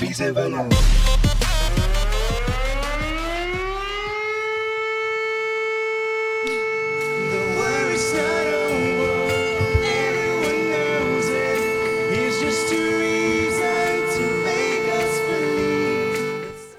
intervenant. The war is not over. Everyone knows it. It's just a reason to make us believe.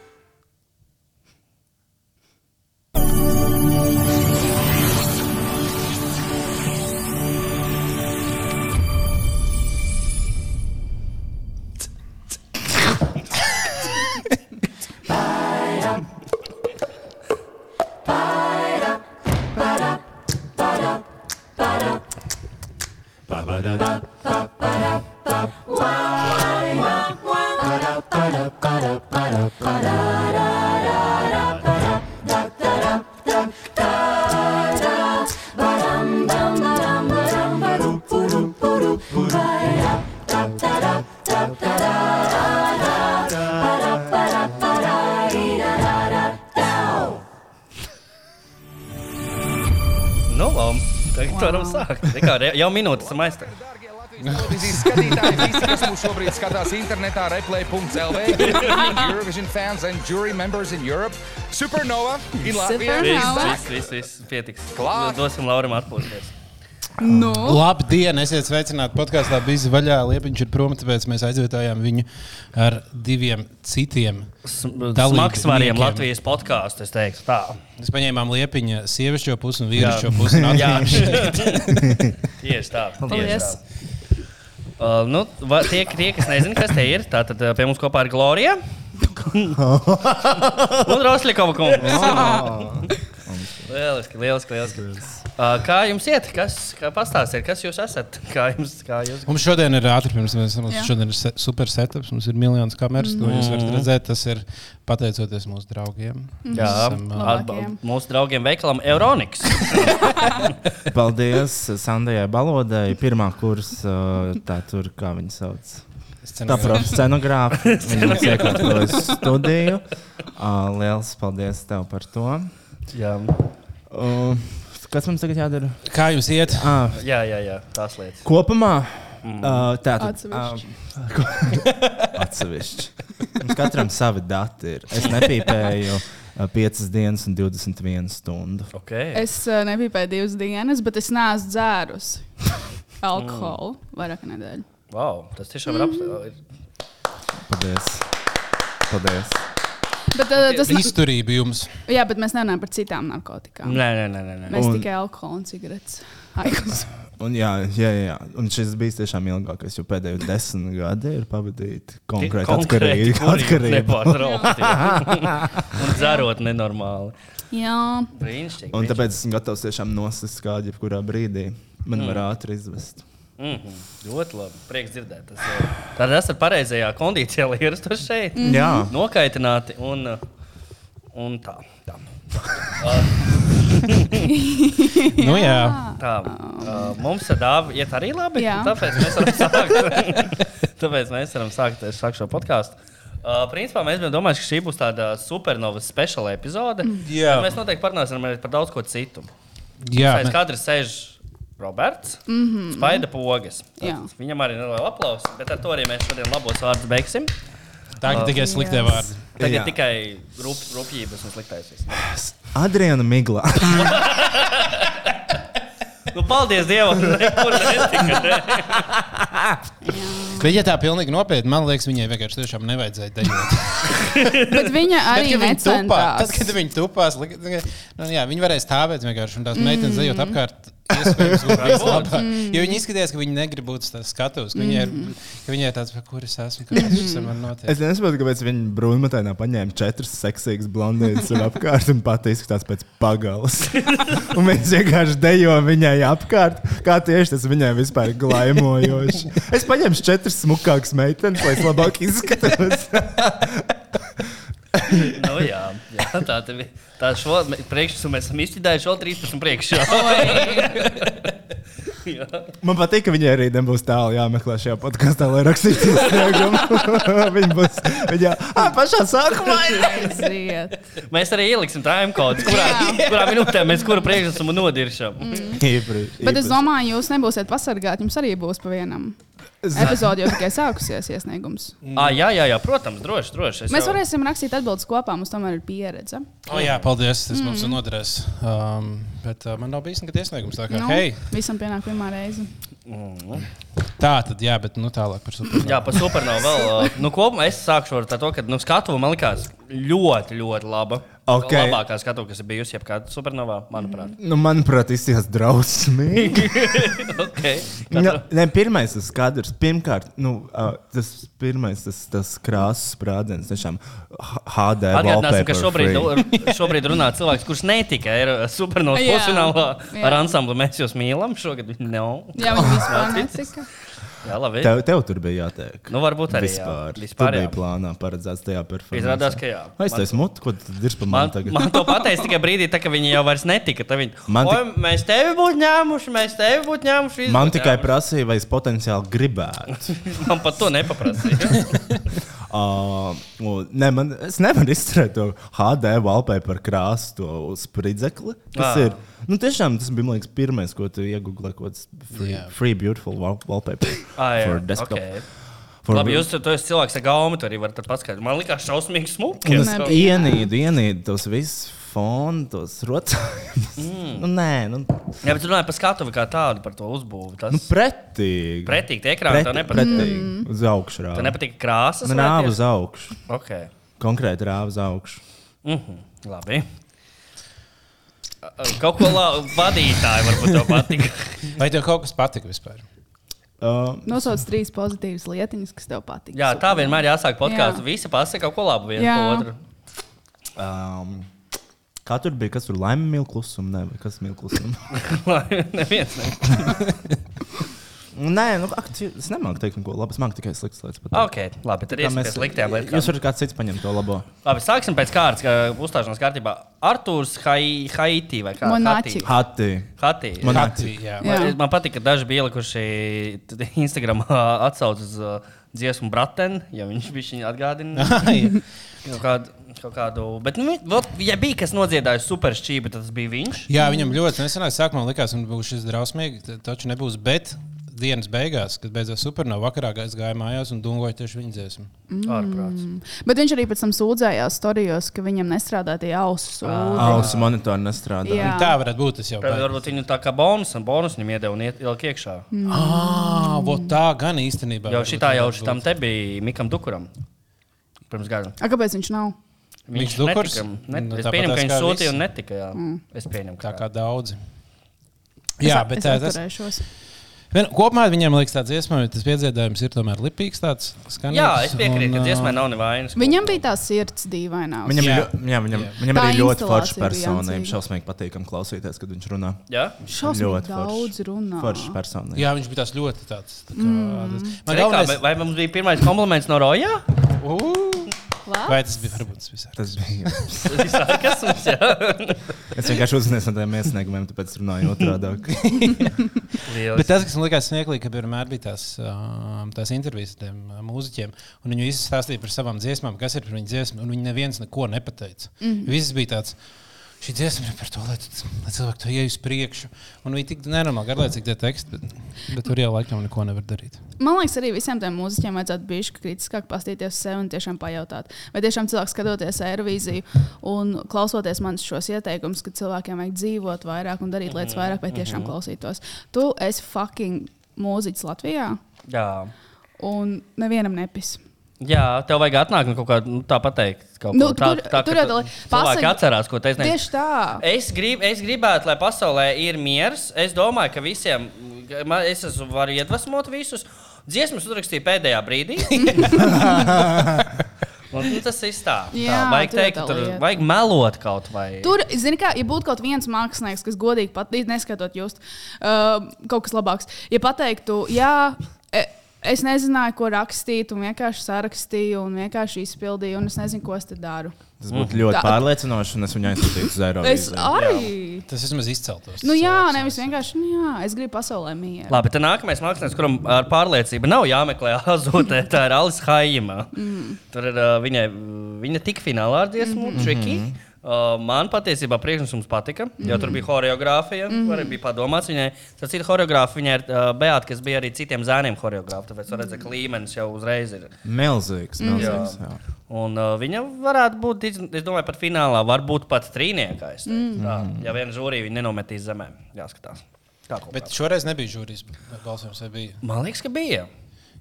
Nu, labi. Tagad varam sākt. Tikā re- Jau minūte esam aizstāvēti. Darbie Latvijas televīzijas skatītāji, visi, kas mūs šobrīd skatās internetā, replay.lv, Eurovision fans and jury members in Europe, Supernova in Latviju. Super. Viss, Bravo. viss, viss, viss pietiks. Klāt. Dosim Lauram atpūsties. Nu, Labdien, esiet sveicināti podkāstā. Bija vaļā, liepiņš ir prom, tāpēc mēs aizvietājām viņu ar diviem citiem. Smags svariem Latvijas podkāstu, es teiktu tā. Mēs paņēmām liepiņa sieviešu pusi un vīrišķo pusi. un Jā, atradām šeit. tieši tā. Tieši paldies. tā. Uh, nu, va, tie, tie, kas nezina, kas te ir, tad pie mums kopā ir Glorija. Un Rostlīkova kungs. Lieliski, lieliski, lieliski. Uh, kā jums iet? Kas, kā pastāstiet, kas jūs esat? Kā jums, kā jūs Mums šodien ir ātri pirms mēs Jā. runājam. Šodien ir se- super setups, mums ir miljonus kameras, ko jūs varat redzēt. Tas ir pateicoties mūsu draugiem. Mm. Mm. Jā, Esam, uh, atba- Labākajiem. mūsu draugiem veikalam Euronics. Paldies Sandrai Balodai, pirmā kursa, uh, tā tur kā viņa sauc. Tā scenogrāfi. protams, scenogrāfa. Viņa mums iekārtoja studiju. Uh, Lielas paldies tev par to. jā. Uh, Kas mums tagad jādara? Kā jums iet? Ah, jā, jā, jā, tās lietas. Mm. Kopumā uh, tātad, Atsevišķi. ah, ko- Atsevišķi. Mums katram savi dati ir. Es nepīpēju 5 dienas un 21 stundu. Okay. Es uh, nebiju pēc divas dienas, bet es neesmu dzērusi alkoholu vairāk nedēļu. Wow, tas tiešām ir apstākļi. Paldies! Paldies! Bet, uh, tas, na- Izturība jums. jā, bet mēs nemanām par citām narkotikām. Nē, nē, nē, nē, nē. Mēs Un- tikai alkoholu un cigaretes. Aikos. Un jā, jā, jā, jā. Un šis bija tiešām ilgākais, jo pēdējo desmit gadi ir pavadīti konkrēti Konkrēti atkarīgi. kurī, atkarībā. nepārtraukti, jā. Un dzerot nenormāli. Jā, Brīnišķīgi. Un tāpēc esmu gatavs tiešām nosist kādu, jebkurā brīdī. Man mm. var ātri izvest. Mm -hmm. Ļoti labi. Prieks dzirdēt. Tas, eh, tad esat pareizajā kondīcijā, lai ierastu šeit. Mm. Jā, Nokaitināti un, eh, un tā. tā. Nu, jā. Tā, uh, mums ir dāvana, iet arī labi. Oh, Jā. Tāpēc mēs varam sākt, tāpēc mēs varam sākt es sāku šo podkāstu. Uh, principā mēs bijām domājuši, ka šī būs tāda supernovas speciāla epizode. Mm. Jā. bet Mēs noteikti parunāsim arī par daudz ko citu. jā. Aiz kadra sēž Roberts, mm -hmm. Spaida pogas. Mhm. Jā. Tātad Viņam arī ir neliela aplausa, bet ar to arī mēs šodien labos vārdus beigsim. Tagad tikai sliktie Yes. vārdi. Tagad Jā. tikai rup, rupjības un sliktais. viss. Adriana Miglā. Nu, paldies Dievam! Nekur netika. Bet, ja tā pilnīgi nopietni, man liekas, viņai vienkārši tiešām nevajadzēja dejot. bet viņa arī Tad, kad viņi tupā- tad, necentās. kad viņi tupās, lika- tikai- nu, jā, viņi varēja stāvēt vienkārši un Mm. tās meitenes dejot apkārt. iespējams, būtu bijis labāk. Jo viņi izskatījās, ka viņi negrib būt tās skatuves, ka viņai ir, Mm. ka viņai ir tāds, par kur es esmu, kas šis ar mani notiek. Es nesaprotu, kāpēc viņa brūnmatainā paņēma četras seksīgas blondīnas un apkārt un pati izskatās pēc pagalas. un mēs vienkārši dejo viņai apkārt, kā tieši tas viņai vispār ir glaimojoši. Es paņemšu četras smukākas meitenes, lai es labāk izskatos. Nu, jā, jā, tā tev ir. Tā šo me- priekšsaku mēs esam izķidājuši vēl 13 priekšā. Man patīk, ka viņai arī nebūs tālu jāmeklē šajā podkāstā, lai rakstītu izsniegumu. viņa būs viņa, ah, pašā sākumā. Aiziet. Mēs arī ieliksim time kodus, kurā, kurā minūtē mēs kuru priekšsaku nodiršam. Īpri, Bet es domāju, jūs nebūsiet pasargāti. Jums arī būs pa vienam. Epizode jau tikai sākusies, iesniegums. Ah, jā, jā, jā, protams, droši. droši. Es Mēs jau- varēsim rakstīt atbildes kopā, mums tomēr ir pieredze. O, Oh, jā, paldies. Tas mums Mm. ir noderēs. Um, bet uh, man nav bijis nekad iesniegums. Tā, kā, Nu, hei, Visam pienāk pirmā reize. tā tad, jā, bet nu, tālāk par supernovu. Mm. Jā, par supernovu vēl. ā, Nu, kopumā es sākšu ar to, ka nu, skatuve man likās ļoti, ļoti laba. Ok. Labākā skatuve, kas ir bijusi jebkāda supernovā, manuprāt. Nu, manuprāt, izskatās drausmīgi. okay. Nu, Katra- ne, pirmais tas skats, pirmkārt, nu, ā, tas pirmais tas, tas krāsas sprādziens, tiešām H- HD. Atgādināsim, ka wallpaper šobrīd, free. šobrīd runā cilvēks, kurš netika ir eh, supernovas Jā, pusfinālā jā. ar ansamblu. Mēs jūs mīlam, šogad viņa nav. Jā, viņi vispār Mācītis. netika. Jā, labi. Tev, tev tur bija jātiek. Nu, varbūt arī, jā. Vispār. Vispār, Vispār bija jā. plānā paredzēts tajā perfekcijā. Izrādās, ka jā. Vai es teicu, mutu, ko tu dirzi par Man, mani tagad? man to pateica tikai brīdī, tā, ka viņi jau vairs netika. Tad Viņi, Man "Oi, tik- Mēs tevi būtu ņēmuši, mēs tevi būtu ņēmuši. visu Man būtu tikai ņēmuši." prasīja, vai es potenciāli gribētu. Man pat to nepaprasīja. Uh, ne, man, es nevaru izturēt to HD wallpaper krāsu, to spridzekli. Tas Ā. ir. Nu, tiešām tas bija man liekas, pirmais, ko tu iegūlēji, ko tas free, Jā. yeah. free beautiful wall, wallpaper. Ah, jā, for desktop. ok. For Labi, jūs tur esat cilvēks ar gaumi, tur arī varat paskaidrot. Man liekas, šausmīgi smuki. Un ir. es Nebija. ienīdu, ienīdu tos visus fonu, tos rotājumus. Mm. Nu, nē, Uhum. nu, Jā, bet runājot par skatuvi kā tādu, par to uzbūvi. Tas nu pretīgi. pretīgi, tie ekrāni Preti, tev nepatīk. pretīgi. Mm. Mm. Uz augšu Tev rāva. nepatīk krāsas. Man vai rāva tie- uz augšu. Ok. Konkrēti rāva uz augšu. Mhm, Labi. Kaut ko la- vadītāji varbūt tev patīk. Vai tev kaut kas patika vispār? Uh, Nosauc trīs pozitīvas lietiņas, kas tev patīk. Jā, tā vienmēr jāsāk podkāsts. Jā. Visi pasaka kaut ko labu viens Jā. par otru. Um, kā tur bija? Kas tur laimē mīl klusumu? Nē, vai kas mīl klusumu? Lai neviens ne. Nē, nu, ak, tu- es nemāku teikt neko labu. Es māku tikai sliktas lietas. pateikt. Ok, labi, tad Tā iesim pie sliktiem Jūs lietām. varat kāds cits paņemt to labo. Labi, sāksim pēc kārtas, kā uzstāšanās kārtībā. Artūrs Hai- Haiti vai kā? Monāči. Hati. Hati. Hati. Man- Hati, jā. Jā. Man, man patīk, ka daži bija ielikuši Instagram atsauces uz uh, dziesmu Braten, ja viņš bija viņa atgādina. Jā. Kaut kādu, kaut kādu. Bet, nu, vēl, ja bija kas nodziedājis superšķību, tad tas bija viņš. jā, viņam ļoti nesenā sākumā likās, ka būs šis drausmīgs, tad taču nebūs. Bet dienas beigās, kad beidzās supernovā, vakarā es gāju mājās un dungoju tieši viņa dziesmu. Ārprāts. Mm. Bet viņš arī pēc tam sūdzējās storijos, ka viņam nestrādā tie ausu sūdi. Ausu monitori nestrādā. Jā. Nu, Tā varētu būt. Es jau Tad baidos. varbūt viņu tā kā bonus, un bonus viņam iedeva un iet- ielika iekšā. Mm. Ah, Ā, vot tā gan īstenībā. Jau varbūt šitā jau varētu šitam būt. te bija Mikam Dukuram. Pirms gada. A, kāpēc viņš nav? Miks Dukurs? Ne, Nu, nu, es tāpat pieņemu, tās ka viņš kā sūtīja visi. un netika. Jā. Mm. Es pieņemu, Tā ka kā daudzi. Jā, bet es, tā, es tas atturēšos. vien, kopumā viņam liekas, tāds dziesmā, tas piedziedājums ir tomēr lipīgs. Tāds, skanīgs, Jā, es piekrītu, un, uh, ka ā, dziesmai nav nevainas. Viņam bija tā sirds dīvainā. Viņam, Jā. jā. Jā, viņam, Jā. viņam Tā arī ļoti instalācija forša bija persona. Viņam jancīga. šausmīgi patīkam klausīties, kad viņš runā. Jā? šausmīgi ļoti daudz runā. Forša persona. jā. Jā, viņš bija tāds ļoti tāds. Tā kā, mm. Man Zini, kā, vai, galvenais, vai mums bija pirmais kompliments no Roja? Labi. vai tas bija varbūt tas visādi. Tas bija. Kas mums ir? Es vienkārši uzzinēju no tiem iesniegumiem, tāpēc runāju otrādi. Bet tas, kas man likās smieklīgi, ka vienmēr bija tās, ām, tās intervijas ar tiem ā, mūziķiem, un viņi visi stāstīja par savām dziesmām, kas ir par viņu dziesmu, un viņi neviens neko nepateica. Mhm. Mm. Viss bija tāds. Šī dziesma ir par to, lai, tu- lai cilvēki to ietu uz priekšu. Un viņi tik nenormāli garlaicīgi tie teksti, bet, bet tur jau laikam neko nevar darīt. Man liekas, arī visiem tiem mūziķiem vajadzētu būt kritiskāk, paskatīties uz sevi un tiešām pajautāt. Vai tiešām cilvēks skatoties aerovīziju un klausoties manis šos ieteikumus, ka cilvēkiem vajag dzīvot vairāk un darīt lietas vairāk, vai tiešām klausītos. Tu esi fucking mūziķis Latvijā Jā. un nevienam nepis. Jā, tev vajag atnākt un kaut kā nu, tā pateikt. Kaut Nu, ko tā, tur- tā, tur ka jau tā tu- li- cilvēki pasaka- atcerās, ko teicu. Tieši tā. Es, grib, es gribētu, lai pasaulē ir miers. Es domāju, ka visiem, ka man, es esmu, varu iedvesmot visus. Dziesmas uzrakstīju pēdējā brīdī. Un, nu, tas ir tā. tā. Jā, Vajag tur ir teikt, tā ka tur lieta. vajag melot kaut vai. Tur, zini, kā, ja būtu kaut viens mākslinieks, kas godīgi patīk, neskatot jūs, uh, kaut kas labāks, ja pateiktu, jā, e, es nezināju, ko rakstīt, un vienkārši sarakstīju, un vienkārši izpildīju, un es nezinu, ko es te daru. Tas Mhm. Mhm. būtu ļoti Tā. pārliecinoši, un es viņu aizsūtīju uz Es Eiropu. arī. Tas vismaz izceltos. Nu, jā, cilvēks. nevis vienkārši, nu, jā, es gribu pasaulē mieru. Labi, tad nākamais mākslinieks, kuram ar pārliecību nav jāmeklē azotē, tā eh, ir Alis Haima. Mm. Tur ir uh, viņa, viņa tik finālā ar dziesmu, mm -hmm. Tricky. Uh, man patiesībā priekšnesums patika, jo mm. tur bija choreogrāfija. Mm. Arī bija padomāts, viņai tas ir choreogrāfija. Viņai ir uh, Beata, kas bija arī citiem zēniem choreogrāfa. Tāpēc var redzēt, ka līmenis jau uzreiz ir. Milzīgs, milzīgs. Jā. Un uh, viņa varētu būt, diz- es domāju, pat finālā, varbūt pat trīniekā. es teiktu. Tā, Ja vien žūrija viņu nenometīs zemē, jāskatās. Kā kaut Bet kā. šoreiz nebija žūrijas balsojums. vai Bija. Man liekas, ka bija.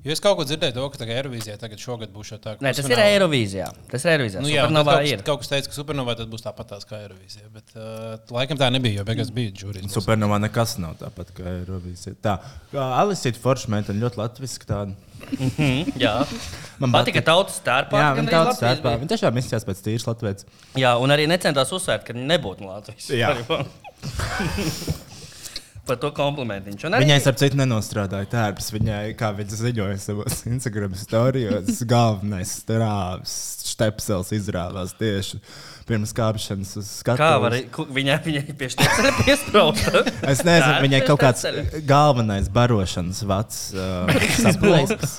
Jo es kaut ko dzirdēju, to, ka tagad Eirovīzijā tagad šogad būs jau tā, ka Nē, tas ir pusfinālā- Eirovīzijā. Tas ir Eirovīzijā. Nu, jā, bet Supernovā kaut, ir. kas- kaut kas teica, ka supernovā tad būs tāpat tās kā Eirovīzija. Bet uh, laikam tā nebija, jo beigās bija žūrijas. balsojums. Supernovā nekas nav tāpat kā Eiropas. Tā kā Alice ir forša meitene, ļoti latviska tāda. Mhm, Jā, Man man patika patika. tautas tērpa. Jā, viņa tāds stērpā. Viņa tiešām izskatās pēc tīras latvijas. Jā, un arī necentās uzsvērt, ka viņi nebūtu no Latvijas. Jā. Par to komplimentu. Viņai, starp citu, nenostrādāja tērps. Viņai, kā viņa ziņoja savos Instagram stāstos, galvenais strāvis, stepsels izrāvās tieši pirms kāpšanas uz skatuves. Kā var viņa, viņa piešķirt piestrauta? Es nezinu, Tērps viņai pie kaut kāds štepsele. galvenais barošanas vats uh, saplūcis.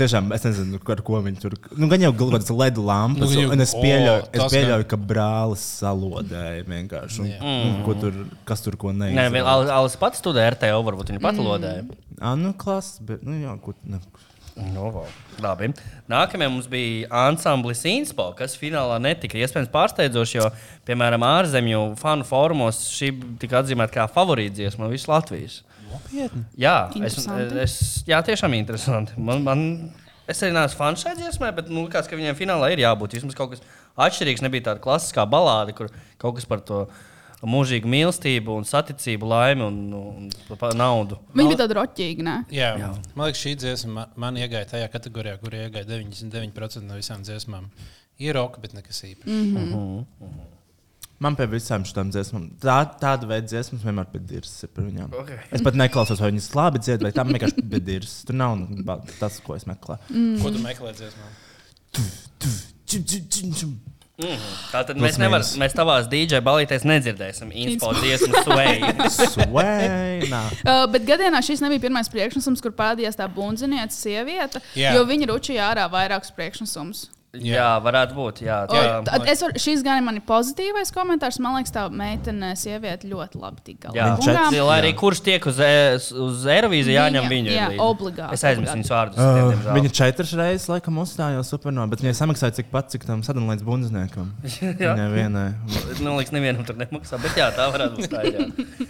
Tiešām es nezinu, ar ko viņi tur. Nu, gan jau kaut kāds ledu Nu, lampas, gan jau- nu, un es o, pieļauju, es tas pieļauju ka brālis salodēja vienkārši. Un, un, ko tur, kas tur ko Mm. Nē, neizdarīja? vēl Al- Alis pats studēja RTO, varbūt viņa pat lodēja. Ah, nu, klases, bet, nu, jā, ko, ne, No, vau. Nu, Labi. Nākamajā mums bija ansamblis Inspo, kas finālā netika iespējams pārsteidzoši, jo, piemēram, ārzemju fanu formos šī tika atzīmēta kā favorīta dziesma no visas Latvijas. Jā, es, Interesanti. es, jā, tiešām interesanti. Man, man, es arī neesmu fans šai dziesmai, bet man liekas, ka viņiem finālā ir jābūt vismaz kaut kas atšķirīgs. Nebija tāda klasiskā balāde, kur kaut kas par to mūžīgu mīlestību, un saticību, laimi un, nu, un, un pa- naudu. Viņa bija tāda roķīga. nē? Jā, jā. Man liekas, šī dziesma man, man iegāja tajā kategorijā, kur iegāja 99% no visām dziesmām. Ir roka, bet nekas īpašs. Mm. Mhm. Uhum. Man pie visām šīm dziesmām, tā, tāda veida dziesmas vienmēr ir bijusi par viņiem. Okay. Es pat neklausos, vai viņas labi dzied, vai tam vienkārši ir bijusi. Tur nav nu, ba- tas, ko es meklēju. Ko tu meklē dziesmā? Tā tad Plus mēs nevaram, mīnus. mēs tavās DJ balītēs nedzirdēsim inspo dziesmu sveju. Sveina! Uh, bet gadienā šis nebija pirmais priekšnesums, kur parādījās tā bundzinieca sieviete, Jā. yeah. jo viņa ručīja ārā vairākus priekšnesumus. jā, varētu būt. Jā, O, tā, tā- es varu- Šis gan ir mans pozitīvais komentārs. Man liekas, tā meitene, sieviete ļoti labi tika jā. galā. četri- Lai arī kurš tiek uz, e- uz Eirovīziju, jāņem Viņa, viņu. jā, līdzi. obligāti, Es aizmirsu obligāti. viņas vārdus. Uh, Uh, viņa četras reizes laikam uzstājās supernovā, bet viņa samaksāja cik pat, cik tam sadalījums bundzniekam. Viņai vienai. Man liekas, nevienam tur nemaksā, bet jā, tā varētu būt. Tā, ir, jā.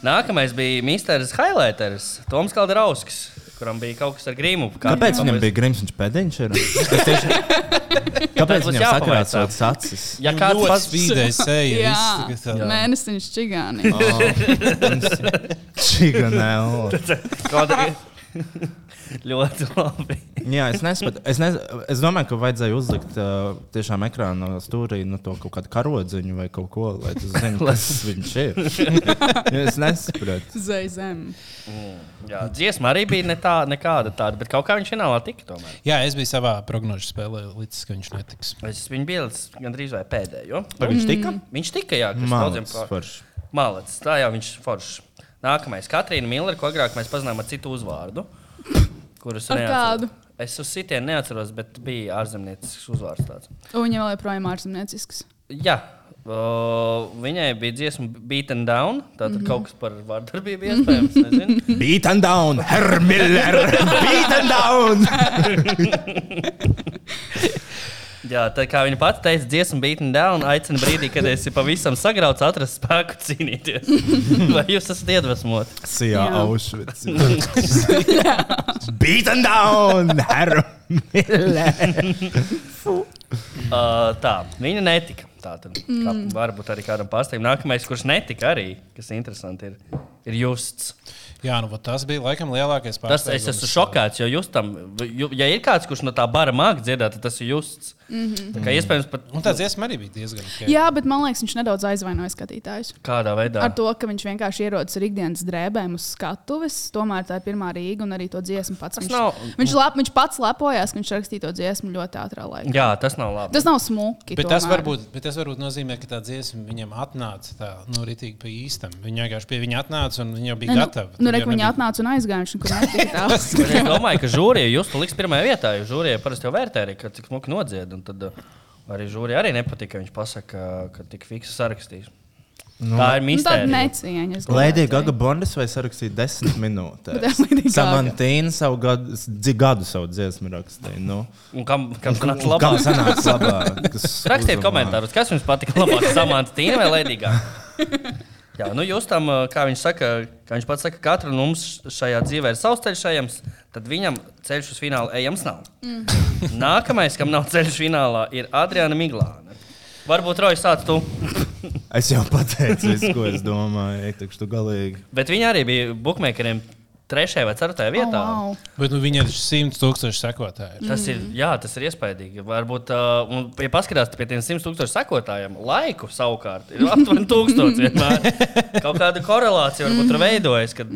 Nākamais bija Misters Highlighters, Toms Kalderauskis, kuram bija kaut kas ar grīmu. Kā- Kāpēc viņam bija grims un pēdiņš? ir? Es Tieši... Kāpēc būs viņam jāpavaicā. sakrāsots acis? Ja kāds pats spīdēja seja, Jā, viss jā. tagad tā- Oh, mēnesis čigāni. Čiganēl. kaut kā. Ļoti labi. Jā, es nesaprotu. Es, ne, es domāju, ka vajadzēja uzlikt uh, tiešām ekrāna stūrī nu, to kaut kādu karodziņu vai kaut ko, lai tu zinātu, kas viņš ir. Jo es nesaprotu. Zai zem. Mm, Jā, dziesma arī bija ne tā, nekāda tāda, bet kaut kā viņš finālā tika tomēr. jā, es biju savā prognožu spēlē, līdz ka viņš netiks. Es viņu pielicu gandrīz vai pēdējo. Mhm. Vai viņš tika? Viņš tikai jā, kas daudziem Mākslinieks pār... forši. Malacis, tā jau viņš foršs. Nākamais, Katrīna Millere, ko agrāk mēs pazinām ar citu uzvārdu. Kurus Ar neatceros. kādu? Es uz citiem neatceros, bet bija ārzemniecisks uzvārds tāds. Un viņa vēl joprojām ārzemniecisks. Jā. O, viņai bija dziesma Beaten Down. Tā Mhm. tad mm -hmm. kaut kas par vardarbību iespējams. nezinu. Beat and down, Herr Miller! Beat and down! Jā, tā kā viņa pati teica, dziesma Beaten Down aicina brīdī, kad esi pavisam sagrauts, atrast spēku cīnīties. Vai jūs esat iedvesmoti? Sijā, Jā. Auschwitz. Beat and down, Herr Miller! Uh, tā, viņa netika. Tā tad mm. varbūt arī kādam pārsteigumam. Nākamais, kurš netika arī, kas interesanti, ir, ir justs. Jā, nu vot tas bija laikam lielākais Tas pārsteigums. es esmu šokāts, jo justam, ju, ja ir kāds, kurš no tā bara māca dziedāt, tad tas ir justs. Mm -hmm. Tā kā iespējams pat Un tā dziesma arī bija diezgan skaista. Mhm. Jā, bet man liekas, viņš nedaudz aizvainoja skatītājus. kādā veidā. Ar to, ka viņš vienkārši ierodas ar ikdienas drēbēm uz skatuves, tomēr tā ir pirmā Rīga un arī to dziesmu pats. Tas Viņš, nav- viņš, lap, viņš pats lepojās, ka viņš rakstīja to dziesmu ļoti ātrā laikā. Jā, tas nav labi. Tas nav smuki. Bet tas, tomēr. varbūt, bet tas varbūt nozīmē, ka tā dziesma viņam atnāca tā, nu, rītīgi pa īstam. Viņa vienkārši pie viņa atnāca un viņa jau bija Nē, nu- gatava. Nu, Tad re, jau ka viņi nebija- atnāca un aizgāja. Viņš nekur netika tāds. Bet Es domāju, ka žūrija jūs to liks pirmajā vietā, jo žūrija parasti jau vērtē arī, ka cik smuki nodzied. un Tad, uh, Arī žūri arī nepatika, ka viņš pasaka, uh, ka tik fiksas sarakstīs. Nu. Tā ir Nu, Tāda mīsta. necieņa. es Lēdija gribētu Gaga teikt. Bondas vai sarakstīja desmit Bet minūtes. Lady Gaga. Samantīna savu gadu, dzi- gadu savu dziesmu rakstīja. Nu. Un kam, kam Un nāca labāk? Kam sanāca labāk? Kas Rakstiet uzrunā? komentārus, kas jums patika labāk, Samants Tīna vai Ledīgā? Jā, nu jūs tam, uh, kā viņš saka, kā viņš pats saka, katra no mums šajā dzīvē ir savs ceļš ejams, tad viņam ceļš uz finālu ejams nav. Mm. Nākamais, kam nav ceļš finālā, ir Adriana Miglāna. Varbūt Rojas sāc tu, Es jau pateicu, visu, ko es domāju. Ej, Tikšu tu galīgi. bet viņa arī bija bukmēkeriem trešajā vai ceturtajā Oh, vietā. wow. Bet nu, viņai ir 100 tūkstoši Mm. sekotāji. Tas ir, jā, tas ir iespaidīgi. Varbūt, uh, un, ja paskatās pie tiem 100 tūkstošu sekotājiem, laiku savukārt ir aptuveni 1000. vienmēr. Kaut kāda korelācija varbūt Mm. tur veidojas, kad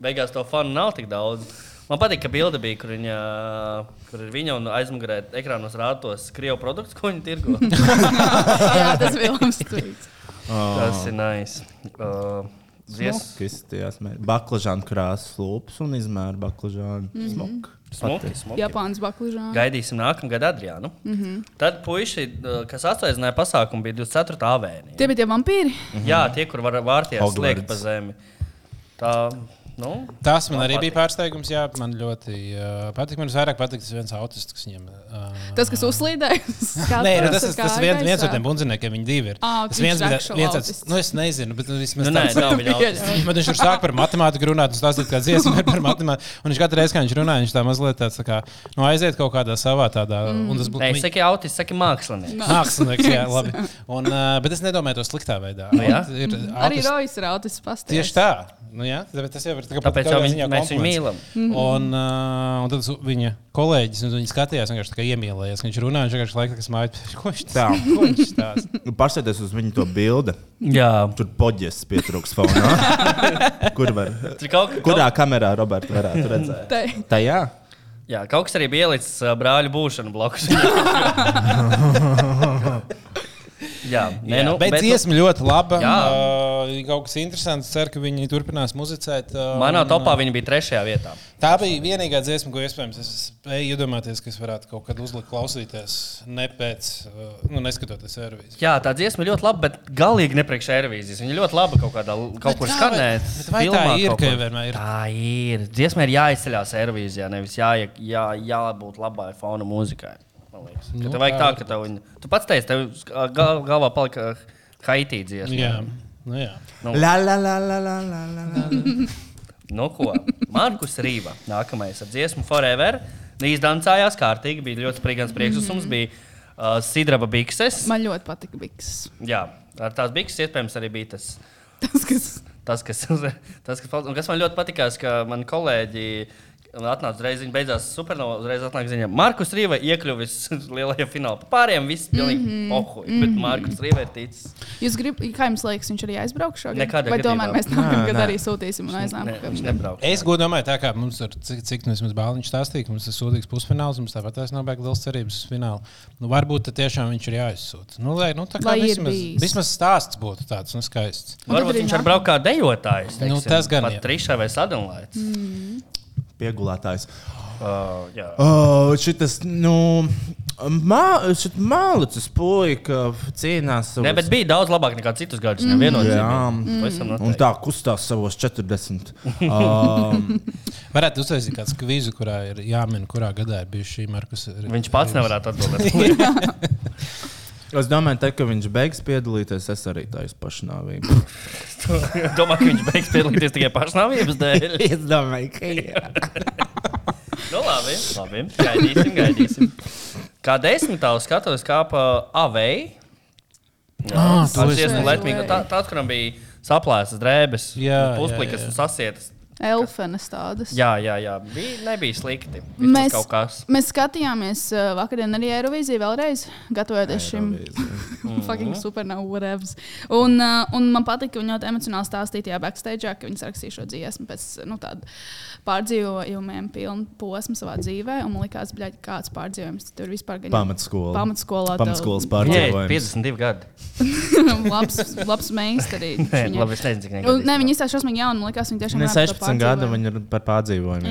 beigās to fanu nav tik daudz. Man patīk, ka bilde bija, kur, viņa, kur ir viņa un aizmugurē ekrānos rādos krievu produkts, ko viņa tirgo. Jā, tas bija Vilnius Strīts. tas ir nice. Uh, Nu, Zies, Kristijās mēs. Baklažāna krāsas lūpas un izmēra baklažāna. Mhm. Smuk. smuki, smuki. Japāns baklīžāns. Gaidīsim nākamā gada Adriānu. Mm Mhm. -hmm. Tad puiši, uh, kas atsveicināja pasākumu, bija 24. avēnija. Tie bija tie vampīri. Jā, tie, kur var vārties Hogwarts. slēgt pa zemi. Tā, nu, Tas man arī patika. bija pārsteigums. Jā, man ļoti uh, patīk. Man vairāk patīk tas viens autists, kas viņam. Uh, Tas, kas uzlīdēja. Nē, nu, tas, tas, tas viens, viens no tiem bundziniekiem, viņi divi ir. Ā, tas viņš viens ir bija actual viens tāds, autists. nu es nezinu, bet nu, vismaz nu nē, tāds. nav viņa autis. Pieļauj. Bet viņš tur sāk par matemātiku runāt, un tas ir kā dziesma ir par matemātiku. Un viņš katru reizi, kad viņš runā, viņš tā mazliet tāds, tā kā, nu, aiziet kaut kādā savā tādā. Mm. Tas Nē, būtu saki autis, saki mākslinieks. mākslinieks, jā, labi. Un, uh, bet es nedomāju to sliktā veidā. Nu jā. Aut- ir Arī autisti- Rojas ir autis pastāstījis. Tieši tā. Nu, jā, tāpēc tas jau ir tā kā Tāpēc kaut jau kādā viņ- ziņā mēs viņu kompliments. mīlam. Mhm. Un, uh, un tad uz viņa kolēģis, un viņš skatījās, vienkārši tā kā iemīlējies. Viņš runāja, viņš vienkārši laikā smaiņā. Ko viņš tā? Tā. Ko viņš tās? Pārsēties Nu, uz viņu to bildi. Jā. Tur poģis pietrūks fonā. Kur var? Tur kaut, Kurā kamerā Roberta varētu redzēt? Tā Tajā. jā, kaut kas arī bija ielicis uh, brāļu būšanu blakus. jā, nē, nu, bet nu, dziesma ļoti laba. Jā. Uh, kaut kas interesants. Ceru, ka viņi turpinās muzicēt. Uh, Manā un, topā viņa bija trešajā vietā. Tā bija vienīgā dziesma, ko iespējams es spēju iedomāties, ka es varētu kaut kad uzlikt klausīties, ne pēc, uh, nu, neskatoties servīzi. Jā, tā dziesma ir ļoti laba, bet galīgi nepriekš aerobīzijas. Viņa ļoti laba kaut kādā kaut kur skanēt. bet vai tā filmā ir, kaut ka kur. vienmēr ir? Tā ir. Dziesma ir jāizceļās aerobīzijā, nevis jā, jā, jābūt labai fona mūzikai. man liekas. Ka Nu, Tev vajag tā, tā ka tev viņa. Tu pats teici, tev sk- gal, galvā palika haitī dziesma. Jā, nu, jā. La la la la la la la. la. Nu, ko? Markus Rīva. Nākamais ar dziesmu Forever. Izdancājās kārtīgi, bija ļoti sprigans priekšsums, Mhm. bija uh, sidraba bikses. Man ļoti patika Biks. Jā, ar tās bikses iespējams arī bija tas. Tas, kas Tas, kas, tas, kas, palika- un kas man ļoti patīk, ka man kolēģi atnāca uzreiz, viņa beidzās supernovā, uzreiz atnāca ziņā. Markus Rīva iekļuvis lielajā finālā. Pārējiem viss pilnīgi Mhm. mm -hmm. pohuļ, bet Markus Rīva ir ticis. jūs gribat, kā jums liekas, viņš arī aizbrauks šogad? Nekādā Vai gadījumā. tomēr mēs Nē, nākamajā nē. gadā arī sūtīsim un aiznām? Ne, viņš nebrauc. Es godīgi domāju, tā kā mums ir cik, cik nu vismaz bāliņš stāstīja, ka mums ir sūdzīgs pusfināls, mums tāpat vairs nav beigas liels cerības uz finālu. Nu, varbūt tad tiešām viņš ir jāizsūta. Nu, lai, nu, tā kā Lai ir vismaz, bijis. vismaz stāsts būtu tāds nu, skaists. Un tad Varbūt arī viņš nāk- ar braukt kā dejotājs. Nu, tas gan ir. jā. Trīsā vai sadalīts. Mm. Piegulētājs. Uh, jā. Oh, šitas, nu, mā, šit mālicis puika cīnās. Nē, bet bija daudz labāk nekā citus gadus. Mhm. Mm. Jā. Mhm. Vienotā. Un tā kustās savos 40. Um, Varētu uztaisīt kādu skvīzu, kurā ir jāmin, kurā gadā ir bijusi šī Markus. Viņš pats nevarētu atbildēt. es domāju, te, ka viņš beigs piedalīties, es arī tā izpašnāvību. Domāju, ka viņš beigs piedalīties tikai pašnāvības dēļ. es domāju, ka jā. Nu, labi, labi. Gaidīsim, gaidīsim. Kā desmitā uz skatuves kāpa Avei. Ā, Tas Ah, to es ir nezinu. ledmīgi. nu, Tāds, kuram bija saplēstas drēbes, Jā, jā, puslikas jā. un sasietas. Elfenes tādas. Jā, jā, jā. Bija, nebija slikti. Mēs... Mēs, Kaut kas. mēs skatījāmies uh, vakardien arī Eirovīziju vēlreiz, gatavojoties šim fucking Mhm. supernovā, whatever. Un, uh, un man patīk, ka viņi ļoti emocionāli stāstīja tajā backstage, ka viņi rakstīja šo dziesmu pēc nu, tāda pārdzīvojumiem, pilnu posmu savā dzīvē. Un man liekas, bļaļ, kāds pārdzīvojums tur vispār gan Pamatskola. Pamatskolā. Pamatskolas Viņai ir pārdzīvojums. 52 gadi. labs, labs meistarīgs. Nē, labi, es nezinu, cik Un, negatīvi. nē, viņi izsaka šausmīgi jaunu. Man liekas, viņi tiešām Ne varētu to 16 gadu pārdzīvojumu. viņi ir par pārdzīvojumiem.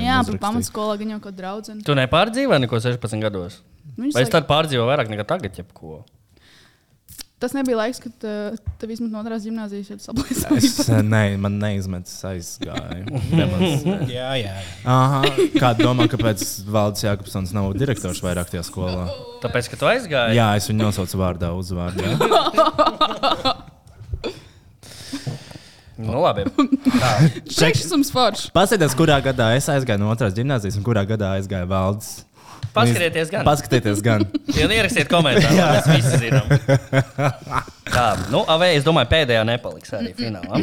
Jā, par uzrakstījuši. pamatskolā gan jau kaut kāda draudzene. Tu nepārdzīvoji neko 16 gados. Viņš Vai es saka- tad pārdzīvoju vairāk nekā tagad, jebko? Tas nebija laiks, kad uh, tev vismaz no otras gimnāzijas jau Es saplēsās. eh, ne, man neizmetas aizgāju. Demonstrēt. Jā, jā. Aha, Kāda domā, kāpēc Valdis Jākupsons nav direktors vairāk tajā skolā? Tāpēc, ka tu aizgāji. Jā, es viņu nosaucu vārdā, uzvārdā. Nu, labi. Priekšsums foršs. Paskatieties, kurā gadā es aizgāju no otrās gimnāzijas un kurā gadā aizgāja Valdis. Paskatieties gan. Paskatieties, gan. Un ierakstiet komentāru, lai mēs visi zinām. Tā, nu, avē, es domāju, pēdējā nepaliks arī finālā.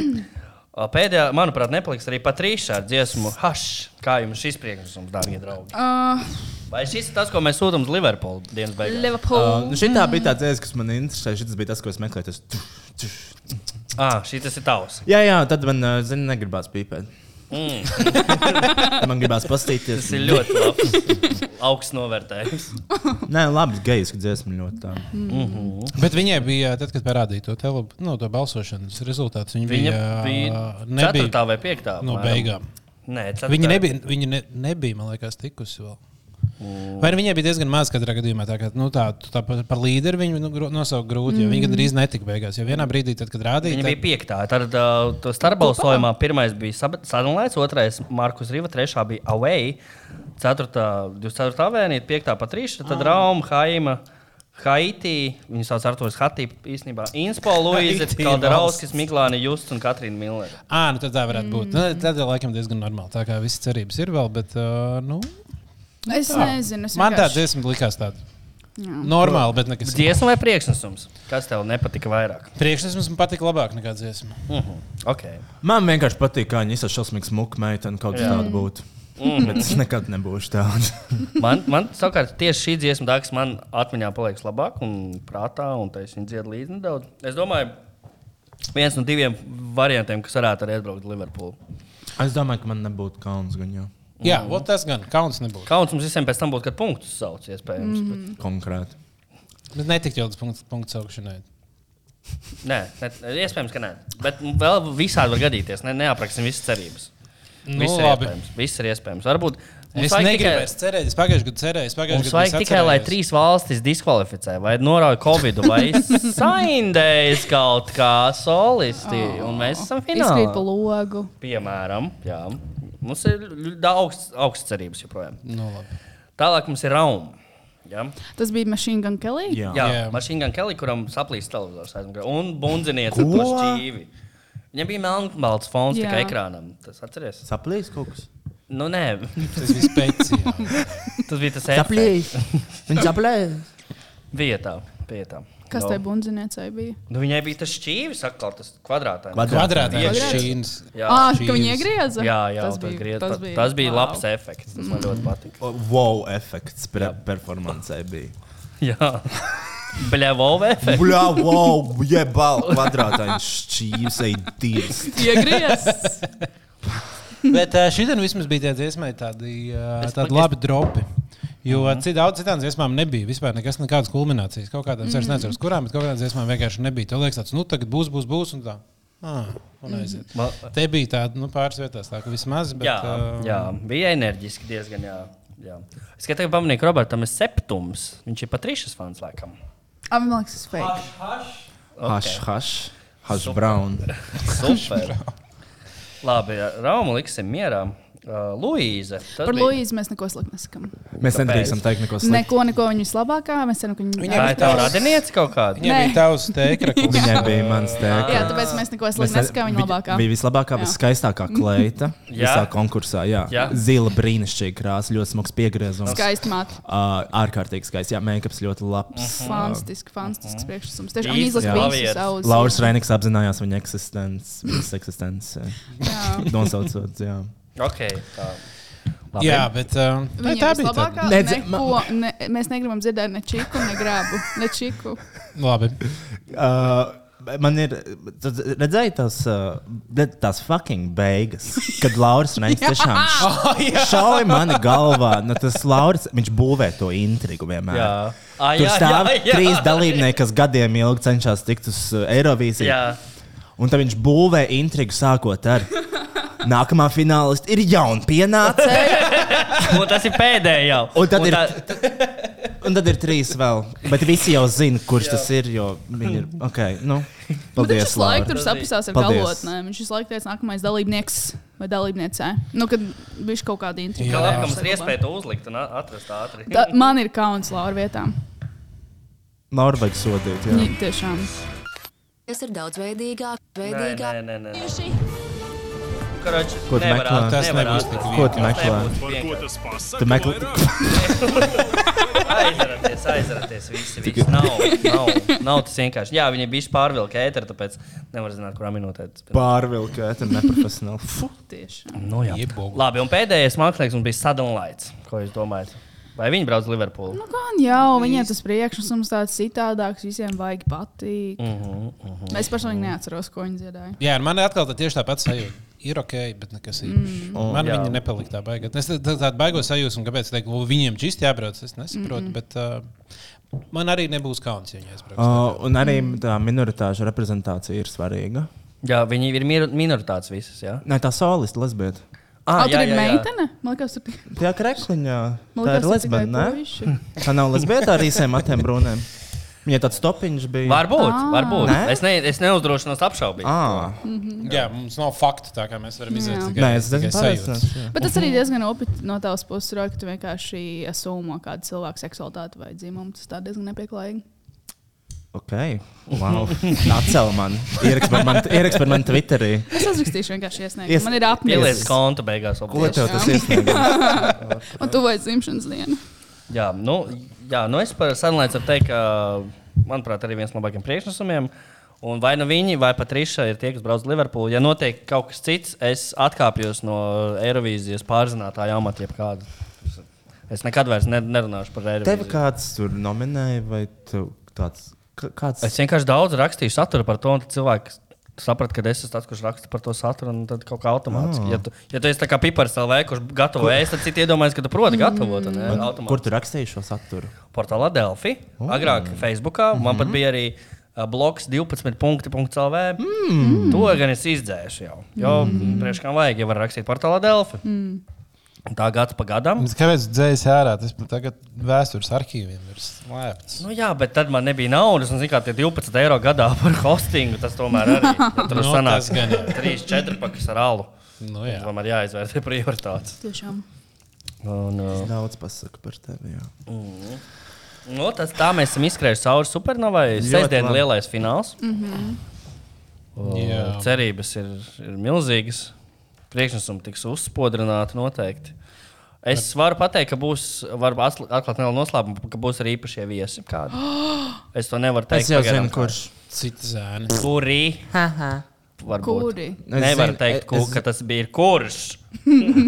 O, Pēdējā, manuprāt, nepaliks arī Patrīšā ar dziesmu Hash. Kā jums šis priekšnesums, dārgie draugi? Uh, Vai šis ir tas, ko mēs sūtām uz Liverpoolu dienas beigās? Uh, Liverpool. nu šī tā bija tā dziesma, kas man interesē. Šis bija tas, ko es meklēju. Tas... tuš, tuš. Ah, šis tas ir tavs. Jā, jā, tad man, uh, zini, negribās pīpēt. Mm, Man gribās pastīties. tas ir ļoti labs. Augsts novērtējums. Nē, labi, gejs, ka dziesma ļoti tā. Mhm. Bet viņai bija, tad, kad parādīja to, tele, nu, to balsošanas rezultātu, viņa, Viņa bija bija, uh, nebija ceturtā vai piektā. no apmēram. beigām. Nē, ceturtā. Viņa nebija, viņa ne, nebija, man liekas, tikusi vēl. Vai nu viņai bija diezgan maz katrā gadījumā, tā kā nu, tā, tā par, par līderi viņu nu, gro- nosaukt grūti, jo viņa gandrīz netika beigās. Jo vienā brīdī, tad, kad rādīja, Mm. Viņa tad, bija piektā. Tad ā, to starpbalsojumā pirmais bija Sanlaids, otrais Markus Riva, trešā bija Away, ceturtā 24. avēnija, piektā patrīša, Ah. tad Rauma, Haima. Haiti, viņas sauc Arthurs Hatī, īstenībā Inspo, Luīze, Haiti, Kalderauskis, Miklāne, Justs un Katrīna Millere. à, nu, tad tā varētu būt. Mm. Nu, Tad jau laikam diezgan normāli. Tā kā visas cerības ir vēl, bet uh, nu, Es nezinu. Es man tā vienkārši- dziesma likās tāda normāla, bet nekas. Dziesma vai priekšnesums? Kas tev nepatika vairāk? Priekšnesums man patika labāk nekā dziesma. Uh -huh. okay. Man vienkārši patīk, kā viņa izsaka šausmīgu smuku meiteni, kaut kas tāds būtu. Mhm. Bet es nekad nebūšu tāds. Man, man savukārt, tieši šī dziesma, tā, kas man atmiņā paliks labāk un prātā, un tā es viņu dziedu līdzi nedaudz. Es domāju, viens no diviem variantiem, kas varētu arī atbraukt uz Liverpoolu. Es domāju, ka man nebūtu kauns gan jau Jā, mm. tas gan kauns nebūtu. Mhm. Kauns mums visiem pēc tam būtu, kad punktus sauc, iespējams. Mhm. Mm. konkrēti. Bet netikt jau līdz punktu, punktu saukšanai. Bet, nē, ne, iespējams, ka nē. Bet vēl visādi var gadīties. Ne, neapraksim visas cerības. Nu, Viss ir labi. iespējams. Viss ir iespējams. Varbūt mums Es vajag tikai- negribu, es cerēju, es pagājušajā gadā cerēju, es pagājušajā Mums gadā vajag tikai, lai trīs valstis diskvalificē, vai norauj Covid, vai saindējas kaut kā solisti. Un mēs esam Izkrīt pa finālā. logu. Piemēram, jā. Mums ir ļu- daudz augsts cerības joprojām. Nu, labi. Tālāk mums ir Rauma. Jā, Tas bija Machine Gun Kelly. Jā. jā Jā. mašīna gan Kelly, kuram saplīst televizors aizmugurē. Un bundzinieci ar to šķīvi. Viņam bija melnbalts fons Jā. tikai ekrānam. Tas atceries? Saplīs kaut kas. Nu, nē, Tas viss pēc. jā. tas bija tas Viņa saplīs. Vietā, vietā. Kas Nu. tajā bundziniecei bija? Nu, viņai bija tas šķīvis, atkal tas kvadrātājs. Kvadrātā Iekšā. šķīns. Jā, Ah, ka Jeez. viņi iegriezās. jā, jā tas bija grūti. Tas bija, tas bija wow. labs efekts. Tas man ļoti patika. Wow, efekts pre- performancei bija. Jā, bļāvovē efekts. Bļā, wow, jebal, kvadrātā šķīvis, ej, divas. Iegriezās. Bet šī diena vismaz bija tāda dziesma, tādi, ā, Es Mhm. tādi pag- labi dropi. Jo mm. daudz citām dziesmām nebija vispār nekas, nekādas kulminācijas. Kaut kādām mm. es Mhm. nezinu, uz kurām, bet kaut kādām dziesmām vienkārši nebija. Tev liekas, tāds, nu tagad būs, būs, būs un tā. Ah, un aiziet. Ma- Mm. Te bija tāda, nu pāris vietās, tā ka vismaz. Bet, Mhm. Jā, um, ā, jā, bija enerģiski diezgan. Jā, jā. Es tikai tagad pamanīju, ka Robertam ir septums. Viņš ir patrīšas fans laikam. Ah, man liekas, tas fake. Hash, hash, hash brown. Super. Labi, Rauma liksim mierā. Uh, Luīze. tas Par bija- Luīzi mēs neko sliktu nesakām. Mēs nedrīkstam teikt neko sliktu. Neko, neko viņa vislabākā. Mēs ceram, ka viņa Tā ir tā radiniece kaut kāda. Viņai Nē. bija tavs teikraklis. Viņai bija mans tēvs. Jā, tāpēc mēs neko sliktu nesakām viņa labākā. bija vislabākā, Jā. viskaistākā kleita visā konkursā. Jā. Jā. Zila brīnišķīga krāsa, ļoti smags piegriezums. Skaisti māte. Uh, ārkārtīgi skaists. Jā, make-ups ļoti labs. Fantastisks, Mhm. fantastisks priekšstats. Tiešām Īsas izlasīja klavieres. visus savus. Lauris Rēniks apzinājās viņa eksistenci, viņas eksistenci. Jā. Nosaucot, jā. Okay, tā. Labi. Jā, bet um, ā, Viņa tā ir bija tā. vislabākā. Nedz- Neko, ne, mēs negribam dzirdēt ne čiku, ne grābu. Ne čiku. Labi. Uh, Man ir tad redzēju tās, uh, re- tās fucking beigas, kad Lauris Rēniks tiešām Oh, šauja mani galvā. Nu, tas Lauris, viņš būvē to intrigu vienmēr. Jā. Ā, Tur jā, stāv jā, jā. trīs dalībnieki, kas gadiem ilgi cenšas tikt uz uh, Eirovīziju. Jā. Un tad viņš būvē intrigu sākot ar. Nākamā fināliste ir jauna pienācēja. Un tas ir pēdējais. Un tad ir- Un tad ir trīs vēl. Bet visi jau zina, kurš tas ir. Jo viņi ir. Okay, nu, Bet viņš paldies, visu Laura. laiku tur saprast ar Paldies. galotnēm. Viņš visu laiku teica, nākamais dalībnieks vai dalībniecē. Nu, kad viņš kaut kāda intriga. Kā laikam mums ir iespēja to uzlikt un a- atrast ātri? Da, man ir kauns Laura vietām. Laura vajag sodīt. Jā. Viņa tiešām. Kas ir daudzveidīgāk, Nē, nē, veidīgāk? nē, nē. nē. Karači, Ko tu nevar meklē? atrast, Tas nevar nebūs atrast. tik Ko tu vienkārši. meklē? Nebūs Par ko vienkārši. tas Tu pasaka? meklē- vairāk? Aizveraties, aizveraties. Visi, visi. Nav, nav, nav tas vienkārši. Jā, viņi bija pārvilkti ēteru, tāpēc nevar zināt, kurā minūtē tas bija. Pārvilkēt, ir neprofesionāli. Fu. Tiešām. Nu, jā. Iebogu. Labi, un pēdējais mākslinieks mums bija Sadonlaits. Ko jūs domājat? Vai viņi brauc uz Liverpoolu? Nu, gan jau, viņiem tas priekšnesums tāds citādāks, visiem vajag patīk. Mm Mhm, Mhm. -hmm. Es personīgi neatceros, ko viņi dziedāja. Jā, ar mani atkal tā tieši tāpat sajūta. Ir ok, bet nekas īpašs. Mhm. Mm. Man Jā. viņa nepalika tā baigta. Es tā- tā- tādu baigo sajūtu, un kāpēc teik, viņiem čist jābrauc, es Mhm. nesaprotu. Mm -mm. Bet, uh, man arī nebūs kauns, ja viņi aizbrauks. Oh. Uh, un arī tā minoritāšu reprezentācija ir svarīga. Jā, viņi ir mir- minoritātes visas. Jā, Nē, tā solista lesbieta. Ah, tur ir meitene. Man liekas, tur bija. Tā ir krekliņa. Man Tā liekas, ir tur tikai lesbieta, ne? puiši. Tā nav lesbieta ar īsiem matiem brūniem. Viņai tāds topiņš bija. Varbūt, Ah. varbūt. Nē? Es, ne, es neuzdrošinos apšaubīt. Ah, Mhm. Jā, mums nav faktu, tā kā mēs varam izvērst tikai, nē, es Mhm. nezinu, tikai sajūtas. pārliecināts. jā. Bet tas arī diezgan opiti no tavas puses, Roja, ka tu vienkārši asūmo kādu cilvēku seksualitāti vai dzimumu. Tas tā diezgan nepieklājīgi. Ok, wow. Atcel man. Ieraksti par mani- Ieraksti par mani Twitterī. Es uzrakstīšu vienkārši iesniegtu. Ies- Yes. Man ir apmieris. Pieliec kontu beigās. Ko obligāti. tev tas iesniedz? Un tu vai dzimšanas diena. Jā, nu, jā, nu es par Sunlights varu teikt, ka, manuprāt, arī viens no labākajiem priekšnesumiem. Un vai nu viņi, vai pat Rīša ir tie, kas brauc uz Liverpoolu. Ja notiek kaut kas cits, es atkāpjos no Eirovīzijas pārzinātāja amata, jebkāda. Es nekad vairs ne, nerunāšu par Tev Eirovīziju. kāds tur nominēja, vai tu tāds k- kāds? Es vienkārši daudz rakstīju saturu par to, un tad cilvēki saprata, ka es esmu tas, kurš raksta par to saturu, un tad kaut kā automātiski. Ja tu, ja tu esi tā kā pipars LV, kurš gatavo ēst, tad citi iedomājas, ka tu proti gatavot. un, ē, automātiski. Kur tu rakstīji šo saturu? portālā Delphi. Oh. Agrāk Facebookā man pat bija arī uh, bloks 12.CLV. Mm. To gan es izdzēšu jau. Jo mm. priekšā vajag, ja var rakstīt portālā Delphi. Mm. Tā gads pa gadam. Kāpēc dzēs ārā? Tas pat tagad vēstures arhīviem ir slēpts. Nu, jā, bet tad man nebija naudas. Un, zin, kā, tie 12 eiro gadā par hostingu tas tomēr arī ja tur Nu, no, sanāca. tas gan jā. 3-4 pakas ar alu. Nu, jā. Tomēr jāizvērtē prioritātes. Tiešām. Un, uh, Daudz pasaka par tevi. Jā. Mm. nu, tas, tā mēs esam izskrējuši cauri supernovai. Ļoti Sestdien labi. lielais fināls. Jā. Jā. Cerības ir, ir milzīgas. Priekšnesumi tiks uzspodrināti noteikti. Es varu pateikt, ka būs, varu atl- atklāt nelielu noslēpumu, ka būs arī īpašie viesi. Kādi. Es to nevaru teikt. Es jau pagaidām. zinu, kurš. Citi zēni. Kuri? Varbūt. Kuri? Es Nevar zinu, teikt, ku, es- ka tas bija kurš.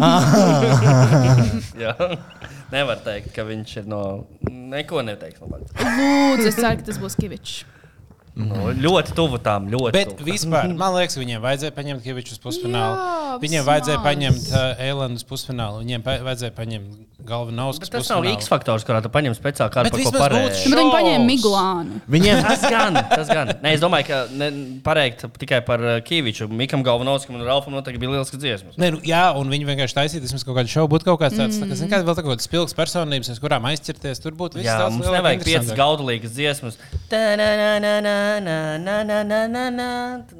Ah. Jā. Nevar teikt, ka viņš ir no. Neko neteiks. No manis. Lūdzu, es ceru, ka tas būs Kivičs. Mm. nu, ļoti tuvu tām. Ļoti Bet tuvu. vispār, man liekas, viņiem vajadzēja paņemt Kaviču uz pusfinālu. Jā, viņiem smart. vajadzēja paņemt uh, Eilanu uz pusfinālu. Viņiem pa vajadzēja paņemt galveno uz Bet tas nav pusfinālu. X faktors, kurā tu paņem speciāli kādu Bet par ko vismaz būtu parēķināt. Nu, Bet viņi paņēma Šaus. Miglānu. Viņiem Tas gan, tas gan. Nē, es domāju, ka ne, pareikt tikai par uh, Kīviču. Mikam Galvanovskam un Ralfam noteikti bija lielisks dziesmas. Nē, nu, jā, un viņi vienkārši taisīja, tas mums kaut kāda šauba būtu kaut kāds tāds, mm. tā, zināms, vēl tāds spilgs personības, uz kurām aizķerties. Tur būtu viss Jā, tāds mums lielāk nevajag piecas interesantāk. gaudulīgas dziesmas.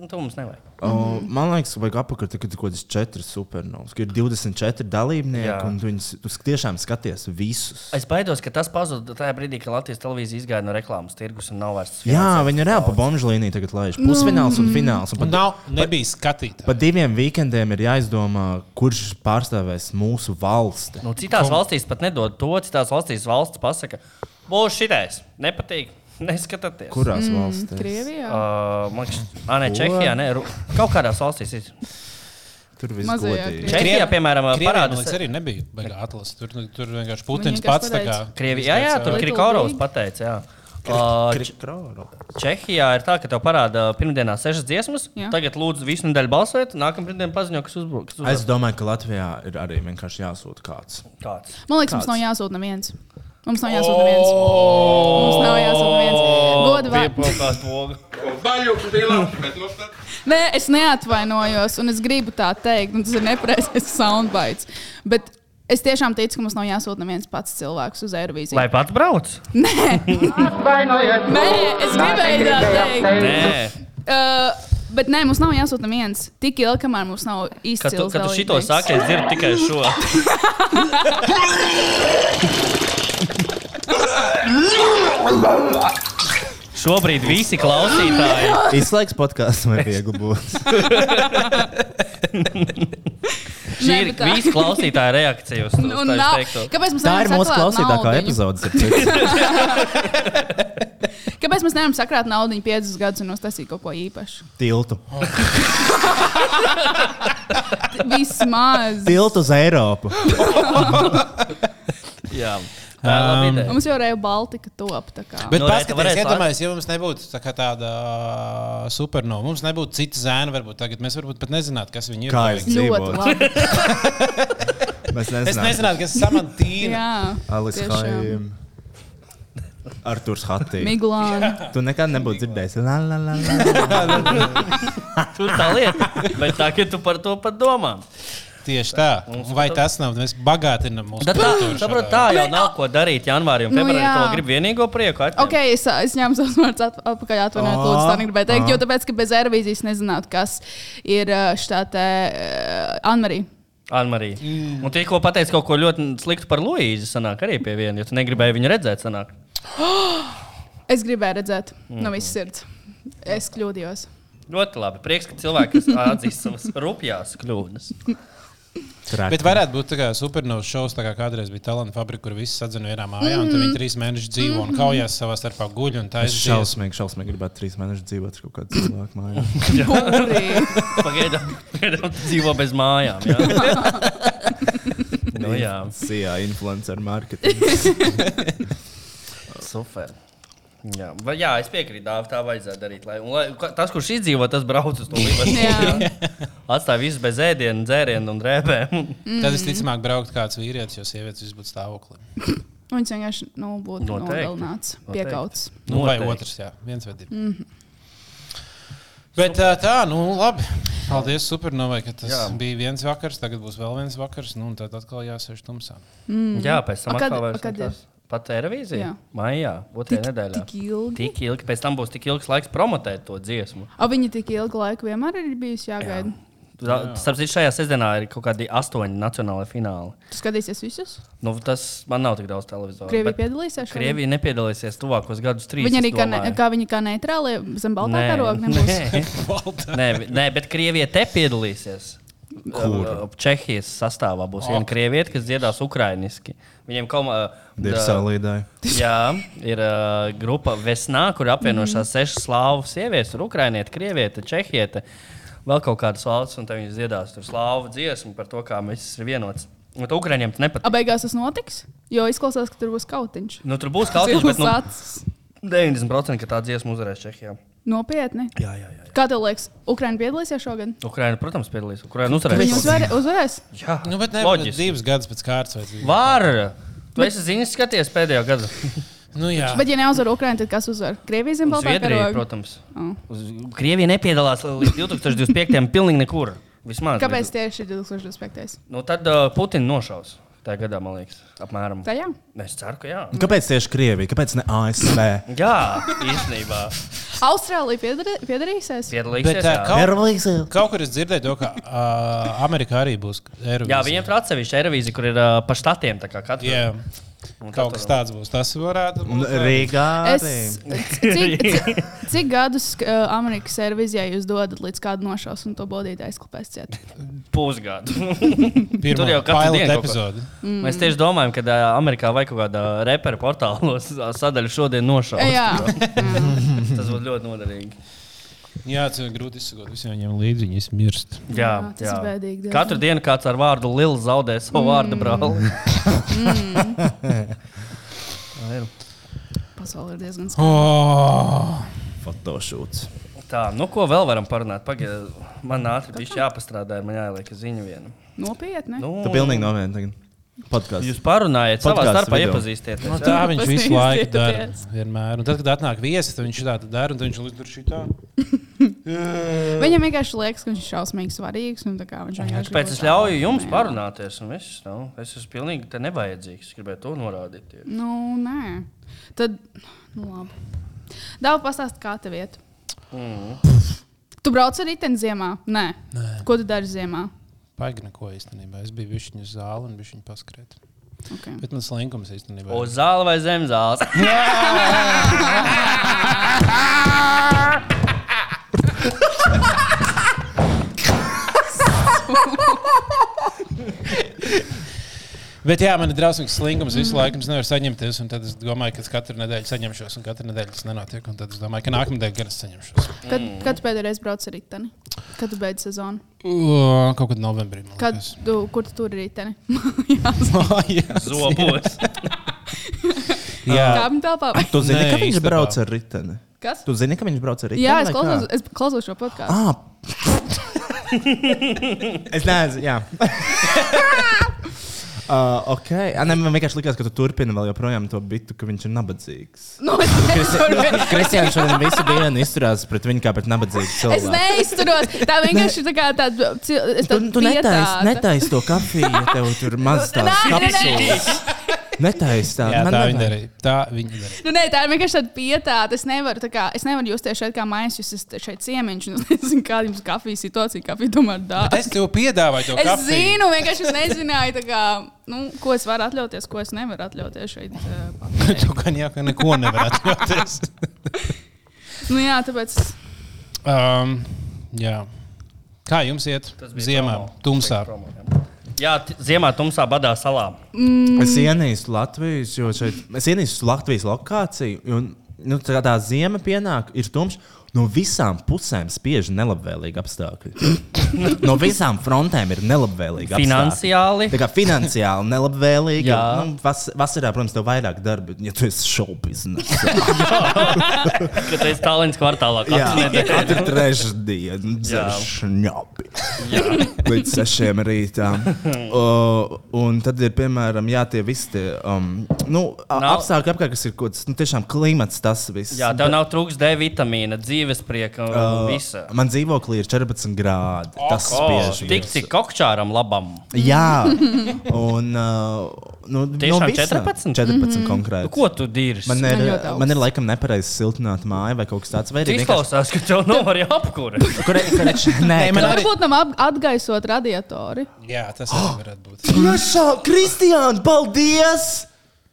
Tā mums nevajag. O, Man liekas, ka vajag apakšā tikai kaut kādas četras supernovas. ka Ir 24 dalībnieki, Jā. Jā. un tu viņus tu tiešām skaties visus. Es baidos, ka tas pazuda tajā brīdī, kad Latvijas televīzija izgāja no reklāmas tirgus un nav vairs. Jā, viņi ir reāli pa bonžu līniju tagad laiž. Nu, Pusfināls mm. Mm. un fināls. Un Un pat, nav, nebija skatīta. pa diviem weekendiem ir jāizdomā, kurš pārstāvēs mūsu valsti. Nu, citās valstīs pat nedod to. Citās valstīs valsts pasaka, būs šitais, nepatīk, neskatāties. Kurās mm, valstīs? Krievijā. Uh, man liekas, ah, nē, Čehijā, nē, Ru- kaut kādās valstīs. ir. Tur viss Mazajā godīgi. Krievijā. Čehijā, piemēram, parādās. parādās. Tas arī nebija baigā atlases. Tur, tur vienkārši Putins vienkārši pats tā kā. pateica. Krievijā, jā, jā, tur Little Krikorovs Big. pateica. Jā. Uh, Č- Čehijā ir tā, ka tev parāda pirmdienā sešas dziesmas. Jā. Jā. Tagad, lūdzu, visu nedēļu balsojiet. Nākamā pirmdiena paziņo, kas uzbruks. Es domāju, ka Latvijā ir arī vienkārši jāsūta kāds. kāds. Man liekas, mums nav jāsūta neviens. Mums nav jāsūta neviens. Mums nav jāsūta neviens. Oh, Oh, Godu vārdu. Piepilkās pogu. Nē, es neatvainojos, un es gribu tā teikt, un tas ir nepareizais soundbites. Bet Es tiešām ticu, ka mums nav jāsūta neviens pats cilvēks uz Eirovīziju. Lai pats brauc? Nē, es gribēju tā teikt. Nē, Uh, bet nē, mums nav jāsūta neviens. Tik ilgi, kamēr mums nav kad tu, īstenībā. kad tu šito saki, es dzirdu tikai šo. Šobrīd visi klausītāji Izslēgs podkāsts vai viegli būs. Šī ir bet tā. visi klausītāja reakcija uz to. Un nav. Kāpēc mums Tā ir nevaram mūsu saklāt klausītākā naudiņu? epizode. starp citu. Kāpēc mēs nevaram sakrāt naudu 5 gadus un uztaisīt kaut ko īpašu? Tiltu. Vismaz. Tiltu uz Eiropu. Jā, tā ir laba Um, ideja. Mums jau reizē Baltika top. tā kā. Bet Nu, nu, Reta, paskatieties, varēs iedomājieties, ja mums nebūtu tā kā tāda ā, supernova, mums nebūtu cita zēna, varbūt tagad mēs varbūt pat nezinātu, kas viņi ir. Kā palīgi. es dzīvoju? ļoti labi. Mēs Es nezināju, kas ir samantīna. Jā, Alice Haim. Arthurs Hatī. Miglāna. Tu nekad nebūtu dzirdējis. La, la, la, la. Tur tā lieta. Bet tā, ka tu par to pat domā. Tieši tā. Vai tas nav? Mēs bagātinam mūsu Tā, tā, saprot, tā jau nav ko darīt janvārī un Nu, februārī. jā. Tu vēl gribi vienīgo prieku. atņemt. Ok, es, ā, es ņēmu savus vārdus atp- atpakaļ. Atvainojiet, lūdzu, tā negribēju teikt. Jo tāpēc, ka bez aerobīzijas nezinātu, kas ir ā, šitā te ā, Anmarija. Anmarija. Un tikko pateica kaut ko ļoti sliktu par Luīzi. Sanāk arī pie viena, jo tu negribēji viņu redzēt. Sanāk. Es gribēju redzēt Mm. no visas sirds. Es kļūdījos. Ļoti labi. Prieks, ka cilvēki kas atzīst savas rupjās kļūdas. Bet varētu būt tā kā supernovas šovs, tā kā kādreiz bija talanta fabrika, kur visi sadzina vienā mājā, un tad Mm. viņi trīs mēnešus dzīvo un kaujās savā starpā guļ un tā Es aizjās. šausmīgi, šausmīgi gribētu trīs mēnešus dzīvot ar kaut kādu cilvēku mājā. Pūrī. Pagaidām, pagaidām tu dzīvo bez mājām. Jā. nu, jā, Sijā influencer marketing. super. Jā, vai, jā, es piekrītu, Dāvā, tā vajadzētu darīt. Lai, un lai, ka- tas, kurš izdzīvo, tas brauc uz to Jā. līmeni. Atstāj visus bez ēdienu, dzērienu un drēbēm. Tad visticamāk braukt kāds vīrietis, jo sievietes viss būtu stāvoklī. Viņš vienkārši nu, būtu Noteikti. nogalināts, Noteikti. piekauts. Mhm. Nu, vai Noteikti. otrs, jā, viens vai divi. Mm -hmm. Bet ā, tā, nu labi. Paldies, supernovai, ka tas jā. Jā. bija viens vakars, tagad būs vēl viens vakars, nu un tad atkal jāsēž tumsā. Jā, pēc tam Mm. A, kad- atkal a, vairs kad ir? nekās. Pat televīzija? Jā. Maijā, otrajā nedēļā. tik ilgi? Tik ilgi, pēc tam būs tik ilgs laiks promotēt to dziesmu. A, viņa tik ilgu laiku vienmēr ir bijusi jāgaida. Jā. Tā- Starp citu, šajā sestdienā ir kaut kādi astoņi nacionālai fināli. Tu skatīsies visus? Nu, tas man nav tik daudz televizora. Krievija bet piedalīsies šodien? Krievija nepiedalīsies tuvākos gadus trīs. Viņa es arī kā, ne, domāju. kā, viņa kā neitrālie zem baltā Nē, karoga nebūs. nē. nē, vi- nē, bet Krievija te piedalīsies. Kur? Čehijas sastāvā būs viena krieviete, kas dziedās ukraiņiski. Viņiem kaut Ir kāda salīdai. Jā, ir uh, grupa Vesnā, kur apvienojušās mm. sešas slāvu sievietes, ir ukrainiete, krieviete, čehiete, vēl kaut kādas valsts, un tad viņi dziedās tur slāvu dziesmu par to, kā mēs visi ir vienots. Un to ukraiņiem tas nepatīk. Abeigās tas notiks, jo izklausās, ka tur būs kautiņš. Nu, tur būs kaut kas tāds, bet nu, Cilvēks. 90% ka tā dziesma uzvarēs Čehijā. Nopietni. Jā, jā, jā. jā. Kā tev liekas, Ukraiņa piedalīsies šogad? Ukraiņa, protams, piedalīsies. Ukraiņa uzvarēs. Viņi uzvar, uzvarēs. Jā, Nu, bet ne, loģiski. divas gadus pēc kārtas vai trīs. Var! Tu esi ziņas skaties pēdējo gadu. Nu, jā. Bet, ja neuzvar Ukraiņa, tad kas uzvar? Krievija zem baltā Zviedrija, karoga. protams. Oh. Uz Krievija nepiedalās līdz 2025. gadam pilnīgi nekur. Vismaz. Kāpēc tieši 2025? Nu, tad uh, Putina nošaus. Tā gadā, man liekas, apmēram. Tā jā. Es ceru, ka jā. Kāpēc tieši Krievija? Kāpēc ne ASV? Jā, īstenībā. Austrālija piedar- piedarīsies. Piedalīsies. Bet, jā. ā, kaut, Erlīze. kaut kur es dzirdēju to, ka uh, Amerikā arī būs Eiropas. Jā, viņiem tur atsevišķi ir revīzija, kur ir uh, pa štatiem. tā kā katru- Jā, Un uh, katru- kaut kas tāds būs. Tas varētu Un būt. arī. Rīgā. Es, arī. cik, cik, cik gadus uh, Amerikas servisijai jūs dodat līdz kādu nošaus un to bodītāju aizklāpēsiet? pusgadu. Pirmā Tur jau katru dienu pilota kaut ko. epizode. Mm. Mēs tieši domājam, ka uh, Amerikā vai kaut kādā reperu portālos ā, sadaļu šodien nošaus. Jā. Tas būtu ļoti noderīgi. Jā, tas ir grūti izsakoties. Visiem viņiem līdzi viņi mirst. Jā, Jā, tas ir bēdīgi, jā. Katru dienu kāds ar vārdu Lila zaudē savu mm. vārdu brāli. Mm. nu Pasaulē ir diezgan skaista. Oh! Fotošūts. Tā, nu ko vēl varam parunāt? Pagaid, man ātri bija jāpastrādā, man jāieliek ziņa viena. Nopietni. Nu, Tu pilnīgi novieni tagad. Jūs Podkāsts. parunājiet, savā Podcasts starpā video. iepazīstieties. Nu, tā viņš visu laiku dara. Paskatīties. Vienmēr. Un tad, kad atnāk viesis, tad viņš tā dara. Un tad viņš līdz tur šitā. Viņam vienkārši liekas, ka viņš ir šausmīgi svarīgs. un tā kā Viņš vienkārši Tāpēc grib es būt ļauju jums Jā. parunāties, un viss. Nu, es esmu pilnīgi te nevajadzīgs. Es gribēju to norādīt. tie. Nu, nē. Tad, nu, labi. Dāvā pastāst, kā tev iet. Mhm. Mm. Tu brauc ar riteni ziemā? Nē. Nē. Ko tu dari ziemā? Paigi neko īstenībā. Es biju viņa zāle un viņa paskrēja. Okay. Bet tas linkums īstenībā. Uz zāli vai zem zāles? Bet jā, man ir drausmīgs slinkums Mhm. visu laiku. Es nevaru saņemties. un Tad es domāju, ka es katru nedēļu saņemšos, un katru nedēļu tas nenotiek. un Tad es domāju, ka nākamnedēļ gan es saņemšos. Kad, mm. kad tu pēdējo reizi brauc ar riteni? Kad tu beidz sezonu? O, Kaut kad novembrī. man Kad liekas. tu, kur tu tur ir riteni? O, jā. Zobos. jā. Kāpņu telpā? vai- Tu zini, Nē, ka viņš īstenībā. brauc ar riteni. Kas? Tu zini, ka viņš brauc ar riteni. Jā, es vai kā? klausos, es klausos šo podkāstu. Ah. es nezinu, jā. Uh, ok, ah, ne, man vienkārši likās, ka tu turpini vēl joprojām to bitu, ka viņš ir nabadzīgs. Nu, es neizturos. Kristiāns šodien visu dienu izturās pret viņu kā pret nabadzīgu Es cilvēku. neizturos. Tā vienkārši ir tā kā tāda. cil- es Tu, tādu tu netaisi pietātu. netais to kafiju, ja tev tur maz Nē, tās nē, nē, nē. kapsulas. Netaisi tā. Jā, man tā nevajag. viņa darīja. Tā viņa darīja. Nu, nē, tā ir vienkārši tāda pietāta. Es nevaru, tā kā, es nevaru justies šeit kā mājas, jūs esat šeit ciemiņš. un Es nezinu, kāda jums kafijas situācija, kafija tomēr dāvā. Es tev piedāvāju to Es kafiju. zinu, vienkārši es nezināju, tā kā, nu, ko es varu atļauties, ko es nevaru atļauties šeit. eh, pakalē. Tu gan jau neko nevar atļauties. Nu, jā, tāpēc Um, jā. Kā jums iet? Ziemā, tumsā. Jā, t- ziemā tumsā badā salā. Mm. Es Mm. ienīstu Latvijas, jo šeit es ienīstu Latvijas lokāciju. Un, nu, tā kā tā zima pienāk, ir tumšs. No visām pusēm spiež nelabvēlīgi apstākļi. no visām frontēm ir nelabvēlīgi apstākļi. Finansiāli. Tā kā finansiāli nelabvēlīgi. Jā. Nu, vas, vasarā, protams, tev vairāk darba, ja tu esi šaubiznesā. Kad es Tallinas kvartālā Jā, nu, katru nedēļu. tā ir trešdiena. Jā. Šņabi. Līdz sešiem rītā. Uh, un tad ir, piemēram, jā, tie visi tie, um, nu, a- Nav- apstākļi apkārt, kas ir kaut kas, nu, tiešām klimats, tas viss. Jā, tev nav trūks D vitamīna, dzīves prieka un uh, visa. Man dzīvoklī ir 14 grādi. Tas spiež. Tik cik kokčāram labam. Jā, un. Uh, nu, no Tiešām visām. 14? 14 konkrēti. Nu, ko tu dīri? Man ir, Man ļoti augsts. man ir laikam nepareizi siltināta māja vai kaut kas tāds. Vai Tas arī vienkārši- izklausās, ka tev nav arī apkūra. Kur ir klients? Nē, nu, man ir. varbūt tam ap- atgaisot radiatori. Jā, tas arī varētu būt. Tiešām, Kristiāna, paldies!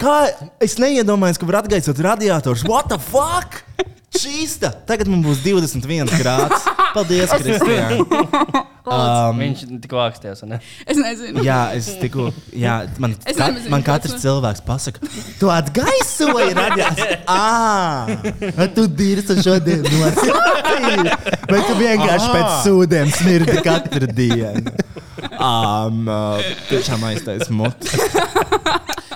Kā es neiedomājos, ka var atgaisot radiators. What the fuck? Čīsta! Tagad man būs 21 grāds. Paldies, Kristiāna! Um, Viņš tikko āksties. vai ne? Es nezinu. jā, es tikko. Jā, man, Es ka, nezinu, man kas katrs man- cilvēks pasaka, tu atgaisoji radiatoru. Ā, tu dirsi šodien noslēdzi. Vai tu vienkārši Ah. pēc sūdiem smirdi katru dienu? Um, tiešām aiztais mutes.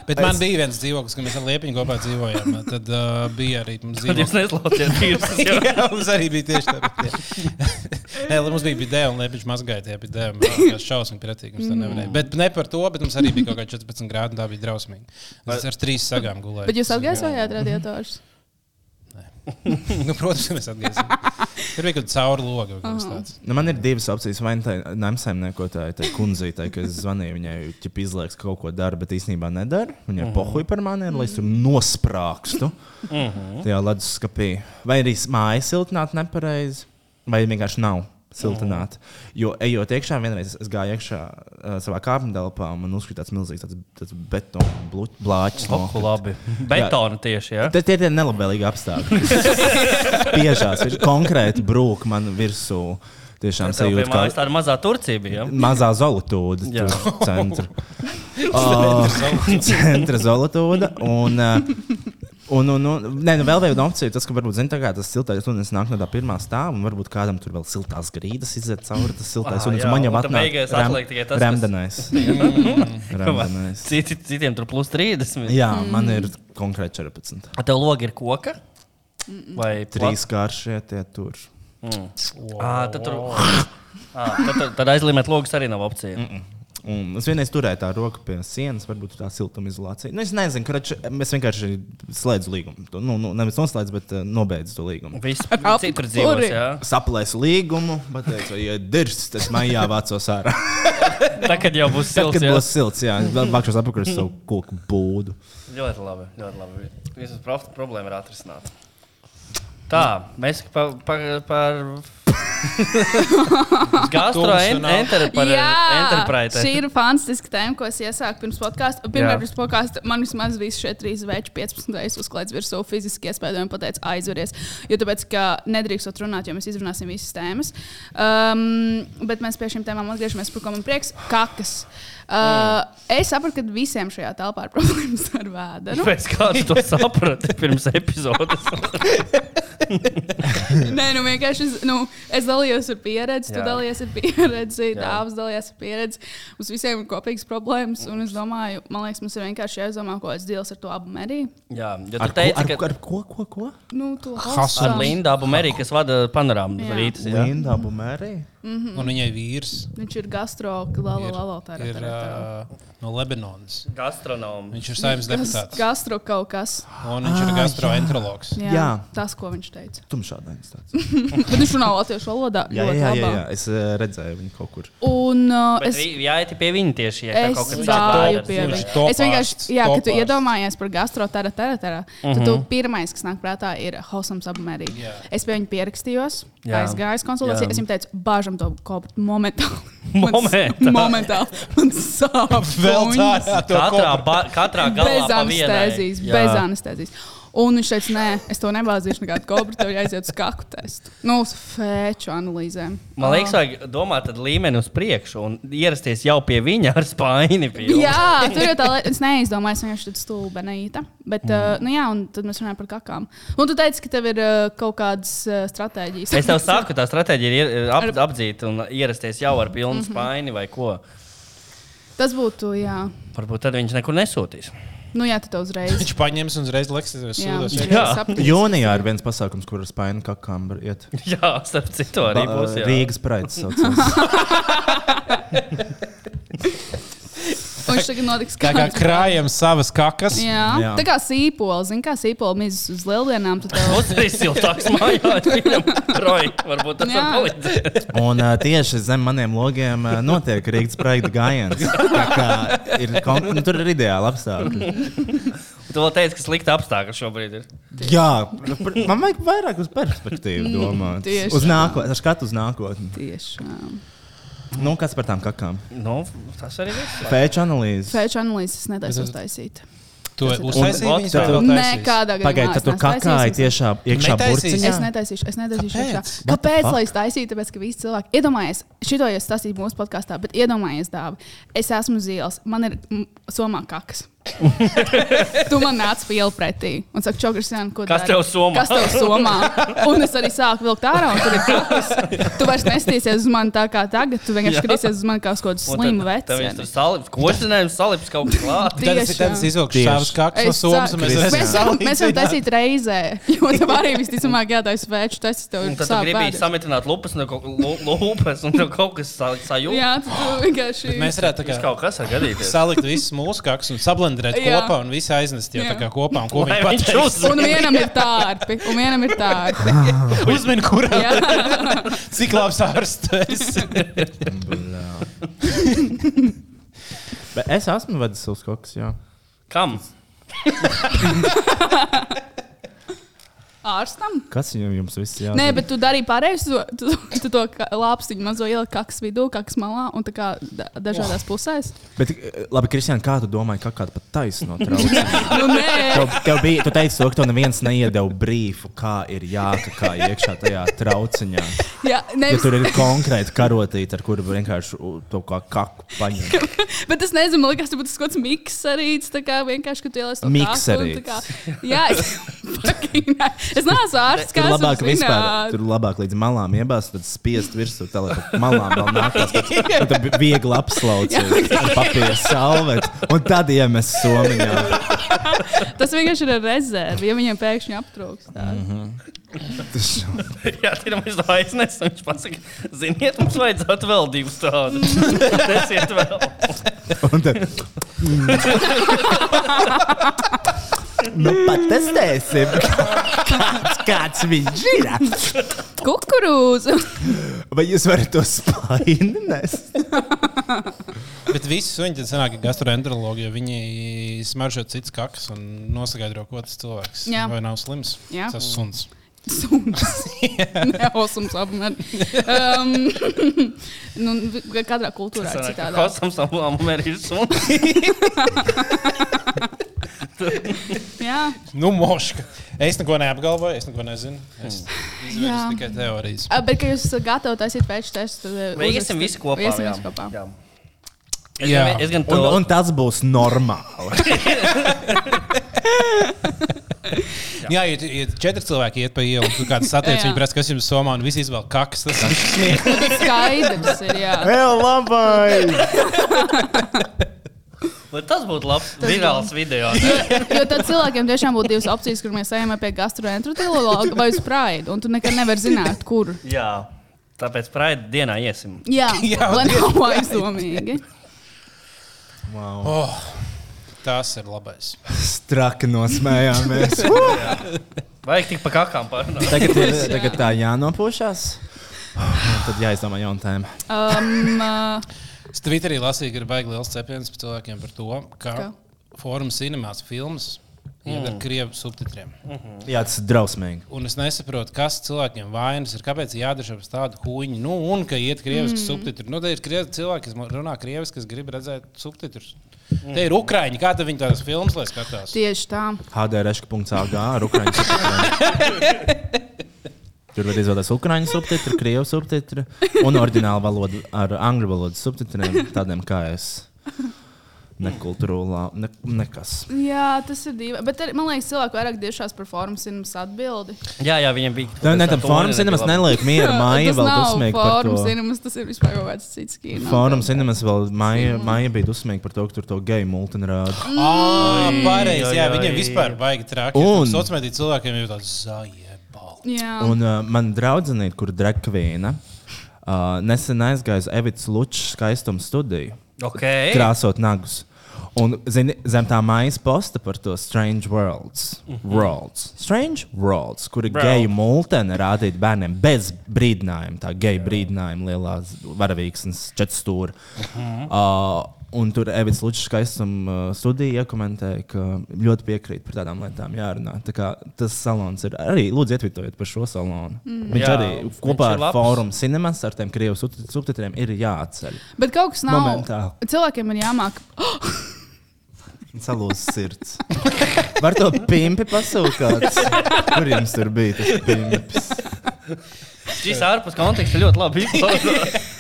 Bet man bija viens dzīvoklis, kad mēs ar Liepiņu kopā dzīvojām. Tad uh, bija arī mums Tad jūs dzīvoklis. neslauciet vīrusus. jā. Jā, mums arī bija tieši tāpat. jā. Nē, mums bija ideja, un Liepiņš mazgāja tajā bija ideja. Šausmīgi pretīgi. Mums tā nevarēja. Bet ne par to, bet mums arī bija kaut kā 14 grādi, un tā bija drausmīgi. Es ar trīs sagām gulēju. Bet jūs atgaisojāt radiatorus? Nu, protams, ka mēs atgriezīsimies. Tur bija kaut kāda caura loga vai kaut kas tāds. Nu, man ir divas opcijas. Vai nu tā ir nemsaimniekotāja, tai kundzītei, ka es zvanīju viņai, ja izlaiks ka kaut ko dara, bet īstenībā nedara. Viņai Mhm. mm -hmm. pohuj par mani, ir, lai es tur nosprākstu Mhm. tajā leduskapī. Vai arī s- māja siltināta nepareizi, vai vienkārši nav. Siltināt. Mhm. Jo ejot iekšā, vienreiz es gāju iekšā uh, savā kāpņtelpā un man uzkrita tāds milzīgs tāds, tāds betona blu- blāķis. Oh, nokrita. labi. Betona tieši. Ja? Tad tie ir tie nelabvēlīgi apstākļi. Piežās, viņš konkrēti brūk man virsū. Tiešām Tev bija sajūta, mājās ka tāda mazā Turcija. Bija, ja? mazā zolotūda Jā. tur centra. Ā, Centra zolotūda. Un, ā, un, un, un nē, nu vēl viena opcija, tas, ka varbūt zini, tā kā tas siltais ūdens nāk no tā pirmā stāva, un varbūt kādam tur vēl siltās grīdas iziet cauri tas siltais Ā, ūdens. jā, Man jau un tad atnāk beigās rem- atliek tikai tas, kas- Mm. remdenais. Remdenais. Citi, citiem tur plus 30. Jā, man ir konkrēti 14. A Tev logi ir koka? Vai Trīs kāršie tie tur. Ā, tad, tur... Ā, tad, tad, tad aizlīmēt logus arī nav opcija. Mm -mm. Un es vienreiz turēju tā roku pie sienas, varbūt tā siltumizolācija. Nu, es nezinu, kurš mēs vienkārši slēdzam līgumu. Tu, Nu, nu, nevis noslēdz, bet eh, nobeidz to līgumu. Viss Ap citur dzīvos, kuri? jā. Saplēs līgumu, bet teicu, ja dirs, tas maijā vācos ārā. Tagad jau būs Tad, silts. kad jā. būs silts, jā, es vēl bakšos apakaļ uz Mm. savu koku būdu. Ļoti labi. Ļoti labi. Visas prof- problēma ir atrisināta. Tā, mēs pa, pa, par. uh, Tumšanā. Gastroenterprise. šī ir fantastiska tēma, ko es iesāku pirms podkāstiem. Pirmā Jā. pirms podkāstiem man vismaz visi šie trīs veči 15 reizes uzklājas virsū fiziski iespējami un pateica, aizveries. Jo tāpēc, ka nedrīkstot runāt, jo mēs izrunāsim visas tēmas. Um, bet mēs pie šīm tēmām atgriežamies, par ko man prieks - kakas. Uh, es saprotu, ka visiem šajā telpā ir problēmas ar vēdru. Pēc kāds to saprata pirms epizodes. Nē, nu vienkārši es, nu, es dalījos ar pieredzi, tu Jā. dalījies ar pieredzi, Jā. dāvāns dalījās ar pieredzi. Mums visiem ir kopīgas problēmas, un es domāju, man liekas, mums ir vienkārši jāizdomā, ko es dīlos ar to abu meriju. Mm, Jā, jo Ar, ko, tu teici, ar, ka ar ko, ko, ko? Nu, to ar hostām. Lindu abu mērī, kas vada panorāmu Jā. Mhm. rītas. jā. Linda Bumērī. Un viņai vīrs Viņš ir gastro, lalo, lalo, tā ir ā, no Lebanonas. Gastronomu. Viņš ir saimnes deputāts. Gastro kaut kas. Un viņš ir gastroenterologs. Jā, Ah, jā. Jā. Tas, ko viņš teica. Tumšādains tāds. Bet viņš runā latviešu valodā. Jā, jā, jā, jā, jā. jā. es eh, redzēju viņu kaut kur. Un uh, Bet es vi- jā, iet pie viņa tieši. Ja, Es tā kaut kāds gāju atvērs. pie Viņš viņa. topārsts, Es vienkārši, jā, kad tu topārsts. iedomājies par gastrotera teratera, tad tu pirmais, kas nāk prātā, ir Hosams apmērī. Mhm. Jā. Es pie viņa pierakstījos, Jā. aizgāju uz konsultāciju, Jā. es viņam teicu, bāžam to kaut momentāli. Momentāli. Momentāli. Man sāp. Vēl uņas. tādā Katrā, ba- katrā galā Bez pa vienai. anestēzijas, bez anestēzijas. Un viņš teica, nē, es to nebāzīšu, nekādu kobru, tev jāiziet uz kaku testu. Nu, uz fēču analīzēm. Man liekas, vajag domāt ar līmeni uz priekšu un ierasties jau pie viņa ar spāņu. Jā, tur jau tā līnija. Es neizdomāju, es vienkārši tādu stulbenītu. Bet, mm. uh, nu jā, un tad mēs runājam par kakām. Un tu teici, ka tev ir uh, kaut kādas uh, stratēģijas. Es tev saku, tā stratēģija ir ier- ap, apdzīt un ierasties jau ar pilnu Mhm. spāni vai ko. Tas būtu, jā, Varbūt tad viņš nekur nesūtīs. nu jā, tad tev uzreiz. Viņš paņems un uzreiz liks, es Jā, sūdos. viņš iekšā. Jā. sapratīs. Jūnijā ir viens pasākums, kur ar spainu kakām var iet. Jā, starp citu, arī Ba- būs. jā. Rīgas praids saucās. Un viņš tagad notiks Tā kā kāds- krājam savas kakas. Jā. jā, Jā. tā kā sīpola, zina, kā sīpola mizas uz lieldienām. tad Tev... Būs arī siltāks mājās, viņam roja. Varbūt tas var Jā. palīdzēt. Un uh, tieši zem maniem logiem uh, notiek Rīgas praida gājiens. Tā kā ir kon- nu, tur ir ideāli apstākļi. Tu vēl teici, ka slikti apstākļi šobrīd ir. Jā, pr- Nu, man vajag vairāk uz perspektīvu domāt. Mm, tieši. Uz nākotni, ar skatu uz nākotni. Tiešām. Nu, kas par tām kakām? Nu, tas arī viss. Pēču analīzes. Pēču analīzes netaisu uztaisīt. To Tas ir uztaisīja Un- viņas tad- vai vēl taisīs? Nekādā gadījumā. Pagaidiet, tad es tu neesmu kakāji taisījusi. tiešā iekšā Netaisīsi? burciņā. Es netaisīšu, es netaisīšu Kāpēc? iekšā. What the Kāpēc fuck? lai es taisītu? Tāpēc, ka visi cilvēki iedomājies, šito jau stāstīju mūsu podkāstā, bet iedomājies, dāvi, es esmu zils, man ir mm, somā kakas. tu man nāc pieli pretī un saka, čogars, Jan, ko Kas dari? tev somā? Kas tev somā? Un es arī sāku vilkt ārā, un tur ir kakas. Tu vairs nestīsies uz mani tā kā tagad, tu vienkārši Jā. skatīsies uz mani kā uz kaut kādu slimu Tev viņš tur vecu. salips, košinājums salips kaut kā klāt. Tad es, tad es izvilkšu Tieši. savas kakas no Es somas, ceru. un mēs Mēs redzēsim, varam- mēs varam taisīt reizē, jo tev arī visticamāk jātaisa vēču tests. tev Un tad tu sāp gribēji vēders. samitināt lupas, no kaut, lu- lupas un tev kaut kas sa- sajūta. Jā, tad tu vienkārši. Mēs varētu tā Tas kā kaut kas var gadīties. salikt visas mūsu kakas un sablendēt Jā. kopā un visu aiznest jau Jā. tā kā kopā. Un ko Lai viņi viņš pateiks? uz- Un vienam ir tārpi, un vienam ir tārpi. Uzmini, kurā Jā, cik labs ārsts tu esi. Bet es esmu vedis savus kokus, jā. Kam? ārstam. Kas viņam jums viss jādara? Nē, bet tu darīji pareizi. Tu, tu, tu to kā- lāpstiņu mazo ieliku kakas vidū, kakas malā un tā kā da- dažādās pusēs. Bet, eh, labi, Kristian, kā tu domāji, kā kāda pat taisno traucē? Nu, nē, Tev, tev bija, tu teici, to, ka tev neviens neiedeva brīvu, kā ir jākakā iekšā tajā trauciņā. jā, nē, Ja tur ir konkrēti karotīte, ar kuru vienkārši u, to kā kaku paņem. bet es nezinu, man liekas, tas būtu tas kaut kāds mikserīts, tā kā vienkārši, ka tu ieliec to kaku un tā kā- Mikserīts. Jā, es Fucking nē. es neesmu ārsts, Tur kā es labāk vispār, zinu. tur labāk līdz malām iebāzt, tad spiest virsū, tā lai pa malām vēl nākās. Tad bija viegli apslaucīt, papīra salvet, un tad iemest Somijā. Tas vienkārši ir ar rezervi, ja viņiem pēkšņi aptrūks. tā. Mhm. Jā, tā ir monēta, kas aiznes. un Viņš pasakā, ziniet, mums vajadzētu vēl divus tādus. Nesiet vēl. Un tad Nu, patestēsim, kāds, kāds viņš ir. Kukurūzu! vai jūs varat to nu, spaini nest? Bet visi suņi tad sanāk, ka gastroenterologi, jo viņi smaržo citas kakas un noskaidro, ko tas cilvēks Jā. vai nav slims. Jā. Tas suns. Suns. Neosums apmēram. Um, nu, vi- katrā kultūrā ir citādi. Kosams tam lēmumam ir suns. Jā, Nu, moška. Es neko neapgalvoju, es neko nezinu. Es izvēlos Jā. tikai teorijas. Ā, bet, ka jūs esat gatavi taisīt pēkšņu testu, tad Mēs iesim visi kopā. Iesim jā. visi kopā. Jā. Es Jā. gan- Es gan Un, to un tas būs normāli. Jā, ja, ja četri cilvēki iet pa ielu, tad kāds satiek Jā. viņu, prasa, kas jums somā, un visi izvēl kakas. Tas ir smieklīgi. Skaidrs ir, jā. Vēl labai! Bet tas būtu labs virāls video. Jo, jo tad cilvēkiem tiešām būtu divas opcijas, kur mēs ejam pie gastroenterologa vai uz prāta. Un tu nekad nevari zināt, kur. Jā, tāpēc praida dienā iesim. Jā, Jā, lai tieši nav aizdomīgi. Oh, tas ir labais. Straki nosmējāmies. Vajag tik pa kakām parunāt. Tagad, ir, tagad tā jānopūšās. Un Tad jāizdomā jaunu tēmu. Um, uh, Es Twitterī lasīju, ka ir baigi liels cepiens par cilvēkiem par to, ka Ka? formu cinemās filmas ir ar krievu subtitriem. Jā, tas ir drausmīgi. Un es nesaprotu, kas cilvēkiem vainas ir. Kāpēc ir jādara šāda tāda huīņa? Nu, un ka iet krieviski mm. subtitri. Nu, te ir krievi cilvēki, kas runā krieviski, kas grib redzēt subtitrus. Mm. Te ir ukraiņi, kā tad viņi tādas filmas lai skatās. tieši tā. HDRŠ.CG ar Ukrāņu subtitriem. Tur var izvēlēties ukrāņu subtitru, krievu subtitru un orģinālu valodu ar angļu valodas subtitriem, tādiem kā es. Nekultūrā, ne, nekas. Jā, tas ir divi. Bet arī, man liekas, cilvēki vairāk tiešās par formu sinus atbildi. Jā, jā, viņam bija. Tā nav tā forma, cinemas neliek mieru, māja tas vēl nav dusmīgi par formu to. sinus, tas ir vispār kaut kāds cits kino. Fórum cinemas vēl māja, māja bija dusmīga par to, ka tur to geju multinu rāda. Mm. Ah, pareizi. Jā, oi, viņiem oi. vispār baigi traki. Un- Un sociālajiem cilvēkiem ir tāds zaļie balti. Jā, Un uh, man draudzenīte, kur drakvīna, uh, nesen aizgāja uz Evits Lučs skaistuma studiju. Ok. krāsot nagus. Un zini, zem tā mājas posta par to Strange Worlds, mm -hmm. worlds. Strange Worlds kur ir World. geju multeni rādīt bērniem bez brīdinājuma, tā geju brīdinājuma, lielā z- varavīksnes četrstūra. Mm -hmm. uh, un tur Evans Lučs skaistuma uh, studija iekomentēja, ka ļoti piekrīt par tādām lietām jārunā. Tā kā tas salons ir arī, lūdzu, ietvitojiet par šo salonu. Mm. Viņš Jā, Jā, arī viņš kopā ir ar labs. Fórumu Cinemas ar tiem krievu subtit- subtitriem ir jāatceļ. bet kaut kas nav. Momentāli. Cilvēkiem ir jāmāk. Salūz sirds. Var to pimpi pasūkāt? Kur jums tur bija tas pimps? Šis ārpus konteksta ļoti labi izklausās.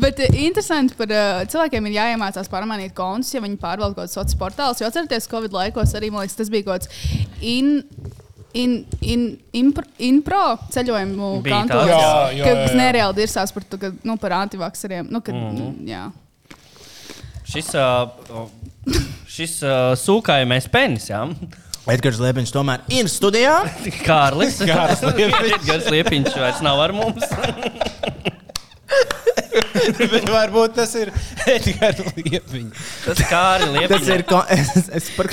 Bet e, interesanti par e, cilvēkiem ir jāiemācās pārmanīt kontus, ja viņi pārvalda kaut kādas sociālas portālus. Jo atcerieties, Covid laikos arī, man liekas, tas bija kaut kāds in. In, in, impro, impro ceļojumu Bija kantos, tāds, jā. Jā, jā, ka- kas jā. nereāli dirsās par, to, ka, nu, par antivakseriem. Nu, kad, Mhm. mm. jā. Šis, uh, šis uh, sūkājamais penis, jā. Edgars Liepiņš tomēr ir studijā. Kārlis. Kārlis Liepiņš. Gars Liepiņš vairs nav ar mums. Bet varbūt tas ir tikai liepiņa. Tas Kārli Tas Liepiņš. ir ko... es, es par...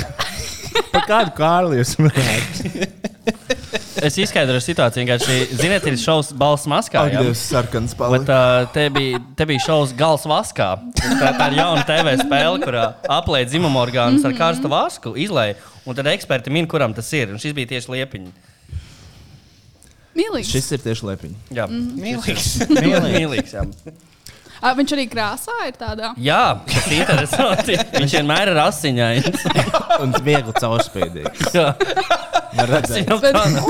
par kādu kārli jūs runājat? Es izskaidroju situāciju. Vienkārši, ziniet, ir šausmas balss maskā. Ak, jā? Dievs, sarkans Bet palika. uh, te bija, te bija šausmas gals vaskā. Tā, tā ir jauna TV spēle, kurā aplēja dzimuma orgānus ar karstu vasku, izlēja. Un tad eksperti min, kuram tas ir. Un šis bija tieši liepiņš. Mīlīgs. Šis ir tieši Liepiņš. Jā, Mīlīgs. ļoti mīlīgs. jā. Ā, Ah, Viņš arī krāsā ir tādā. Jā, tas ir interesanti. Viņš vienmēr ir asiņains. Un viegli caurspīdīgi. Jā. Var redzēt. Viņam Bet- tā nav.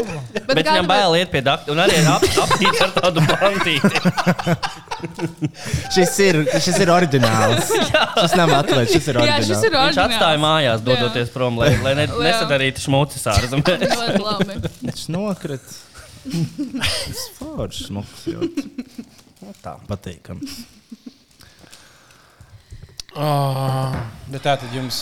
Bet kāda viņam bail iet pie dakta un arī ir ap, aptīts ar tādu bantīti. Šis ir, šis ir oriģināls. Šis nav atlaists, šis ir Jā, oriģināls. šis ir Viņš atstāja oriģināls. mājās, dodoties prom, lai, lai ne, Jā. nesadarītu šmucis ārzemēs. Ļoti labi. Viņš nokrita. Tas foršs smags. Nu, Tā patīkam. Oh, bet tā tad jums.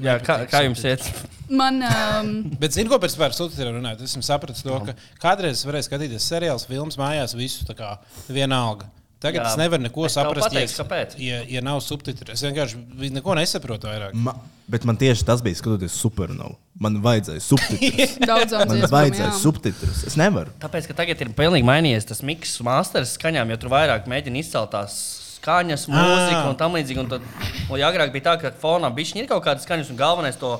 Jā, kā, kā jums iet? Man, um, Bet zinu, ko pēc tam sūtījuma runājot. Esmu sapratis to, ka kādreiz varēja skatīties seriāls, filmas mājās, visu tā kā vienalga. Tagad Jā. Jā. es nevaru neko Es tev saprast. ja pateikšu, es- kāpēc. Ja, ja nav subtitru, es vienkārši neko nesaprotu vairāk. Ma, bet man tieši tas bija skatoties supernovu. Man vajadzēja subtitrus. daudzām Man vajadzēja dziesmām. subtitrus. Es nevaru. Tāpēc, ka tagad ir pilnīgi mainījies tas miks, mākslinieks skaņām, jo tur vairāk mēģina izcelt tās skaņas, Ah. mūziku un tam līdzīgi. Un tad, un ja agrāk bija tā, ka fonā bija kaut kādas skaņas, un galvenais to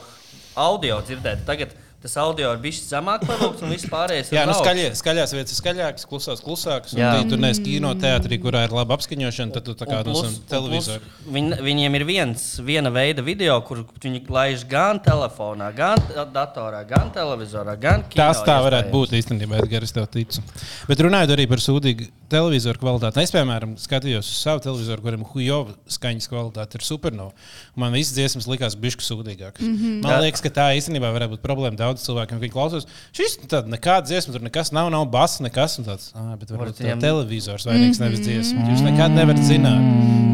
audio dzirdēt. Tagad tas audio ir bijis zemāk parūks, un viss pārējais ir Jā, nu uz augšu. skaļie, skaļās vietas ir skaļākas, klusās, klusākas. Jā. Jā, tur neesmu kino teātrī, kurā ir laba apskaņošana, tad tu tā kā Un plus- nosauc un televizoru. plus Viņ, viņiem ir viens, viena veida video, kur viņi laiž gan telefonā, gan t- datorā, gan televizorā, gan kino, Tas tā varētu iespējams. būt īstenībā, Edgars, es tev ticu. Bet runājot arī par sūdīgu televizoru kvalitāti, es, piemēram, skatījos uz savu televizoru, kuram huijova skaņas kvalitāte ir supernova. Man visas dziesmas likās bišķi sūdīgākas. Mm Mhm. -hmm. Man liekas, ka tā īstenībā varētu būt problēma daudz cilvēkiem, kad viņi klausās. Šis tad nekāda dziesma, tur nekas nav, nav basa, nekas un tāds. Ah, bet varbūt Varbūt Mhm. viņam- tā televizors vainīgs nevis dziesma. Jūs nekad nevarat zināt.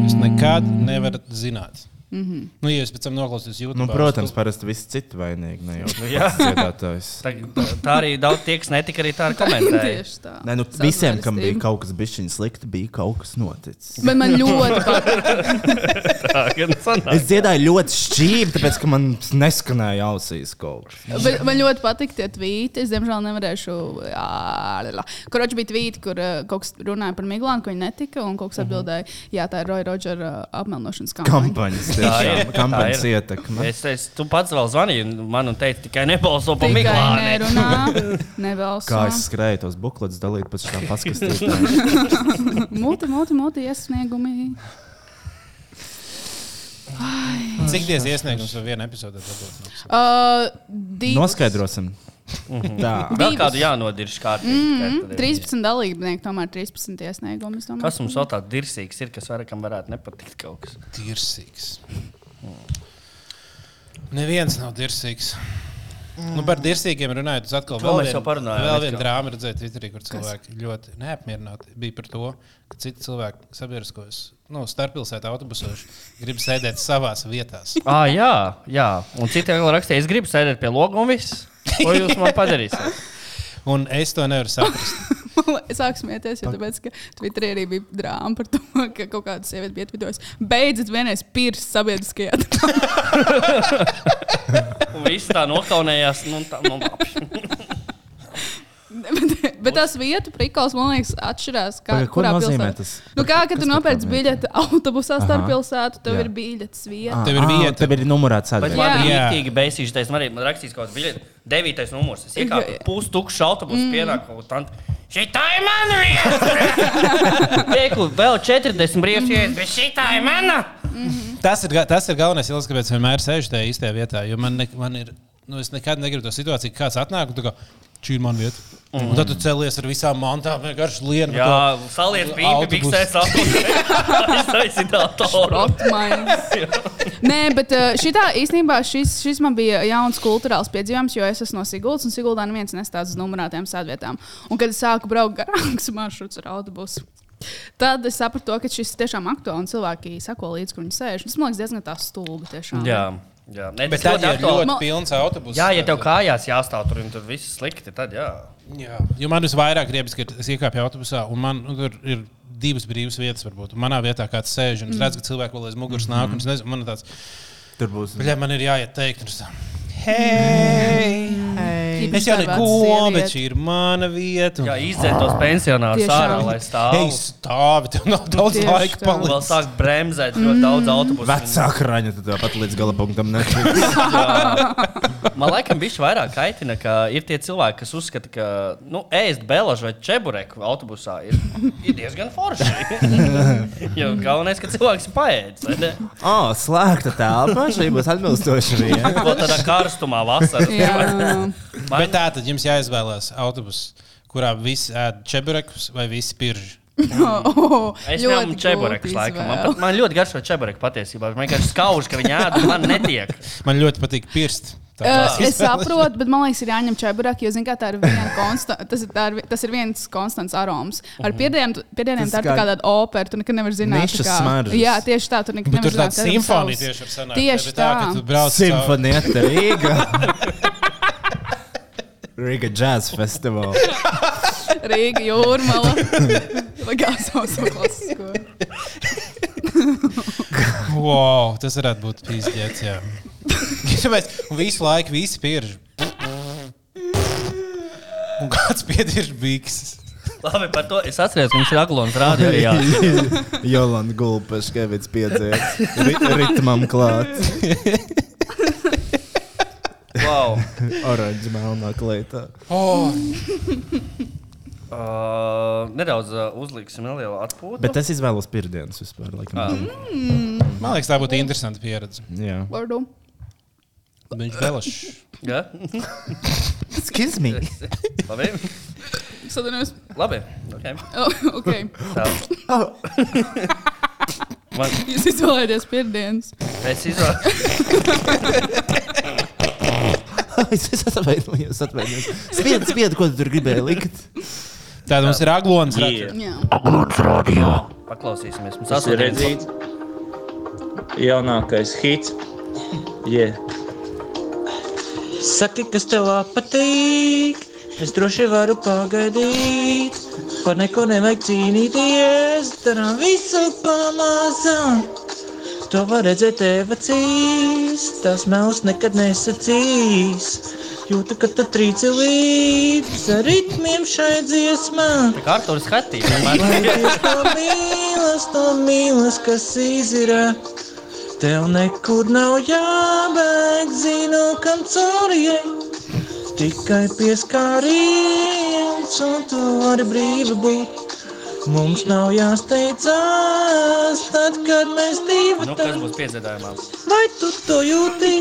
Jūs Mm. nekad nevarat zināt. Mm Mhm. -hmm. Nu, ja es pēc tam noklausīšos YouTube. Nu, protams, parasti viss cits vainīgs. Ne jau tas dziedātājs. Tā, tā arī daudz tie, kas netika arī tā ar komentēju. Tieši tā. Nē, nu, visiem, kam bija kaut kas bijis slikti, bija kaut kas noticis. Bet man ļoti patīk. Tā, gan sanāk. Es dziedāju ļoti šķīvi, tāpēc ka man neskanēja ausīs kaut kas. Bet man ļoti patīk tie tvīti. Es, diemžēl, nevarēšu. Kurš bija tvīti, kur ā, kaut kas runāja par Miglānu, ka viņa netika, un Mhm. kaut kas atbildēja, jā, tā ir Roja Rodžera apmelnošanas kampaņa. Kampaņas, ir, tiešām, tā kampaņas ir. ietekme. Es, es, tu pats vēl zvanīji un man un teici, tikai nebalso par Tikai Miglānu. nerunā, nevelso. Kā es skrēju tos buklets dalīt pēc tam paskatīšanās. Mūti, mūti, mūti iesniegumi. Cik tiesa iesniegums var vienā epizodē dabūt? Uh, div- Noskaidrosim. Mhm. Tā. Vēl Divas. kādu jānodirš kārtīgi. 13 Mm, dalībnieki, tomēr 13 iesniegumi. es domāju. Kas mums vēl tāds dirsīgs ir, kas varam varētu nepatikt kaut kas? Dirsīgs. Neviens nav dirsīgs. Nu, par dirsīgiem runājot, tas atkal To vēl mēs jau vien- parunājām, Vēl atkal. viena drāma redzēja Twitterī, kur cilvēki ļoti neapmierināti bija par to, ka citi cilvēki sabiedriskos, nu, starppilsētā autobusos grib sēdēt savās vietās. Ah, jā, jā. Un citi vēl rakstīja, es gribu sēdēt pie loga un viss. Ko jūs man padarīsiet? Un es to nevaru saprast. Sāk smieties, jo tāpēc, ka Twitterī arī bija drāma par to, ka kaut kāda sieviete bija atvidojusi. Beidzot, vienreiz pirs sabiedriskajā. telpā." Un viss tā nokaunējās. Nu, tā, nu, labi. bet, bet tas vietu prikals, man liekas, atšķirās. Kā, Pagaid, ko kurā nozīmē pilsētā. tas? Nu, kā, kad Kas tu par nopērci tām biļeti autobusā starp Aha. pilsētu, tev Jā. ir biļetes vieta. Ah, Tev ir ah, vieta. Tev ir numurēts Bet atbildība. man bija Jā. rīktīgi beisīši, tas man arī man rakstīs kaut kāds biļets. Devītais numurs. Es iekāpu Jā. pustukšu Mm. autobusu, pienāku kaut kā. Šī tā ir mana vieta! Teiklu, vēl 40 brīvs vietas, bet šī tā ir mana! Mhm. tas, ir, ga- tas ir galvenais iemesls, kāpēc es vienmēr sēžu tajā īstajā vietā. Jo man, ne, man ir, nu, es nekad negribu to situāciju, ka kāds atnāk un tā kā, šī ir mana vieta. Mm. Un tad tu cēlies ar visām mantām, vienkārši lienu. Jā, saliec pīpi, Autobus. biksēs autobusu. Aiztaisīt datoru. Protams. Nē, bet uh, šitā, īstenībā šis, šis man bija jauns kultūrāls piedzīvojums, jo es esmu no Sigultas, un Sigultā neviens nestāsta uz numurētām sēdvietām. Un kad es sāku braukt garāks maršruts ar autobusu. Tad es sapratu, to, ka šis ir tiešām aktuāls un cilvēki sako līdzi, kur viņi sēž. Tas man liekas diezgan tā stulbi. Tiešām. Jā, jā. Ne, Bet tad ja ir ļoti Man- pilns autobus. Jā, ja tev kājās jāstāv tur un tur viss slikti, tad jā. Jā. Jo man visvairāk riebjas, kad es iekāpu autobusā, un man nu, tur ir divas brīvas vietas, varbūt. Un Manā vietā kāds sēž, un es redzu, ka cilvēku vēl aiz muguras nāk, un es nezinu, man ir tāds, Tur būs. ka man ir jāiet teikt, un es tā, hei! Hei. Es jau Izdarbots neko, bet sieviete. šī ir mana vieta. Jā, izdzēst tos pensionārus Tiešām. ārā, lai Ei, stāvētu. stāvi, tev nav daudz Tieši laika Mm. tā. Vēl palikt. sāk bremzēt ļoti daudz autobusu. Vecāka raņa, tad tāpat līdz gala punktam netiks. Man liekas, bija vairāk kaitina, ka ir tie cilvēki, kas uzskata, ka nu, ēst belažu vai čebureku autobusā ir, ir diezgan forši. jo galvenais, ka cilvēks ir paēdis. vai ne? O, Oh, slēgta telpa, šī būs atbilstoša vieta. Ko tādā karstumā vasarā? Jā, jā, jā. Man- Bet tā tad jums jāizvēlās autobus, kurā visi ēd čeburekus vai visi pirži. Oh, Es ļoti čebureku laikam. Man, pat- man ļoti garšo čebureku patiesībā. Man vienkārši skauž, ka viņi ēd, un man netiek. Man ļoti patīk pirst. Uh, es saprotu, bet man liekas, ir jāņem čeburāk, jo, zināmā mērā, tā ir viena konstanta. Tas, ir- tā ir vi- tas ir viens konstants aroms. Ar Mhm. pēdējiem pēdējiem tā ir kā kā tāda opera, tu nekad nevari zināt. nišas tā kā- smaržas. Jā, tieši tā, tu nekad Bet nevari tur zināt. tāda tev ir simfonija savs- tieši ir sanākusi. Tieši tā, ka tu tā. brauc cauri- Simfonieta Rīga. Riga Jazz Festival. Rīga, jūrmala. Lagā savu savu klasisko. Wow, tas varētu būt pīzdēts, jā. Tāpēc un visu laiku visi pierž. Un kāds piedirž bikses. Labi, par to es atceros, ka mums ir aglons rādījums. Jolanda Gulpaša, Kevits piedzēs. Ritmam klāts. Wow. Orange melnā klētā. Oh, Uh, nedaudz uh, uzliksim nelielu atpūtu. Bet es izvēlos pirmdienas vispār. Laikam. Mm. man liekas, tā būtu interesanta pieredze. Jā. Vārdu. Viņš vēlašs. Ja? Excuse me. Labi. Sadarbojos. Labi. Okay. Oh, ok, Tā. Man, jūs izvēlēties pirmdienas. es izvēlos. es es atvainojos, atvainojos. Spied, spied, ko tu tur gribēji likt? Tāda mums ir aglons. Yeah. Jā, Paklausīsimies. Mums Tas ir astoņi- redzīts. Jaunākais hits. Yeah. Saki, kas tev patīk? Es droši varu pagaidīt. Par neko nevajag cīnīties. Darām visu pamazām. To var redzēt tev acīs. Tās melns nekad nesacīs. Jūtu, ka tu trīci līdz ar ritmiem šai dziesmai. Tā kā Arthurs Hatīs. Tā mīlas, tā mīlas, kas izīra. Tev nekur nav jābēg, zinu, kam cauriem. Tikai pieskāriens, un tu vari brīvi būt. Mums nav jāsteidzās, tad, kad mēs divi Nu, kas būs piedziedājumā? Vai tu to jūti?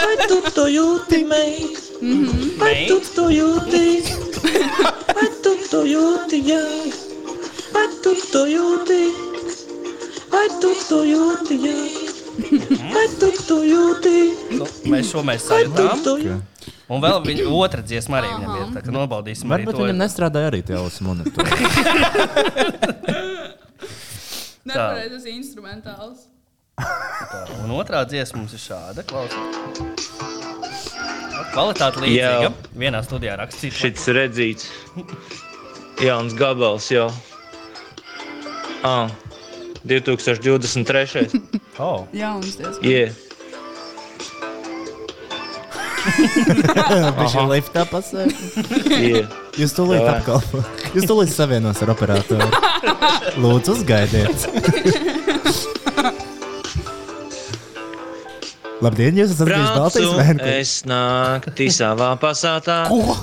Vai tu to jūti, meit? Vai tu to jūti? Vai tu to jūti, jā? Vai tu to jūti? Vai tu to jūti, jā? Vai tu to jūti? Nu, mēs šo mēs Vai tu sajūtām. to jūti? Un vēl viņa otra dziesma arī viņam ir. Tā kā nobaudīsim arī Varbūt to. viņam nestrādāja arī tie ausu monitori. nepareizi tas instrumentāls. Un otrā dziesma mums ir šāda. Klausies. Kvalitāte līdzīga. Jā. Vienā studijā rakstīts. Šis redzīts, jauns gabals jau. Ah, 2023. Oh. Jā, un tas ir. Yeah. Viņš ir liftā pasēdz. Yeah. Jūs tūlīt Jā. apkalpo. Jūs tūlīt savienos ar operatoru. Lūdzu, uzgaidiet. Labdien, jūs esat bijis Baltijas Braucu vērtīgs. es naktī savā pasātā,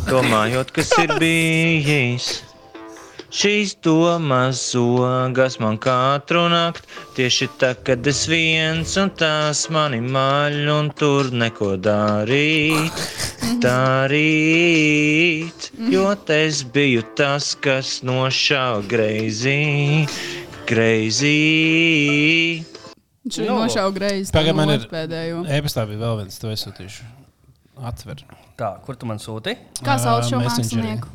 domājot, kas ir bijis. Šīs domas ogas man katru nakti, tieši tā, kad es viens un tās mani maļ, un tur neko darīt, darīt. Jo es biju tas, kas nošāva greizi, greizi. Šī Nu. nošauja greizi. Pagaid, man ir- E- pēdējo. Ēpastā bija vēl viens, to es sūtīšu. Atver. Tā, kur tu man sūti? Kā sauc Ā, šo Messengerī. mākslinieku?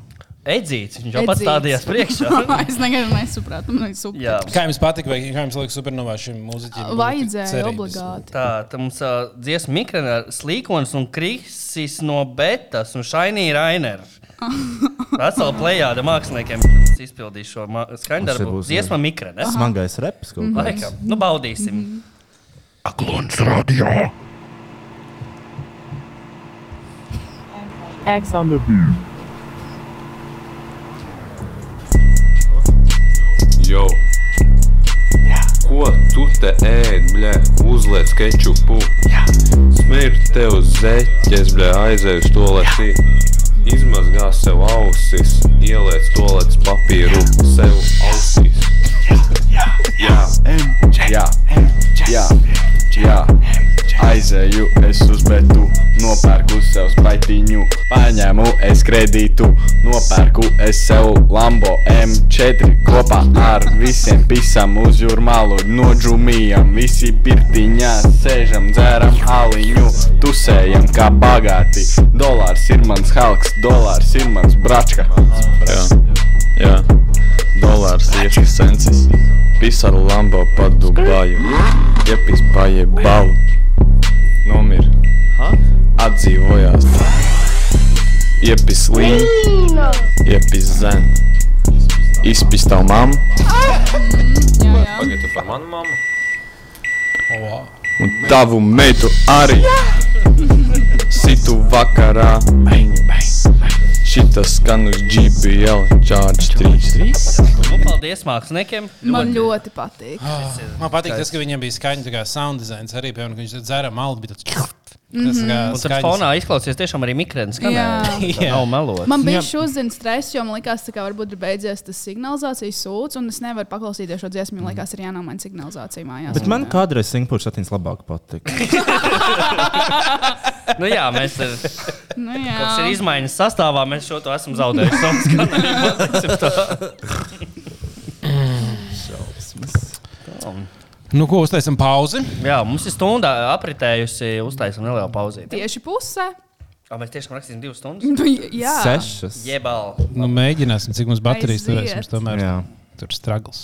Edzīts. Viņš jau pats Edzīts. stādījās priekšā. es nekad nesapratu, man ir super. Jā. Kā jums patīk, vai kā jums liekas, supernovā šim mūziķim? būtu Vajadzēja cerības? obligāti. Tā, tā mums uh, dziesma Mikrona, Slīkons un Krisis no Betas un Šainija Rainera. Vesela plējāda māksliniekiem kas izpildīs šo ma- Mums skaņdarbu. ir būs, Dziesma Mikrona. Smagais reps Mhm. kaut kāds. Laikam, nu baudīsim. Aglons radio. X on the beat. Йоу. Ko tu te ēd, blē, uzliec kečupu? Smirti tev uz zeķes, blē, aizēj uz to leci. Izmazgā sev ausis, ieliec to lec papīru sev ausis. Jā, Jā, jā, jā. Aizēju, es uzbetu, nopērku sev spaitiņu, paņēmu es kredītu, nopērku es sev Lambo M4 kopā ar visiem pisam uz jūrmālu, nodžumijam, visi pirtiņā, sēžam, dzēram aliņu, tusējam kā bagāti. Dolārs ir mans halks, dolārs ir mans bračka. jā, jā. Dolārs tieši sensis. Pis ar Lambo pa Dubaju. Iepis paie balu. Nomir. Atdzīvojās. Iepis līņu. Iepis zen. Izpis tavu mammu. Pagaidu par manu mammu. Un tavu meitu arī. Situ vakarā. Šitas skan uz GBL Charge 3. Nu, paldies māksliniekiem. Man ļoti patīk. Ah, Man patīk tas, ka viņam bija skaņa, tā kā sound designs arī, piemēram, ka viņš dzēra malu, bija tāds. Mhm. Tas kā Un tad skaņas- fonā izklausās tiešām arī mikrofons. Jā. Jā, nav melot. Man bija šodien stress, jo man liekas, ka varbūt ir beidzies tas signalizācijas sūds, un es nevaru paklausīties šo dziesmu. Man liekas, ir jānomaina signalizācija mājās. Bet man kādreiz Singapūras satīns labāk patika. nu, jā, mēs ir, Nu jā. tas ir izmaiņas sastāvā. Mēs šo to esam zaudējuši. Savas Nu, ko uztaisam pauzi? Jā, mums ir stunda apritējusi. Uztaisām nelielu pauzīti. Tieši puse. Jā, mēs tiešām rakstījām divas Nu, stundas. jā. Sešas. Jebal. Nu, mēģināsim, cik mums baterijas turēs. Aiziet. Mums tomēr tur ir stragls.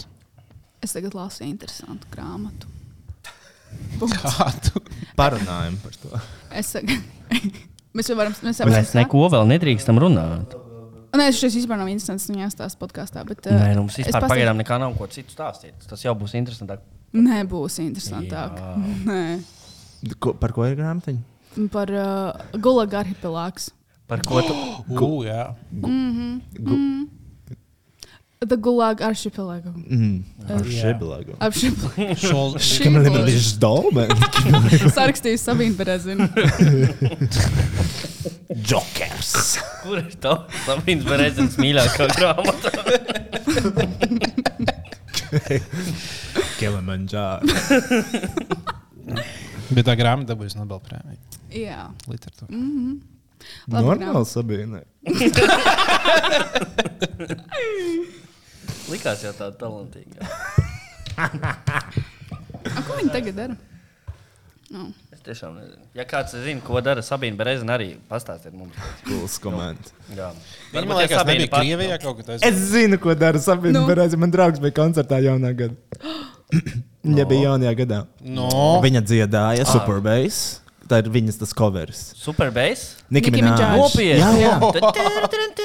Es tagad lasu interesantu grāmatu. Parunājam par to. Es tagad. Mēs jau varam. Mēs, jau Mēs neko vēl nedrīkstam runāt. Nē, šis vispār nav interesants. Viņa stāsta podkāstā. Bet, eh, Nē, nu, mums es vispār pastāstīšu- pagaidām nekā nav ko citu stāstīt. Tas jau būs interesantāk. Nebūs interesantāk. Nē. Ko, par ko ir grāmatiņa? Par uh, Gulaga arhipelāgu. Par ko tu? Ugh, jā. Mm Gu- -hmm. The Gulag archipelago. Mhm. Mm, Eh, archipelago. Archipelago. Šol- Archipelago. Ždolbe. Sarakstīju Sabīnu Berezinu. Jokers. Kur ir tā? Labs, Berezins mīļākā grāmata. Kilimanjāra. Bet tā grāmata dabūs Nobelprēmiju. Jā. Literatūra. Mm Nu, -hmm. Normāli sabīnē. Likās jau tāda talantīga. Ko viņi tagad dara? Nu. Es tiešām nezinu. Ja kāds zina, ko dara Sabīna Berezina, arī pastāstiet mums. Nu, Cools comment. Jā. Viņa Varbūt, man ja liekas, Sabīna nebija pat- nu, Krievijā kaut kas Es zinu, ko dara Sabīna. Nu. Man draugs bija koncertā jaunā gada. Viņa bija jaunajā gadā. No. Viņa dziedāja Superbase. Tā ir viņas tas covers. Superbase? Nicki Nicki Minaj. Minaj. Nopietni! Jā.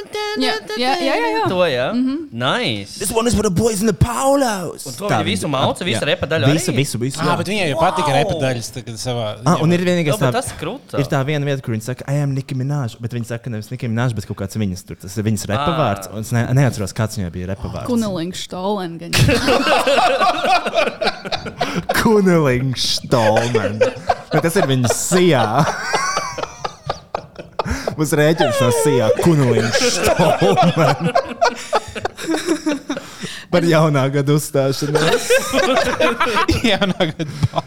Jā, jā, jā. jā, jā. To, jā. Mhm. Nice. This one is for the boys in the Paulos. Un to viņa visu mauca, visu repa daļu Visu, arī? visu, visu. Ah, jā. bet viņai jau patika repa daļas tagad savā. Ah, un ir vienīgais, Jā, bet tā, tas krūta. ir tā viena vieta, kur viņi saka, ej, Nika Minēža, bet viņi saka, nevis Nika Minēža, bet kaut kāds viņas tur. Tas ir viņas repa Ah. vārds. un Es ne, neatceros, kāds viņai bija repa vārds. Kunelings Stolen. gan. Kunelings Stolman. Bet tas ir viņas sijā. Mums rēķins no sijā Kunelings Stolman. Par jaunā gada uzstāšanos. Jā, nākamā gada.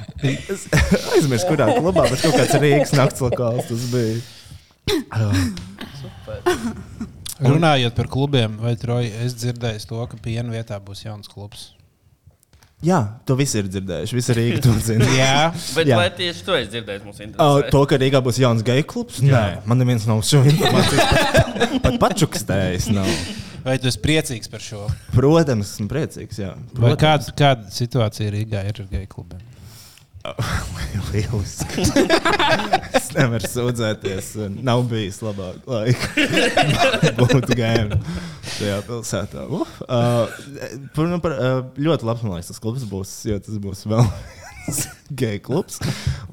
Aizmirsu, kurā klubā, bet kaut kāds Rīgas nakts lokāls tas bija. Runājot par klubiem, vai Troja, es dzirdēju to, ka piena vietā būs jauns klubs. Jā, to visi ir dzirdējuši. Visi Rīgā to zina. Jā, Bet Jā. vai tieši to es dzirdēju? Mums O, interesē. to, ka Rīgā būs jauns geju klubs, nē, man neviens nav šo informāciju. pat- Pat pačukstējis nav. vai tu esi priecīgs par šo? Protams, esmu priecīgs. Jā, Vai protams. kāda, kāda situācija Rīgā ir ar geju klubiem? Lieliski. es nevaru sūdzēties. un Nav bijis labāk laika. Būtu gēni. Tajā pilsētā. Uh, par, uh, par, uh, ļoti labs, man liekas, tas klubs būs. Jo tas būs vēl viens geju klubs.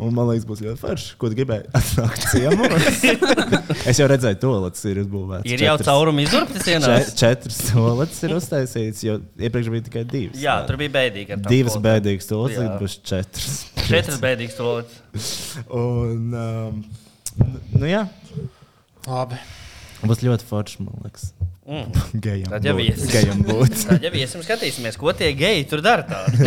Un man liekas, būs ļoti forši, ko tu gribēji atnākt ciemos. es jau redzēju, to lats ir uzbūvēts. Ir jau Četras- caurumi izurpti sienās. Čet- Četras tolets ir uztaisīts, jo iepriekš bija tikai divas. Jā, tur bija bēdīgi ar tām Divas toaletēm. bēdīgas tolets, Jā. tad būs četras. Četras bēdīgas toaletes. Un, um, nu jā. Labi. Būs ļoti forši, man liekas. Mm. Gejam Tad jau būt. iesim. Gejam būt. Tad jau iesim, skatīsimies, ko tie geji tur dara. tādu.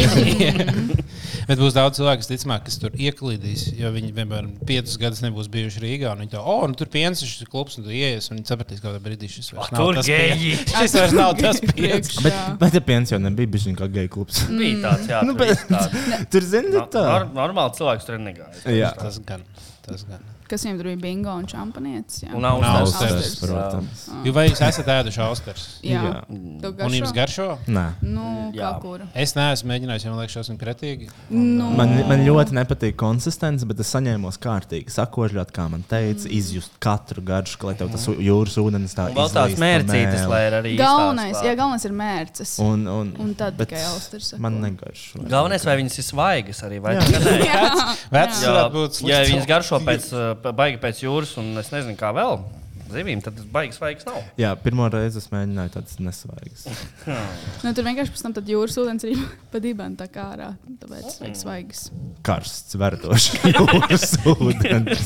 Bet būs daudz cilvēku, kas, ticamāk, kas tur ieklīdīs. Jo viņi, piemēram, piecus gadus nebūs bijuši Rīgā. un Viņi to, oh, nu tur piens ir šis klubs, un tu ienāc, un viņi sapratīs, ka brīdī šis vairs nav tur tas geji! piens. Šis vairs nav tas piens. Priekšā. Bet, bet ja piens jau nebija bijis kā geju klubs. Bija tāds, jā, Nu, tur bet- bija tāds. Tur zini, No- no, tā. nor- Normāli cilvēks tur negāja. Jā. Tas gan. Tas gan. Kas viņam tur bija bingo un čampanietis? Jā, Un Nav nav uztars. uztars. Tas, protams. Jo vai jūs esat ēduši austers? jā. jā. Tu Un jums garšo? garšo? Nē. Nu, kā Jā. kura. Es neesmu mēģinājis, jo man liekas, šausmīgi pretīgi. Nu, Man, man ļoti nepatīk konsistence, bet es saņēmu kārtīgi sakožļot, kā man teica, izjust katru garšu, lai tev tas u- jūras ūdens tā Vēl tāds izlīst pa mērcītis, mēli. lai ir arī. īstās galvenais, pār- jā, galvenais ir mērķis. Un, un, Un tad bet tikai austers sako. Man negaršo. Galvenais, vai viņas ir svaigas arī. Vai jā. Nē, Vecs jā, varētu būt ja slikts. viņas garšo pēc, uh, baigi pēc jūras, un es nezinu, kā vēl zivīm, tad tas baigas svaigas nav. Jā, pirmo reizi es mēģināju tādas nesvaigas. Nu, tur vienkārši pēc tam tad jūras ūdens arī pa dibenu tā kā ārā. Tāpēc Oh. vajag svaigas. Karsts, verdošs jūras ūdens.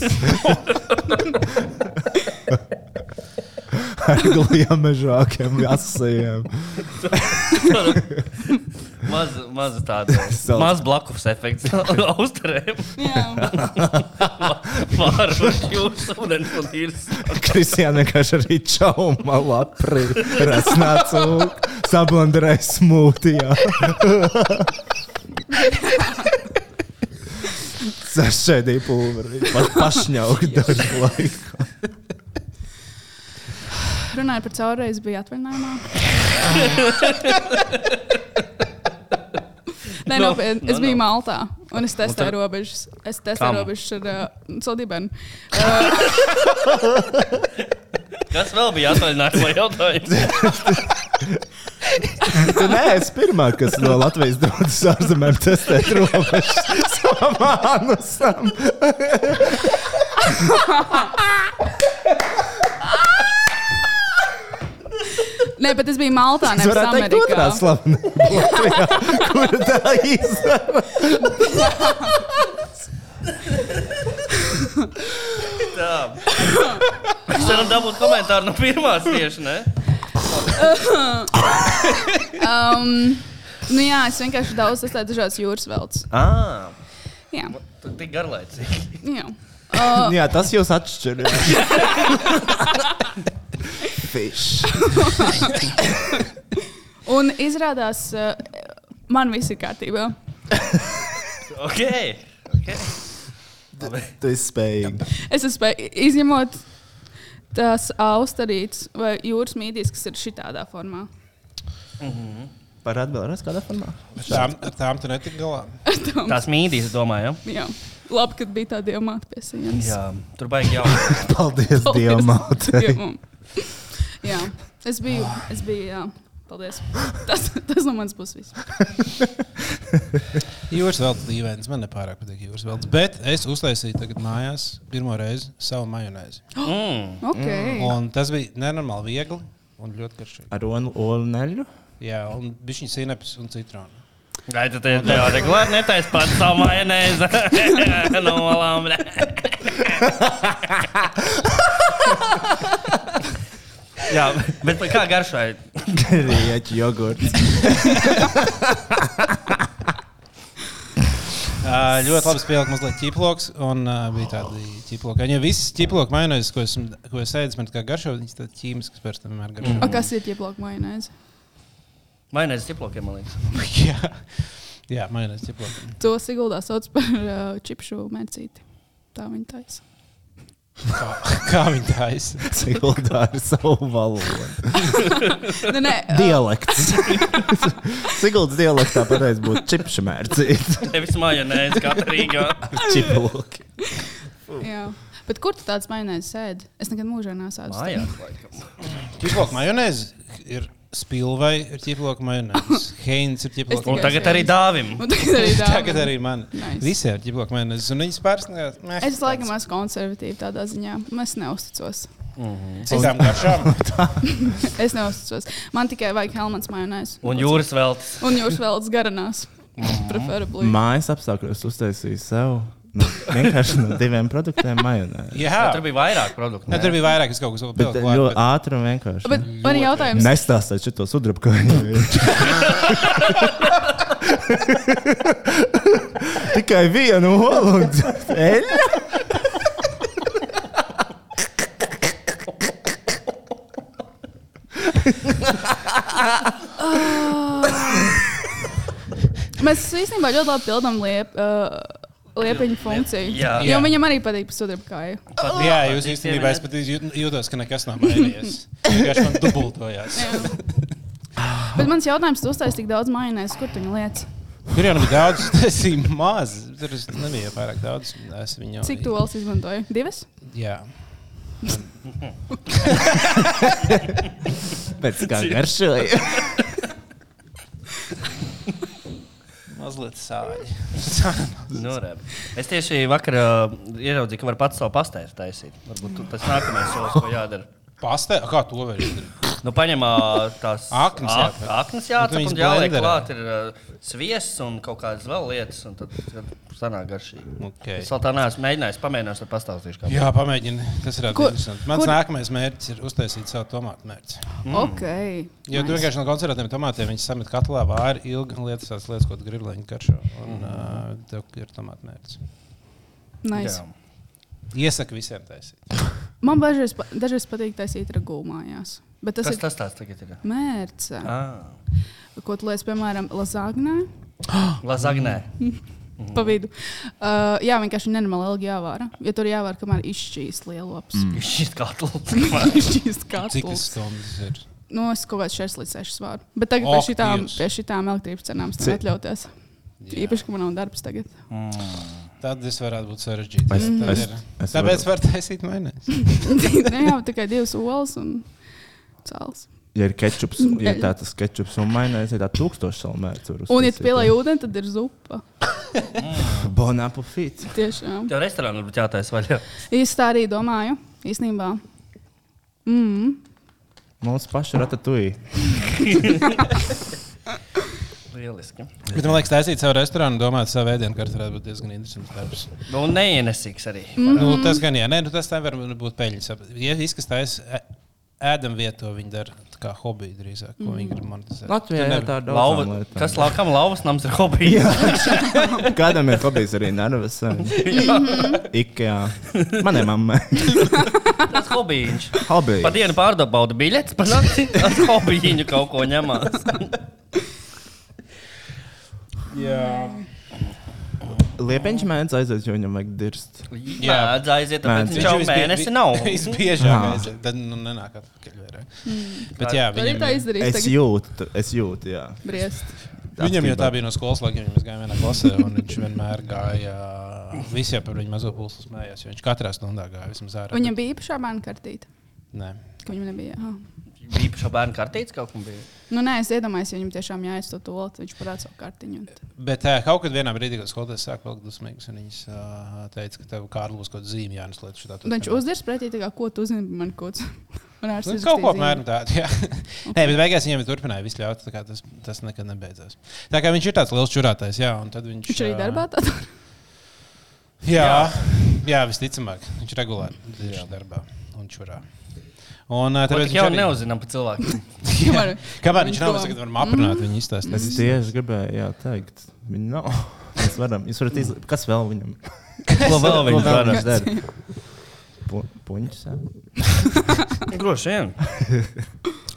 Ar gliem mežākiem, asajiem. Maz, maz tāda Sauc. maz blakus efekts austerēm. Jā, Pārvarš jūras ūdens un tīrs. Kristiāna vienkārši arī čauma lapri. Rasnācu sablandrēja smūtijā. Sašķēdīja pulveri. Pa, pašņauka darbu laiku. runāju par caurreiz, bija atvaļinājumā. Nē, No, nopietni. no, Es biju no. Maltā un es testēju Un tad- robežas. Es Kam? testēju robežas ar uh, saldībēm. Kas vēl bija atvaļinājumā jautājums? Tu neesi pirmā, kas no Latvijas dodas ārzemēm testēt robežas savam anusam. Nē, bet es biju Maltā. Tas nevis varētu teikt Amerikā. otrā slavenība Latvijā, kur tā izdara. Mēs varam dabūt komentāru no pirmās tieši, ne? Um, nu jā, es vienkārši daudz testēju dažādas jūras veltes. Ā, Jā, tu tik garlaicīgi. jā. Uh, Jā, tas jūs atšķiras. Fish. Un izrādās, uh, man viss ir kārtībā. Ok. okay. Tu esi spējīgs. Es spēju izņemot tās austerītes vai jūras mītīs, kas ir šitādā formā. Par atbildēt, kādā formā? Tām, ar tām tu netik galā. Tās mīdīs, domāju. Jā. Labi, ka bija tāda diamāta pie sienas. Jā, tur baigi jau. Paldies Dievam! Matei. Dievam. Jā, es biju. Es biju jā. Paldies. Tas, tas no manis būs viss. Jūras veltes dīvains. Man nepārāk patīk jūras veltes. Bet es uztaisīju tagad mājās pirmo reizi savu majonēzi. Mm. Okay. Un tas bija nenormāli viegli un ļoti garšīgi. Ar onu olneļu? Jā, un bija šis sinepes un citronu. Ai, tad te jau regulāri netais pats savu majonēzi. no malām. ne. Jā, bet kā garšai? Grieķu jogurts. Ā, Ļoti labi spēlēja, mazliet ķiploks. Un ā, bija tādi ķiploki. Ja visas ķiploku majonēzes, ko esmu ko es ēdis, man tā kā garšo, viņas tādas ķīmiskas pēc tam vienmēr garšo. Mm. A, kas ir ieplakta majonēze? Majonēzi ciplokiem, man liekas. Jā, Jā majonēzes ķiploki. To Siguldā sauc par uh, čipšu mērcīti. Tā viņa taisa. Kā, kā viņi tā izsaka? Siguldā ar savu valodu. Nu, é, nē, ā, Dialekts. Siguldas dialektā pareizi būtu čipša mērcīt. Nevis majonēzi, kā Rīgā. Čiploki. jā. Bet kur tu tāds majonēzes sēdi? Es nekad mūžā nesācu. Mājās, laikam. Ķiploku majonēze ir Spilvai ir ķiploka majonēzes. Heinz ir Es ķiploka tikai Un tagad arī dāvim. Un tagad arī dāvim. tagad arī man. Nice. Nice. Visiem ir ķiploka majonēzes. Un viņas pārsniedz. Es laikam esmu konservatīva tādā ziņā. Es neusticos. Mhm. Citām garšām. Es neusticos. Man tikai vajag helmets majonēzi. Un jūras Mhm. veltes. Un jūs vēl garinās. Preferably. Mājas apstākļos uztaisīju sev nu, vienkārši no diviem produktiem majonēzi. Jā, Tur bija vairāk produktu. Ne, tur bija vairāk, kas kaut kas vēl Bet pilku ļoti klāt, ātri un vienkārši. Nu, Bet man ir jautājums, Nestāstiet šo sudrabu, kā viņi ir. Tikai vienu olu un eļļu. Ah. Mēs īstenībā ļoti labi pildām liep, uh, liepiņu funkciju. Jā. Jo Jā. viņam arī patīk sudraba kāja. Jā, jūs īstenībā es pat jūt- jūtos, ka nekas nav mainījies. Vienkārši man Oh, dubultojās. Bet mans jautājums, tu uztaisīji tik daudz majonēzes, kur tu viņu lietas? Tur jau nebija daudz, tas bija maz. Tur es nebija pārāk daudz. Es viņu Cik tu olas izmantoji? Divas? Jā. Pēc Tá kā garšoja. Mazliet sāļi. Nu, rebi. es tieši vakar uh, ieraudzīju, ka var pats savu pastēru taisīt. Varbūt tu- tas nākamais solis, ko jādara. Pastē, kā to var izdarīt? Nu, paņem ā, tās Aknas ak- jāatver. aknas jāatver, Un un viņas jāliek blenderā. klāt ir uh, sviests un kaut kādas vēl lietas, un tad tad sanāk garšīgi. Okay. Es vēl tā neesmu mēģinājis, pamēģināšu, tad pastāstīšu. kā. Jā, pamēģini. Tas ir Kur- interesanti. Mans kur- kur? nākamais mērķis ir uztaisīt savu tomātu mērķi. Mm. Ok. Jo tu vienkārši no konservatīviem tomātiem viņi samet katlā vāri ilgi un lietas, tās lietas, ko tu gribi, lai viņi garšo. Mhm. Un uh, tev ir tomātu mērķis. Nice. Iesaku visiem taisīt. Man dažreiz, pa- dažreiz patīk taisīt ragū mājās. Bet tas Kas ir tas tāds tagad ir? mērķis. Ah, Ko tu liec, piemēram, lasagnē? Lazagnē. Mhm. Pa vidu. Uh, jā, vienkārši nenormāli ilgi jāvāra. Ja tur jāvāra, kamēr izšķīst lielops. Mm. Šis katls. Mm. izšķīst Cik tas katls. stundas ir? Nu, es kaut kādā 6 līdz 6 svāru. Bet tagad Ak, pie šitām, Dievs. pie šitām elektrības cenām es nevaru atļauties. Jā. Īpaši, ka man nav darbs tagad. Tad tas varētu būt sarežģīti. Mm. Es- Tad es- ir. es Tāpēc varu- var taisīt mainīt. Nē, jau Nu tikai divas olas un cēlus. Ja ir ketčups, ja tā tas ketčups un mainās, ja tā tūkstoši salu mērķi. Un, ja tu pielai ūdeni, tad ir zupa. Bon appetit. Tiešām. Tev restorānā būtu jātaisa vaļā. Es tā arī domāju. Īsnībā. Mm. Mums paši ratatui. Lieliski. Bet man liekas, taisīt savu restorānu, domāt savu ēdienu, kas varētu būt diezgan interesants darbs. Nu, Un neienesīgs arī. Mm -hmm. nu, tas gan jā, Nē, nu, tas tā var būt peļņas. Ja izskatās, ēdam vietu, viņi dara tā kā hobiju drīzāk, ko viņi grib monetizēt. Mm. Latvijā jau tā daudz. Lauva, kas laukam lauvas nams ir hobijs? Kādam ir hobijs arī nervus? Mhm. Mhm. Ikā. Manai mammai. Tas hobijs. Hobijs. Pa dienu pārdabauda biļetes, pa nakti ar hobiju kaut ko ņemās. Liepiņš mēdz aiziet, jo viņam vajag dirst. Jā, mēdz aiziet, tāpēc Mēdz. viņš jau mēnesi nav. Visbiežāk, aiziet, tad nu, nenāk atpakaļ vairāk. Bet jā, Tad ir viņam, tā ir- izdarīt. Es jūtu, es jūtu, jā. Briest. viņam jau tā bija no skolas laikiem, ja mēs gājām vienā klasē, un viņš vienmēr gāja, visi jau par viņu mazo pulsu smējās, jo viņš katrā stundā gāja vismaz ārā. Viņam bija īpašā bērnu kartīte, Nē. ka viņam nebija. Ah. Bija šo bērnu kartītes kaut kam bija. Nu, nē, es iedomājos, ja viņam tiešām jāizsūta to olu, tad viņš parāda savu kartiņu. un tad- Bet uh, kaut kad vienā brīdī, kad skolotājs sāka vilkt dusmīgus, un viņš uh, teica, ka tev kādā būs kaut kāda zīme jāneslēdz šitā. Un Viņš uzdirs pretī, tā kā, ko tu uzzini par mani kods. Man ar Nu, kaut ko apmēram tādu. jā. Nē, bet beigās viņam turpināja visu ļaut. tā kā Tas, tas nekad nebeidzās. Tā kā viņš ir tāds liels čurātais, jā, un tad viņš. Viņš arī ā, darbā tādā. Jā, jā visticamāk, viņš regulāri ir darbā un čurā. Un ā, Tāpēc tāpēc jau arī- neuzinām pa cilvēkiem. Kamēr- Kamēr viņš Viņš domā. Mm. nav, mēs tagad varam aprināt viņu Es izstāstīt. tieši gribēju jā, teikt, viņi nav. Mēs varam, jūs varat izlikt, kas vēl viņam? Ko vēl viņi dara? viņš dara? Pu- Puņķis. jā? Droši vien.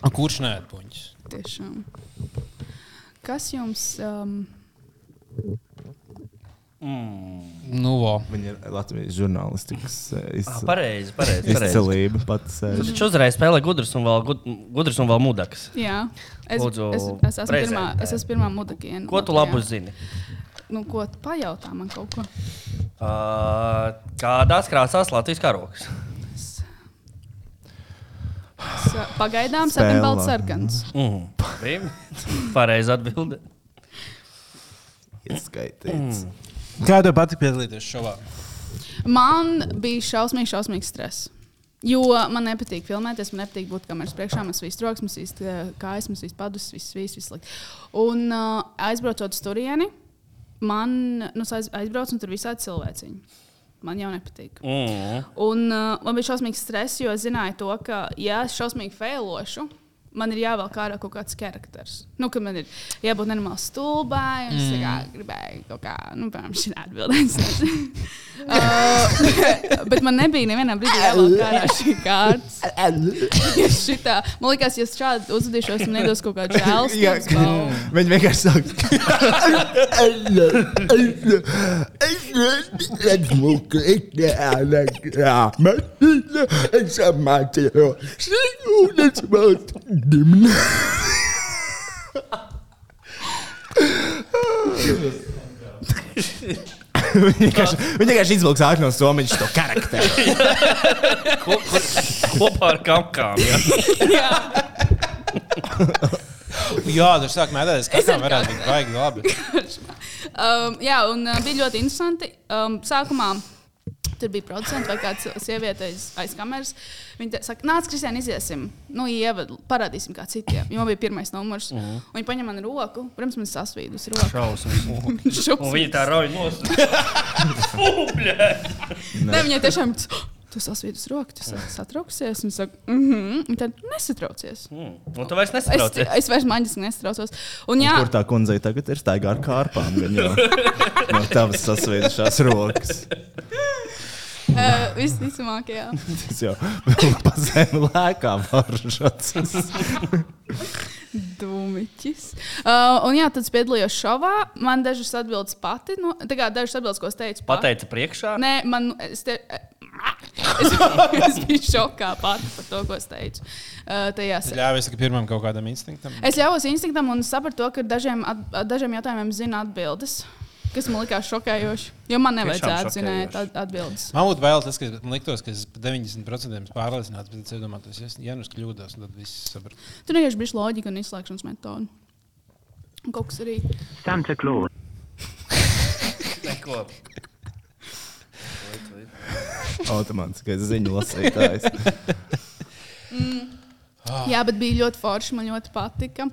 Un Kurš nē, puņķis? Tiešām. Kas jums um, Nu, vo. Viņa ir Latvijas žurnālistikas eh, Ah, izc- Pareizi, pareizi. pareizi. izcilība eh. pati Tu sēž. taču uzreiz spēlē gudrs un vēl, gud, gudrs un vēl mudaks. jā, es, Lūdzu, es, es esmu pirmā, prezentē. es esmu pirmā mudakiena. Ko tu labu zini? Nu, ko tu pajautā man kaut ko? Uh, kādās krāsās Latvijas karoks? Es sa- Pagaidām sarkanbalts, Spēlā. sarkans. Mm. bija Pareizi atbildēt. Ieskaitīts. Mm. Kā tev patīk piedalīties šovā? Man bija šausmīgi, šausmīgi stress. Jo man nepatīk filmēties, man nepatīk būt kameras priekšā. Man viss troks, man viss eh, kājas, man viss padus, viss, viss, viss slikti. Un uh, aizbraucot uz turieni, man nu, es aiz- aizbraucu un tur visādi cilvēciņi. Man jau nepatīk. Mm. Un uh, man bija šausmīgs stress, jo es zināju to, ka, ja es šausmīgi failošu, man ir jāvelk ārā kaut kāds charakteris. Nu, ka man ir jābūt normāli stulbai, un es mm. kā, gribēju kaut kā, nu, piemēram, šī atbildēt. uh, bet man nebija nevienā brīdī jāvelk ārā šī kārta. Šitā, man liekas, ja es šādi uzvedīšos, man nedos kaut kādu Jā, žēlstu. Viņi vienkārši Saka, Viņi vienkārši- viņi vienkārši izvilks ārā no somas to karakteru. Ko- kur- Kopā ar kamkām. Ja? Jā, tur sāk mēdēties, kas Es ar tam varētu būt baigi labi. Um, jā, un uh, bija ļoti interesanti. Um, sākumā tur bija producents vai kāds sieviete aiz, aiz kameras. Viņa te saka, nāc, Kristija, iziesim, nu, ievadu, parādīsim kā citiem. Jo man bija pirmais numurs. Uh Mhm. -huh. Viņa paņem man roku, protams, man ir sasvīdus roka. Šausmas. Un Šups. viņi tā rauj nost. Fūbļē! Nē, viņai tiešām. ir, "Oh, Tu sasvīdus roku, tu sa- satrauksies. Viņa saka, mhm, un tad nesatraucies. Mm. Un tu vairs Es, nesaproti. es vairs maģiski nesatraucos. Un, jā, Kur tā kundze tagad ir stāvā ar kārpām? gan jau. No tavas sasveidušās rokas. uh, visticamākajā. Tas jau pa zemi lēkā varžots. Dūmiķis. Uh, un jā, tad es piedalījos šovā. Man dažas atbildes pati, no, tā kā dažas atbildes, ko es teicu, pati. Pateica priekšā. Nē, man. Es, te, es, es biju šokā pati par to, ko es teicu. Uh, tajā Tas se- ļāvis tikai pirmam kaut kādam instinktam. es ļāvos instinktam un sapratu, to, ka dažiem, at, dažiem jautājumiem zinu atbildes, kas man likās šokējoši. Jo man nevajadzētu zināt at, atbildes. Man būtu bail tas, ka man liktos, ka es pa 90% pārliecināts, bet es iedomājos, ja nu es Janus kļūdos, un tad viss saprat. Tur vienkārši bija loģika un izslēgšanas metode. Un Kaut kas arī. Santa Claus. Neko. Automātiskais ziņu lasītājs. Mm. Jā, bet bija ļoti forši. Man ļoti patika.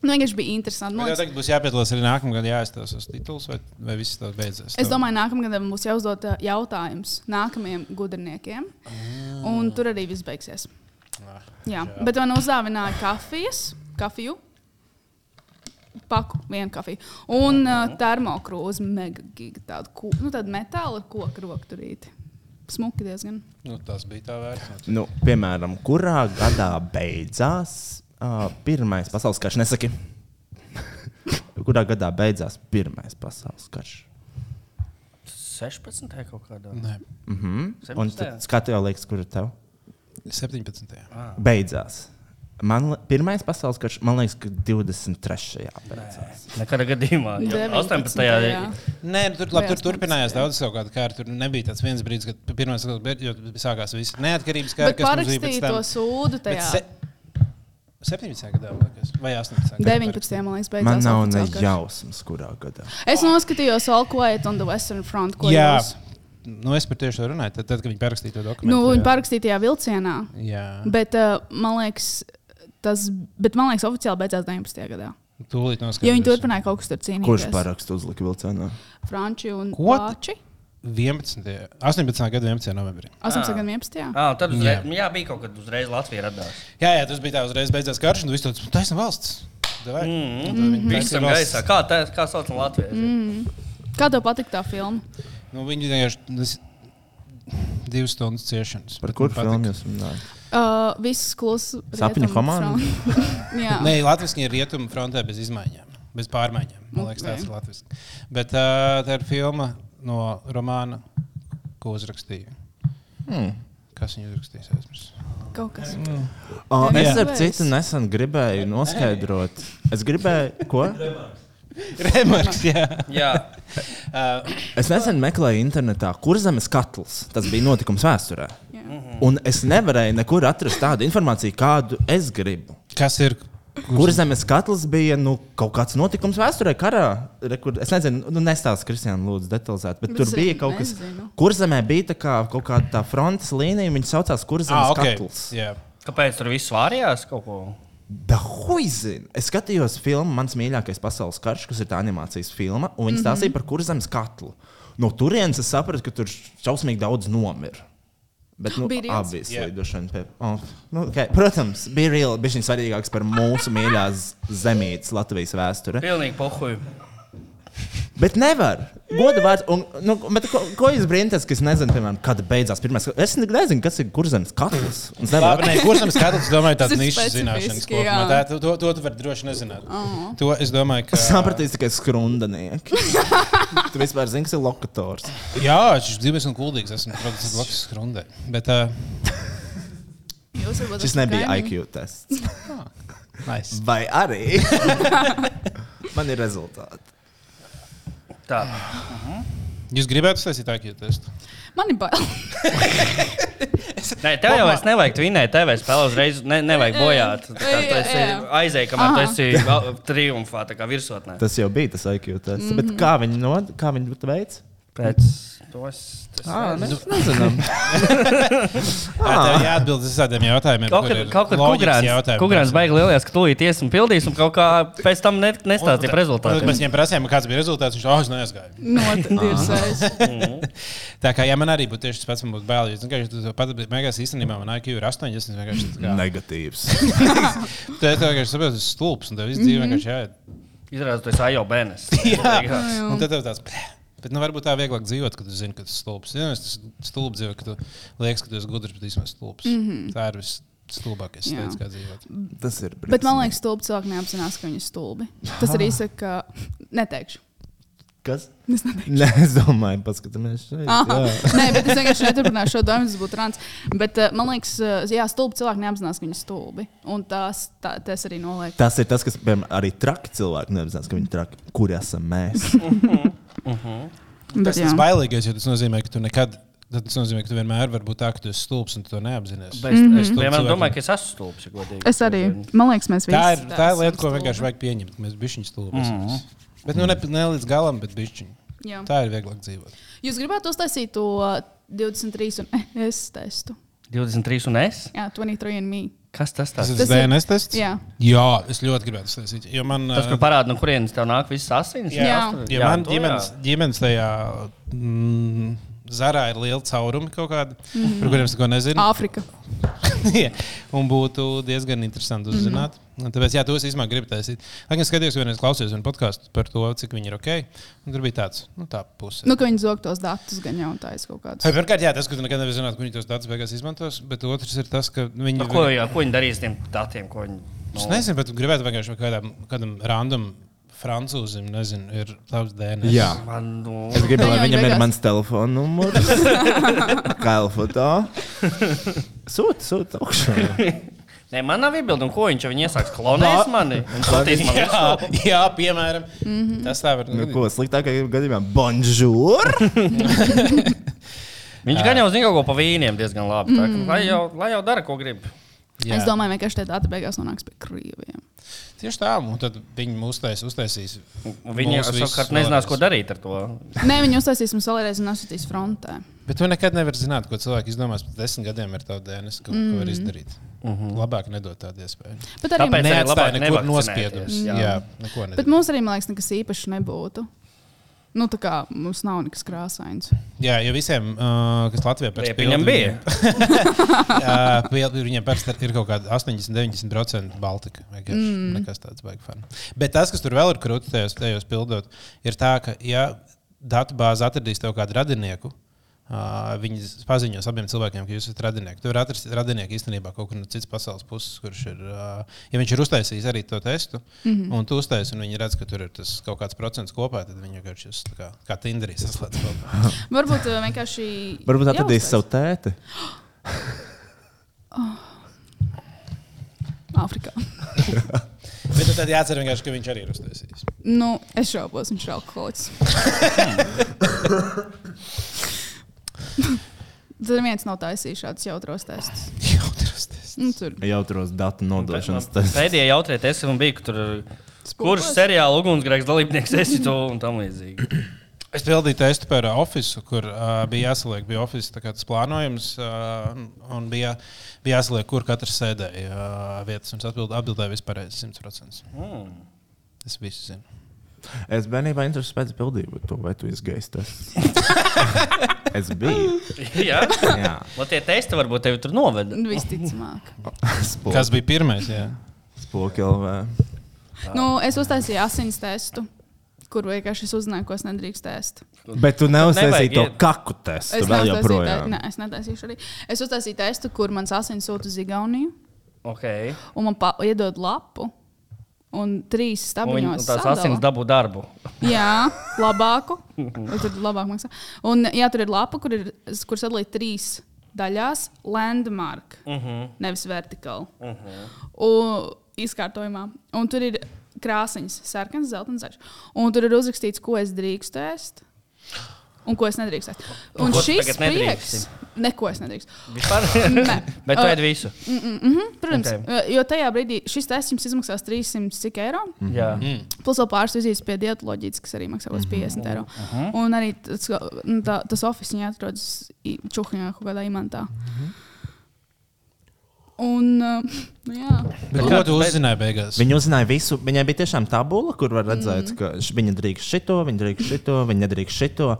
Nu, vienkārši bija interesanti. Man Man jau liekas, tagad būs jāpiedalās arī nākamgad, jāizstāsta uz tituls, vai, vai viss tas beidzies. Es domāju, nākamajā gadā būs jāuzdod ā, jautājums nākamajiem gudrniekiem. Ah. Un tur arī viss beigsies. Jā, bet man uzdāvināja kafijas, kafiju. Paku vienu kafiju. Un Mhm. uh, termokrūzi, mega giga tādu, ko- nu, tādu metālu ar koku rokturīti. Smuki diezgan. Nu, tas bija tā vērts. Nu, piemēram, kurā gadā beidzās uh, Pirmais pasaules karš? Nesaki, kurā gadā beidzās Pirmais pasaules karš? 16. kaut kādā. Nē, Mhm. Mhm. Un tad skatu jau liekas, kur ir tev 17. beidzās. Man, li- pirmais pasaules karš, man liekas, ka 23. beidzās. Nekādā gadījumā. Jā, 19. 18. jā. Nē, nu, tur, labi, tur Liels turpinājās daudz kaut kāda kārta. Tur nebija tāds viens brīdis, kad pirmā sākās viss neatkarības kārta, Bet kas mums bija pēc parakstīja tam. to sūdu Bet tajā. se- 17. gadā vai kas? vai 18. gadā? 19. man liekas, beidzās. Man nav ne oficiāls karš. jausmas, kurā gadā. Es noskatījos All Quiet on the Western Front. Ko Jā, jūs? nu, es par tieši to runāju. Tad, tad kad viņi parakstīja to dokumentu, Nu, jā. viņi parakstīja tajā vilcienā. Jā, Bet, uh, man liekas, tas bet, man liekas, oficiāli beidzās 19. gadā. Jo tūlīt viņi noskaidrosim. turpināja kaut kas tur cīnīties. Kurš parakstu uzlika vilcienā? Franči un Ko tu- Vāči. 11. 18. gada 11. novembrī. 18. un 11. Ah, tad uzreiz, jā. jā, bija kaut kad uzreiz Latvija radās. Jā, jā, tas bija tā uzreiz beidzās karš, un viss tāds - taisna valsts. Davai. Un tad Mhm. viņi Mm, Visam taisna valsts. gaisā. Kā, tā, kā sauc Latviju? Mm. Kā tev patika tā filma? Nu, viņi vienkārši tas- divas stundas ciešanas. Par Bet kuru man patika. Nu, filmu jūs runājat? Uh, viss klusa. Sapņu komanda? Jā, Nē, Latvijas ir rietumu frontē bez izmaiņām, bez pārmaiņām. Man liekas, tas ir Latvijas. Bet uh, tā ir filma no romāna, ko uzrakstīja. Hmm. Kas viņa uzrakstīja? Es aizmirsu. kaut kas. O, Nē, Es jā. ar citu nesen gribēju noskaidrot. Es gribēju, ko? Remarks, jā. Jā, Uh, Es nesen meklēju internetā, kur zemes katls. Tas bija notikums vēsturē. Jā. Mhm. Un es nevarēju nekur atrast tādu informāciju, kādu es gribu. Kas ir? Kur zemes katls bija nu, kaut kāds notikums vēsturē, karā? Re, kur, es nezinu, nu, nestāstu Kristiānu, lūdzu, detalizēti. Bet, Bet bet tur es bija kaut kas, nezinu. kur zemē bija tā kā, kaut kāda tā frontes līnija, viņas saucās Kur zemes ah, okay. katls. Jā. Kāpēc tur viss vārījās kaut ko? Dahuizin! Es skatījos filmu Mans mīļākais pasaules karš, kas ir tā animācijas filma, un viņi Mhm. stāstīja mm -hmm. par kurzemes katlu. No turienes es sapratu, ka tur šausmīgi daudz nomira. Bet, nu, Bija reāls? abas Jā. lidošanas pēc. Oh, nu, okay. Protams, bija reāli, bija šis svarīgāks par mūsu mīļās zemītes Latvijas eh? vēsture. Pilnīgi pohuļi. Bet nevar. Goda vārds. Un, nu, bet ko, ko jūs brīnīties, ka es nezinu, piemēram, kad beidzās pirmais? Es nezinu, kas ir kurzemes katls. Un es nevaru Labi, nē, kursam skatās, domāju, Tas ir tādas nišas specifiski, zināšanas. jā. kopumā. Tā, to, to, to tu vari droši nezināt. Oh. To es domāju, ka. Es sapratīju tikai skrundanieki. tu vispār zini, kas ir lokators. Jā, viņš ir dzīves un kuldīgs. Esmu produkts blakus skrundē. Bet, uh, Jūs varbūt Šis esat nebija kaimiņi. IQ tests. Ah, nice. Vai arī? Man ir rezultāti. Tā. Jūs gribētu sasīt IQ testu? Man ir bail. Nē, tev jau es nevajag tvinēt, tev es spēlēju uzreiz, ne, nevajag bojāt. Tā, tu Jā, esi jā. aizēji, kamēr tu esi gal- triumfā, tā kā virsotnē. Tas jau bija tas IQ tests. Mm -hmm. Bet kā viņi no, kā viņi to veids? Mhm. Pēc tos. Ah, Nu, mēs nezinām. Jā, tev jāatbild uz tādiem jautājumiem. Kaut kad, kaut kad Kukrāns, Kukrāns baigi lielījās, ka tūlīt ies un pildīs, un kaut kā pēc tam ne, nestāstīja par Tad mēs rezultātiem. viņiem prasījām, kāds bija rezultāts. Viņš "Ah, jau neaizgāja. Notirsais. Mhm. Tā kā jā, man arī būtu tieši tas pats, man būtu bail. Es vienkārši tādu pat beigās īstenībā man IQ ir 80. es vienkārši tā kā- Negatīvs. Tu esi vienkārši saproti, tas ir stulbs un tev viss dzīve vienkārši jāiet. Izrādās, tu esi Ajo Benes. Jā, un tad tev tāds. "Bleh." Bet, nu, varbūt tā ir vieglāk dzīvot, kad tu zini, ka tas ir stulbs. Jā, tas stulbs dzīvo, ka tu liekas, ka tu esi gudrs, bet īstenībā stulbs. Mm -hmm. Tā ir visstulbākais Jā. veids, kā dzīvot. Tas ir. Bet man liekas, stulbi cilvēki neapzinās, ka viņi ir stulbi. Tas arī saka, ka neteikšu. kas? Es neteikšu. Nē, es domāju, paskatāmies šeit. Aha. Jā. Nē, bet es vienkārši neturpināšu šo domu, tas būtu rāns. Bet eh, man liekas, eh, jā, stulbi cilvēki neapzinās, ka viņi ir stulbi. Un tās, tā, tas arī noliek. Tas ir tas, kas piemēram, arī traki cilvēki neapzinās, ka viņi ir traki. Kur esam mēs? Tas Mhm. Bet, ir jā. bailīgais, jo tas nozīmē, ka tu nekad. tad Tas nozīmē, ka tu vienmēr vari būt tā, ka tu esi stulbs un tu to neapzinājies. Es cilvēki. vienmēr domāju, ka es esmu stulbs, ja godīgi. Es arī, Mhm. man liekas, mēs visi. Tā ir, tā ir esam lieta, ko stulbi. vienkārši vajag pieņemt. ka Mēs bijām stulbi. Mhm. Mm -hmm. Bet nu, ne, ne līdz galam, bet bijām. Jā. Tā ir vieglāk dzīvot. Jūs gribētu uztaisīt to 23 un es testu. 23 eh, un es? Jā, 23 un me. Kas tas Tas tāds? ir Tas ir- DNS tests. Jā. jā, es ļoti gribētu sasīt. Jo man, Tas, ā, kur parāda, no kurienes tev nāk visas asins? Jā. Ja man to jā. ģimenes, ģimenes tajā mm, zarā ir liela cauruma kaut kāda, mm -hmm. par kuriem es neko nezinu. Mhm. Āfrika. Jā, un būtu diezgan interesanti Mhm. uzzināt. Mm -hmm. Tāpēc, jā, tos īstenībā gribu taisīt. Lai gan es skatījos, vienreiz klausījos vienu podkāstu par to, cik viņi ir ok. un Tur bija tāds, nu, tā puse. Nu, ka viņi zog tos datus gan jau un tā es kaut Vai, kādus. Pirmkārt, jā, tas, ka tu nekad nevari zināt, kur viņi tos datus beigās izmantos, bet otrs ir tas, ka viņi Nu, Ko, jā, ko viņi darīs ar tiem datiem? ko Viņi... nu- Es nezinu, bet gribētu vienkārši kādam, kādam randam francūzim, nezinu, ir tāds DNS. Jā. Man, nu, Es gribu, lai Viņam viņam ir beigās- mans telefona numurs. Kailfoto. Sūta, sūta augšā. nē, man nav iebildumu, ko viņš man iesāks. Klonēs mani. Un sūtīs man Jā, visu. jā, piemēram, mm Mhm. -hmm. tas tā var Nu, būt. ko sliktākajā gadījumā? Bonjour! Viņš gan jau zina kaut ko pa vīniem diezgan labi. Tā, ka, lai, jau, lai jau dara, ko grib. Mhm. Es domāju, vienkārši tie dati beigās nonāks pie krieviem. Tieši tā, un tad viņi mūs tais, uztaisīs. Un Viņi mūs visus savukārt nezinās, vēlreiz. ko darīt ar to. Nē, viņi uztaisīs mums vēlreiz un nosūtīs frontē. Bet tu nekad nevari zināt, ko cilvēki izdomās pēc desmit gadiem ar tādu DNS, ko, mm. ko var izdarīt. Mm -hmm. Labāk nedot tādu iespēju. Bet arī Mhm. Tāpēc- Tāpēc... arī labāk Neatstāj nekur nevakcinēties, nospiedumus. jā. Jā. jā, neko nedara. Bet mums arī, man liekas, nekas īpašs nebūtu. Nu, tā kā mums nav nekas krāsains. Jā, jo visiem, uh, kas Latvijā pēc Liepiņam pildu bija. viņiem- Jā, pildu viņiem parasti ir kaut kāda 80-90% Baltika. Mm. Nekas tāds baigi fani. Bet tas, kas tur vēl ir krūtis, tajos, tajos pildot, ir tā, ka ja datubāze atradīs tev kādu radinieku. Uh, viņi paziņos abiem cilvēkiem, ka jūs esat radinieki. Tur var atrast radinieku īstenībā kaut kur no citas pasaules puses, kurš ir. Uh, ja viņš ir uztaisījis arī to testu, mm -hmm. un tu uztaisīji, un viņi redz, ka tur ir tas kaut kāds procents kopā, tad viņi vienkārši jūs tā kā, kā Tinderī saslēdz kopā. Varbūt eh, vienkārši. Varbūt atradīs jāuztais. savu tēti. Ah. Āfrikā. Bet nu tad jāatcer vienkārši, ka viņš arī ir uztaisījis. Nu, es šaubos, viņš ir alkoholiķis. Tad neviens nav taisījis šādus jautros testus. Jautros testus. Nu, tur Jautros datu Nu, nodošanas tests. Pēdējā jautrē testā man bija, ka tur, kurš seriāla ugunsgrēks dalībnieks esi tu un tam līdzīgi. Es pildīju testu par uh, oficiālu, kur uh, bija jāsaliek, bija oficiāls plānojums, uh, un bija, bija jāsaliek, kur katrs sēdēja uh, vietas. Un es atbild, atbildēju vispār 100%. Mm. Es visu zinu. Es bērnībā interesēju pēc pildījuma, to vai tu esi gejs. tests. es biju. Jā, Jā. Lai tie testi varbūt tevi tur noveda. visticamāk. Spok- Kas bija pirmais? Jā, Spoki LV. Nu, es uztaisīju asins testu, kur vienkārši es uzzināju, ko es nedrīkstu testēt. Bet tu neuzsēsīji nevajag to iet. kaku testu Es vēl neuztaisīju te- joprojām. nē, es netaisīšu arī. Es uztaisīju testu, kur mans asins sūta uz Igauniju, Okay. un man pa- iedod lapu. Un trīs Un Viņa un stabiņos. tās sadala. asins dabū darbu. Jā, labāku. Vai Tur labāk maksā. Un jā, tur ir lapa, kur ir kur sadalīta trīs daļās - landmark, uh -huh. nevis vertikāli. Uh Mm-hmm. -huh. Izkārtojumā. Un tur ir krāsiņas, sarkans, zelta un zaļš. Un tur ir uzrakstīts, ko es drīkstu ēst. Un ko es nedrīkstu? ēst. Un Ko tu šis tagad prieks, nedrīksti? neko es nedrīkstu. Vispār? Nē. Bet tu Uh, mhm, ēd visu. Protams, Ok. okay. jo tajā brīdī šis tests jums izmaksās 300 cik eiro. Mm. Jā. Plus vēl pāris vizītes pie dietoloģijas, kas arī maksā kaut kāds Mhm. 50 eiro. Un arī tas, nu, tā, tas oficiāli atrodas I- Čuhņā, kaut kādā imantā. Mhm. Un, uh, nu jā, Bet ko tu uzzināji beigās? Viņa uzzināja visu. Viņai bija tiešām tabula, kur var redzēt, mm. ka š- viņa drīkst šito, viņa drīkst šito, viņa nedrīkst šito.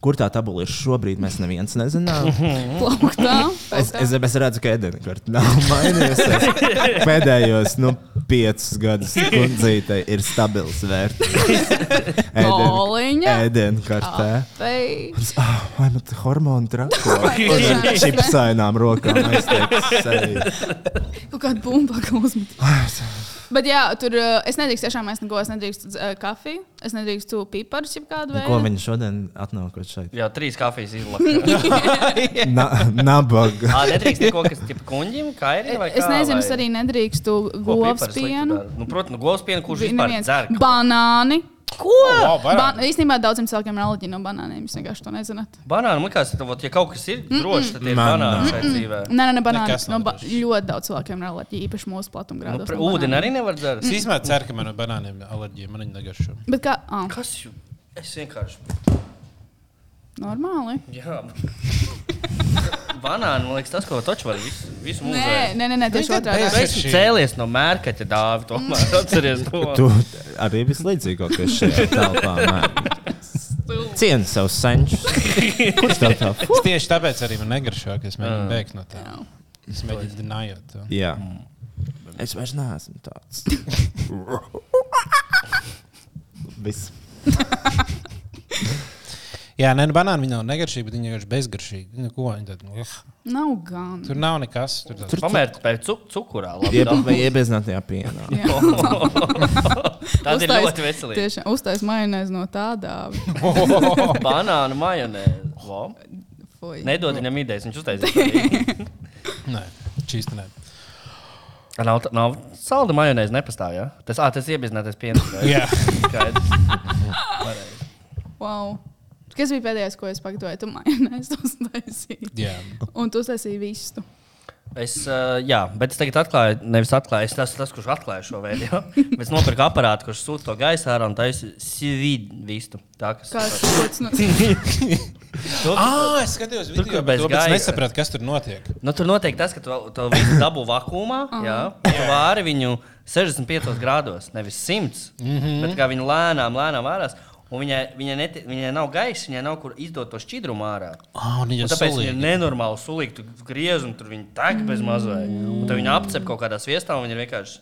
Kur tā tabula ir šobrīd, mēs neviens nezinām. plauktā. Es, es, es redzu, ka Edina kartē nav mainījusies. Pēdējos nu, piecus gadus kundzīte ir stabils vērtības. Boliņa. Edina kartē. Vai- Ah, Vai man te hormoni trako? Uz ar čipsainām rokām aiztiekas sevi. Kaut kāda bumba, kā uzmet. Bet jā, tur uh, es nedrīkstu tiešām ēst neko. Es nedrīkstu uh, kafiju, es nedrīkstu piparus, jeb kādu Ko veidu. viņi šodien atnākot šeit? Jā, trīs kafijas izlaiž. Na, nabaga. Jā, nedrīkst neko, kas ir kuņģim, kā ir. Eh, Es nezinu, es arī nedrīkstu govs pienu. Nu, protams, nu, govs pienu, kurš vispār Neviens. dzer. Banāni. Ko? Wow, Oh, wow, ba banāni. īstenībā daudziem cilvēkiem ir alerģija no banāniem. Jūs vienkārši to nezināt. Banāni, man liekas, tad, vot, ja kaut kas ir drošs, tad ir banāni šai dzīvē. Nē, nē, nē, banāni. Nekas No nav ba drošs. ļoti daudz cilvēkiem ir alerģija, īpaši mūsu Nu, platumgrādos. pre- no Ūdeni banāniem. arī nevar dzert. Es īstenībā ceru, ka man ir banāniem alerģija. Man viņa negaršo. Bet kā? Ah, Kas jūs? Es vienkārši. normāli. Jā. Banāni, man liekas, tas, ko točs var visu, visu mūžu. Nē, nē, nē, nē tieši Tagad otrādi. bez- Es esmu cēlies no mērķa, dāvi. Tomēr Mm. atceries Tu to. arī vislīdzīgākais šajā telpā. man. Cieni savus senčus. Kurš tev tā? Es tieši tāpēc arī man negaršo, ka es mēģinu beigt no tā. Es mēģinu denājot to. Jā. Mm. Es vairs neesmu tāds. Viss. Jā, nē, nu, banāni viņa nav negaršīga, bet viņa vienkārši bezgaršīga. Nu, ko viņa tad? Ugh. Nav gan. Tur nav nekas. Tur tur Pamērt pēc cu- cukurā. labi, Ieb- dāvi. Vai iebēzinātajā pienā. Tas ir Uztais- ļoti veselīgi. Tiešām uztais majonēzi no tādā. Banānu majonēzi. Wow. Fuj. Nedod viņam idejas, viņš uztaisīja. nē, čīsti nē. nav, tā- nav salda majonēzi nepastāv, jā? Ja? Tas, ā, tas iebizinātais piens. Jā. Skaidrs. Wow. Kas bija pēdējais, ko es pagatavoju? Tu majonēzi uztaisīji. Jā. Un tu uztaisīji vistu. Es, uh, jā, bet es tagad atklāju, nevis atklāju, es esmu tas, kurš atklāja šo veidu. jā. Bet es nopirku aparātu, kurš sūta to gaisā ārā un taisa sivīdu vistu. Tā, kas... Kāds tas no... Ah, es skatījos, Tur, video, kur bet bez to, bet es gaisa. nesapratu, kas tur notiek. Nu, tur notiek tas, ka tu, tu visu dabū vakumā, jā, un tu vāri viņu 65 grādos, nevis 100. Mm Mhm. -hmm. Bet kā viņi lēnām, lēnām vārās. un Viņai, viņai, neti, viņai nav gaisa, viņai nav kur izdot to šķidrumu ārā. Ah, un Un viņa tāpēc viņi ir solīja. nenormāli sulīgi. Tu griez un tur viņi tek bez mazā. Un tad viņi apcep kaut kādā viestā un viņi ir vienkārši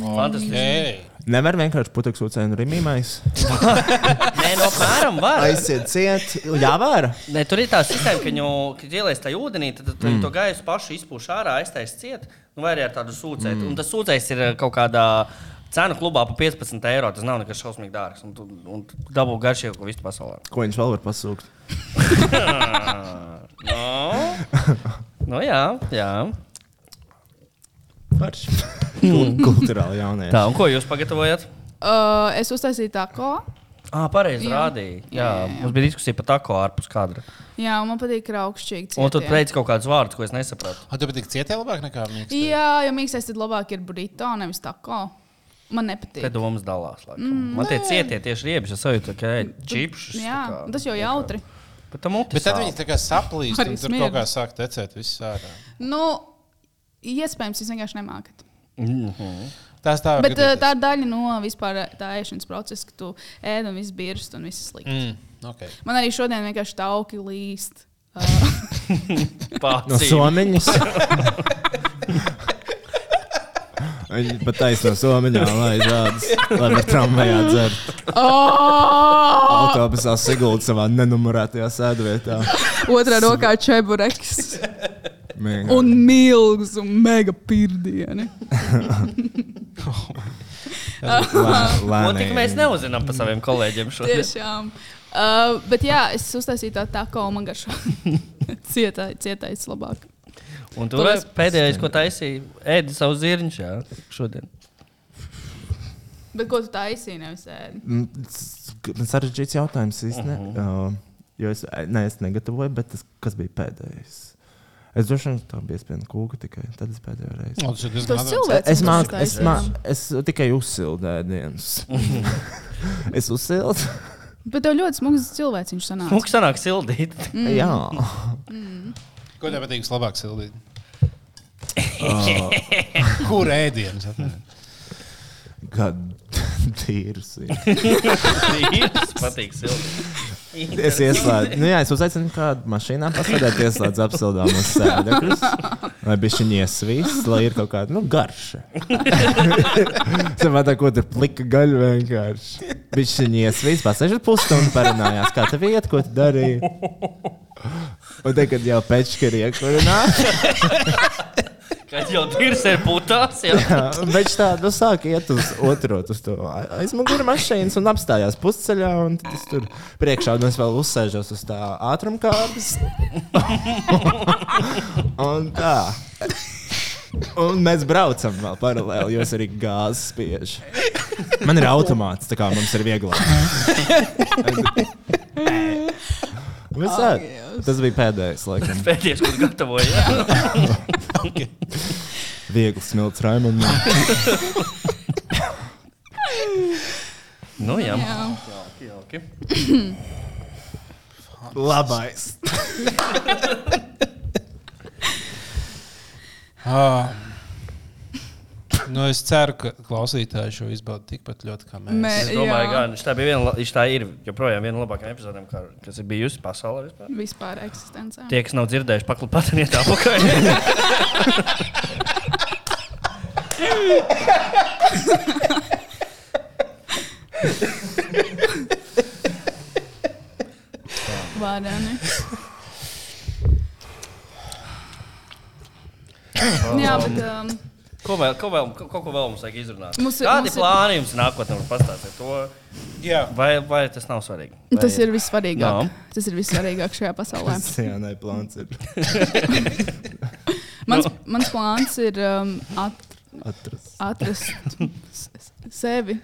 fantastiski. Ei, Nevar vienkārši putekļus ūdeni rimīmais. Nē, no apmēram var. Aiziet, ciet. Jā, var. Nē, tur ir tā sistēma, ka viņu kad ieliec tajā ūdenī, tad, tad mm. to gaisu pašu izpūš ārā, aiztais ciet, nu, vai arī ar tādu sūcēju. Mm. Un tas sūcējs ir eh, kaut kādā cenu klubā pa 15 eiro. Tas nav nekas šausmīgi dārgs. Un tu, un tu dabū garšīgu visu pasaulē. Ko viņš vēl var pasūkt? No? nu, jā, jā. Kul- Kulturāli jaunieši. Mm. Tā, un ko jūs pagatavojat? uh, es uztaisīju tā ko. Ah, pareizi Jā. rādīja. Jā, jā, Jā, jā, jā, jā. mums bija diskusija par tā, ko ārpus kadra. Jā, un man patīk kraukšķīgi. Un tad cietie. teica kaut kādus vārdus, ko es nesapratu. Un tu patīk cietē labāk nekā mīkstā? Jā, jo mīkstais tad labāk ir burrito, nevis tako. Man nepatīk. Te domas dalās. Mm, Man tie cietie tieši riebas, es sajūtu, ka ej, čipšus. Jā, tā kā. tas jau jautri. Bet tam utis. Bet tad viņi tā kā saplīst, Arī un tur smirda. kaut kā sāk tecēt viss ārā. Nu, iespējams, jūs vienkārši nemākat. Mhm. Tās tā var Bet uh, gadīties. tā ir daļa no vispār eh, tā ēšanas procesa, ka tu ēd un viss birst un viss slikti. Mm, okay. Man arī šodien vienkārši tauki līst. Uh, No somiņas. Viņa pat taisno somiņā, lai zādas, lai var tramvajā dzert. oh! Autobusā sigulda savā nenumurētajā sēdvietā. Otrā rokā čebureks Mīgā. un milgs un mega pirdieni. Oh Ko tik mēs neuzinām par saviem kolēģiem šodien? Tiešām. Uh, bet jā, es uztaisīju tā tā, ko man garšo. Cietai, cietais labāk. Un tur Paldies. pēdējais, ko taisīja, ēdi savu zirņš, jā, šodien. Bet ko tu taisīji, nevis ēdi? Mm, s- s- Sarežģīts jautājums īstenībā. Uh, jo es, ne, es negatavoju, bet tas, kas bija pēdējais? Es droši vien tā bija spēļu kūka tikai tad es pēdējo reizi. Tas ir diezgan Tas labi. Es, cilvēks. kas māk, taisīja. es, māk, es tikai uzsildēju dienas. es uzsildu. Bet tev ļoti smags cilvēks viņš sanāca. Mums sanāk sildīt. Mm. Jā, Ko tev patīk labāk sildīt? Oh. Kur ēdienas? atnāk? gada tīrs. ir. Tīrs, patīk sildīt. Es ieslēdzu, nu jā, es uzaicinu kādu mašīnā pasēdēt, ieslēdzu apsildāmus sēdekļus, lai bija šī iesvīsts, lai ir kaut kāda, nu, garša. Samētā, ko tur plika gaļa vienkārši. Bija šī iesvīsts, pasēžat pusstundu parunājās, kā tev iet, ko tu darīji. Un tagad jau pečka ir iekurināt, Kad jau tīrs ir putās, jā. bet tā, nu, sāk iet uz otro, uz to aizmuguri mašīnas un apstājās pusceļā, un tad es tur priekšā, un es vēl uzsēžos uz tā ātrumkārtas. Un tā. Un mēs braucam vēl paralēli, jo es arī gāzi spiežu. Man ir automāts, tā kā mums ir vieglāk. Oh, Visādi. Tas bija pēdējais, laikam. Pēdējais, ko gatavoju, jā. Viegli smilts Raimondam. Nu, jā. Jā. Jauki, jauki. Labais. Ā. Ah. Nu, es ceru, ka klausītāji šo izbaudi tikpat ļoti kā mēs. Mē, Es domāju, jā, ka nu, tā bija viena, la- viņš tā ir joprojām viena no labākajām epizodēm, kā- kas ir bijusi pasaulē. Vispār. vispār eksistencē. Tie, kas nav dzirdējuši, paklapātiet apakšā. Vārēni. Jā, bet um, Ko vēl, ko vēl, ko, ko vēl mums vajag izrunāt? Mums ir- Kādi mums ir- plāni jums nākotnē var pastāstīt? To? Jā. Vai, vai tas nav svarīgi? Vai... tas ir vissvarīgāk. Nav. Tas ir vissvarīgāk šajā pasaulē. Tas jā, nu. nē, plāns ir Mans, mans plāns ir um, at, atrast atrast s- s- sevi.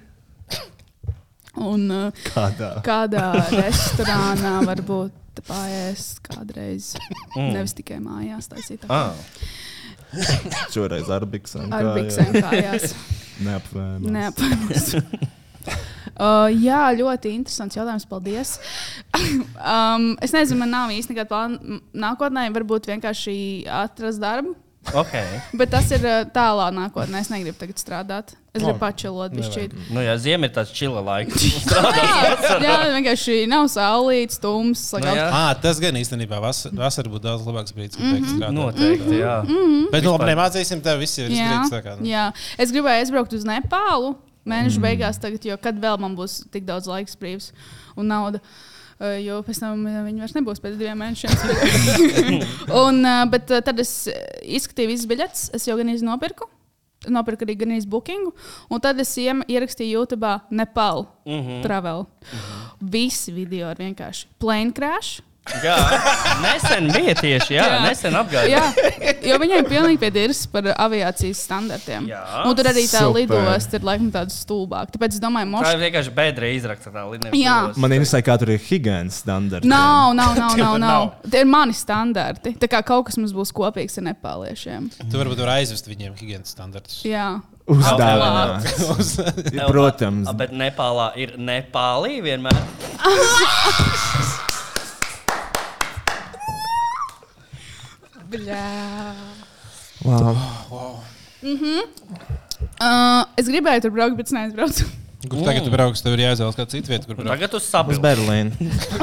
Un uh, kādā. kādā restorānā varbūt paēst kādreiz. Mm. Nevis tikai mājās taisīt. tā. Ah, Šoreiz ar biksēm. Ar biksēm kājās. Neapvēlēt. Neapmainos. Uh, jā, ļoti interesants jautājums. Paldies. um, es nezinu, man nav īsti nekāda plāna m- nākotnē. Varbūt vienkārši atrast darbu. ok. Bet tas ir uh, tālā nākotnē. Es negribu tagad strādāt. Es gribu Labi. pačelot, bišķīt. Nu, jā, ziem ir tāds čila laiks. Jā, jā, vienkārši nav saulīts, tums. Nu, jā. Sagaut, Ah, tas gan īstenībā vasar, vasar būtu daudz labāks brīdis, kad mm -hmm. Noteikti, jā. Bet nu, labi, nemācīsim tev viss ir jā, izdarīts. tā kā, nu. jā. Es gribēju aizbraukt uz Nepālu mēneša mm. beigās, tagad, jo kad vēl man būs tik daudz laiks brīvs un nauda. uh, Jo pēc tam uh, viņi vairs nebūs pēc diviem mēnešiem. un, uh, bet uh, tad es uh, izskatīju visas biļetes, es jau gan iznopirku. Nopirku arī gan īstenību, un tad es iem- ierakstīju Mhm. YouTube, Nepālu, mm -hmm. Travel. Mm -hmm. Visi video ir vienkārši plane crash, Jā, nesen bija tieši, jā, jā. nesen Jā, apgājās. jo viņiem pilnīgi piedirs par aviācijas standartiem. Jā. Un tur arī tā Super. lidosta ir laikam tāda stulbāka. Tāpēc es domāju, Tā moš... ir vienkārši bedra izrakta tā līnija. Jā. Man interesē, kā tur ir higiēnas standarti. Nav, nav, nav, nav, nav. Nav. Tie ir mani standarti. Tā kā kaut kas mums būs kopīgs ar nepāliešiem. Tu varbūt tur aizvest viņiem higiēnas standartus. Jā. Uzdāvināt. Protams. Bet Nepālā ir Nepālī vienmēr. Bļā. Mhm. Wow. Uh, es gribēju tur braukt, bet es neizbraucu Kur tagad tu brauks, tev ir jāizvēlas kāda cita vieta, kur braukt. Tagad tu Uz saproti. Berlīnu.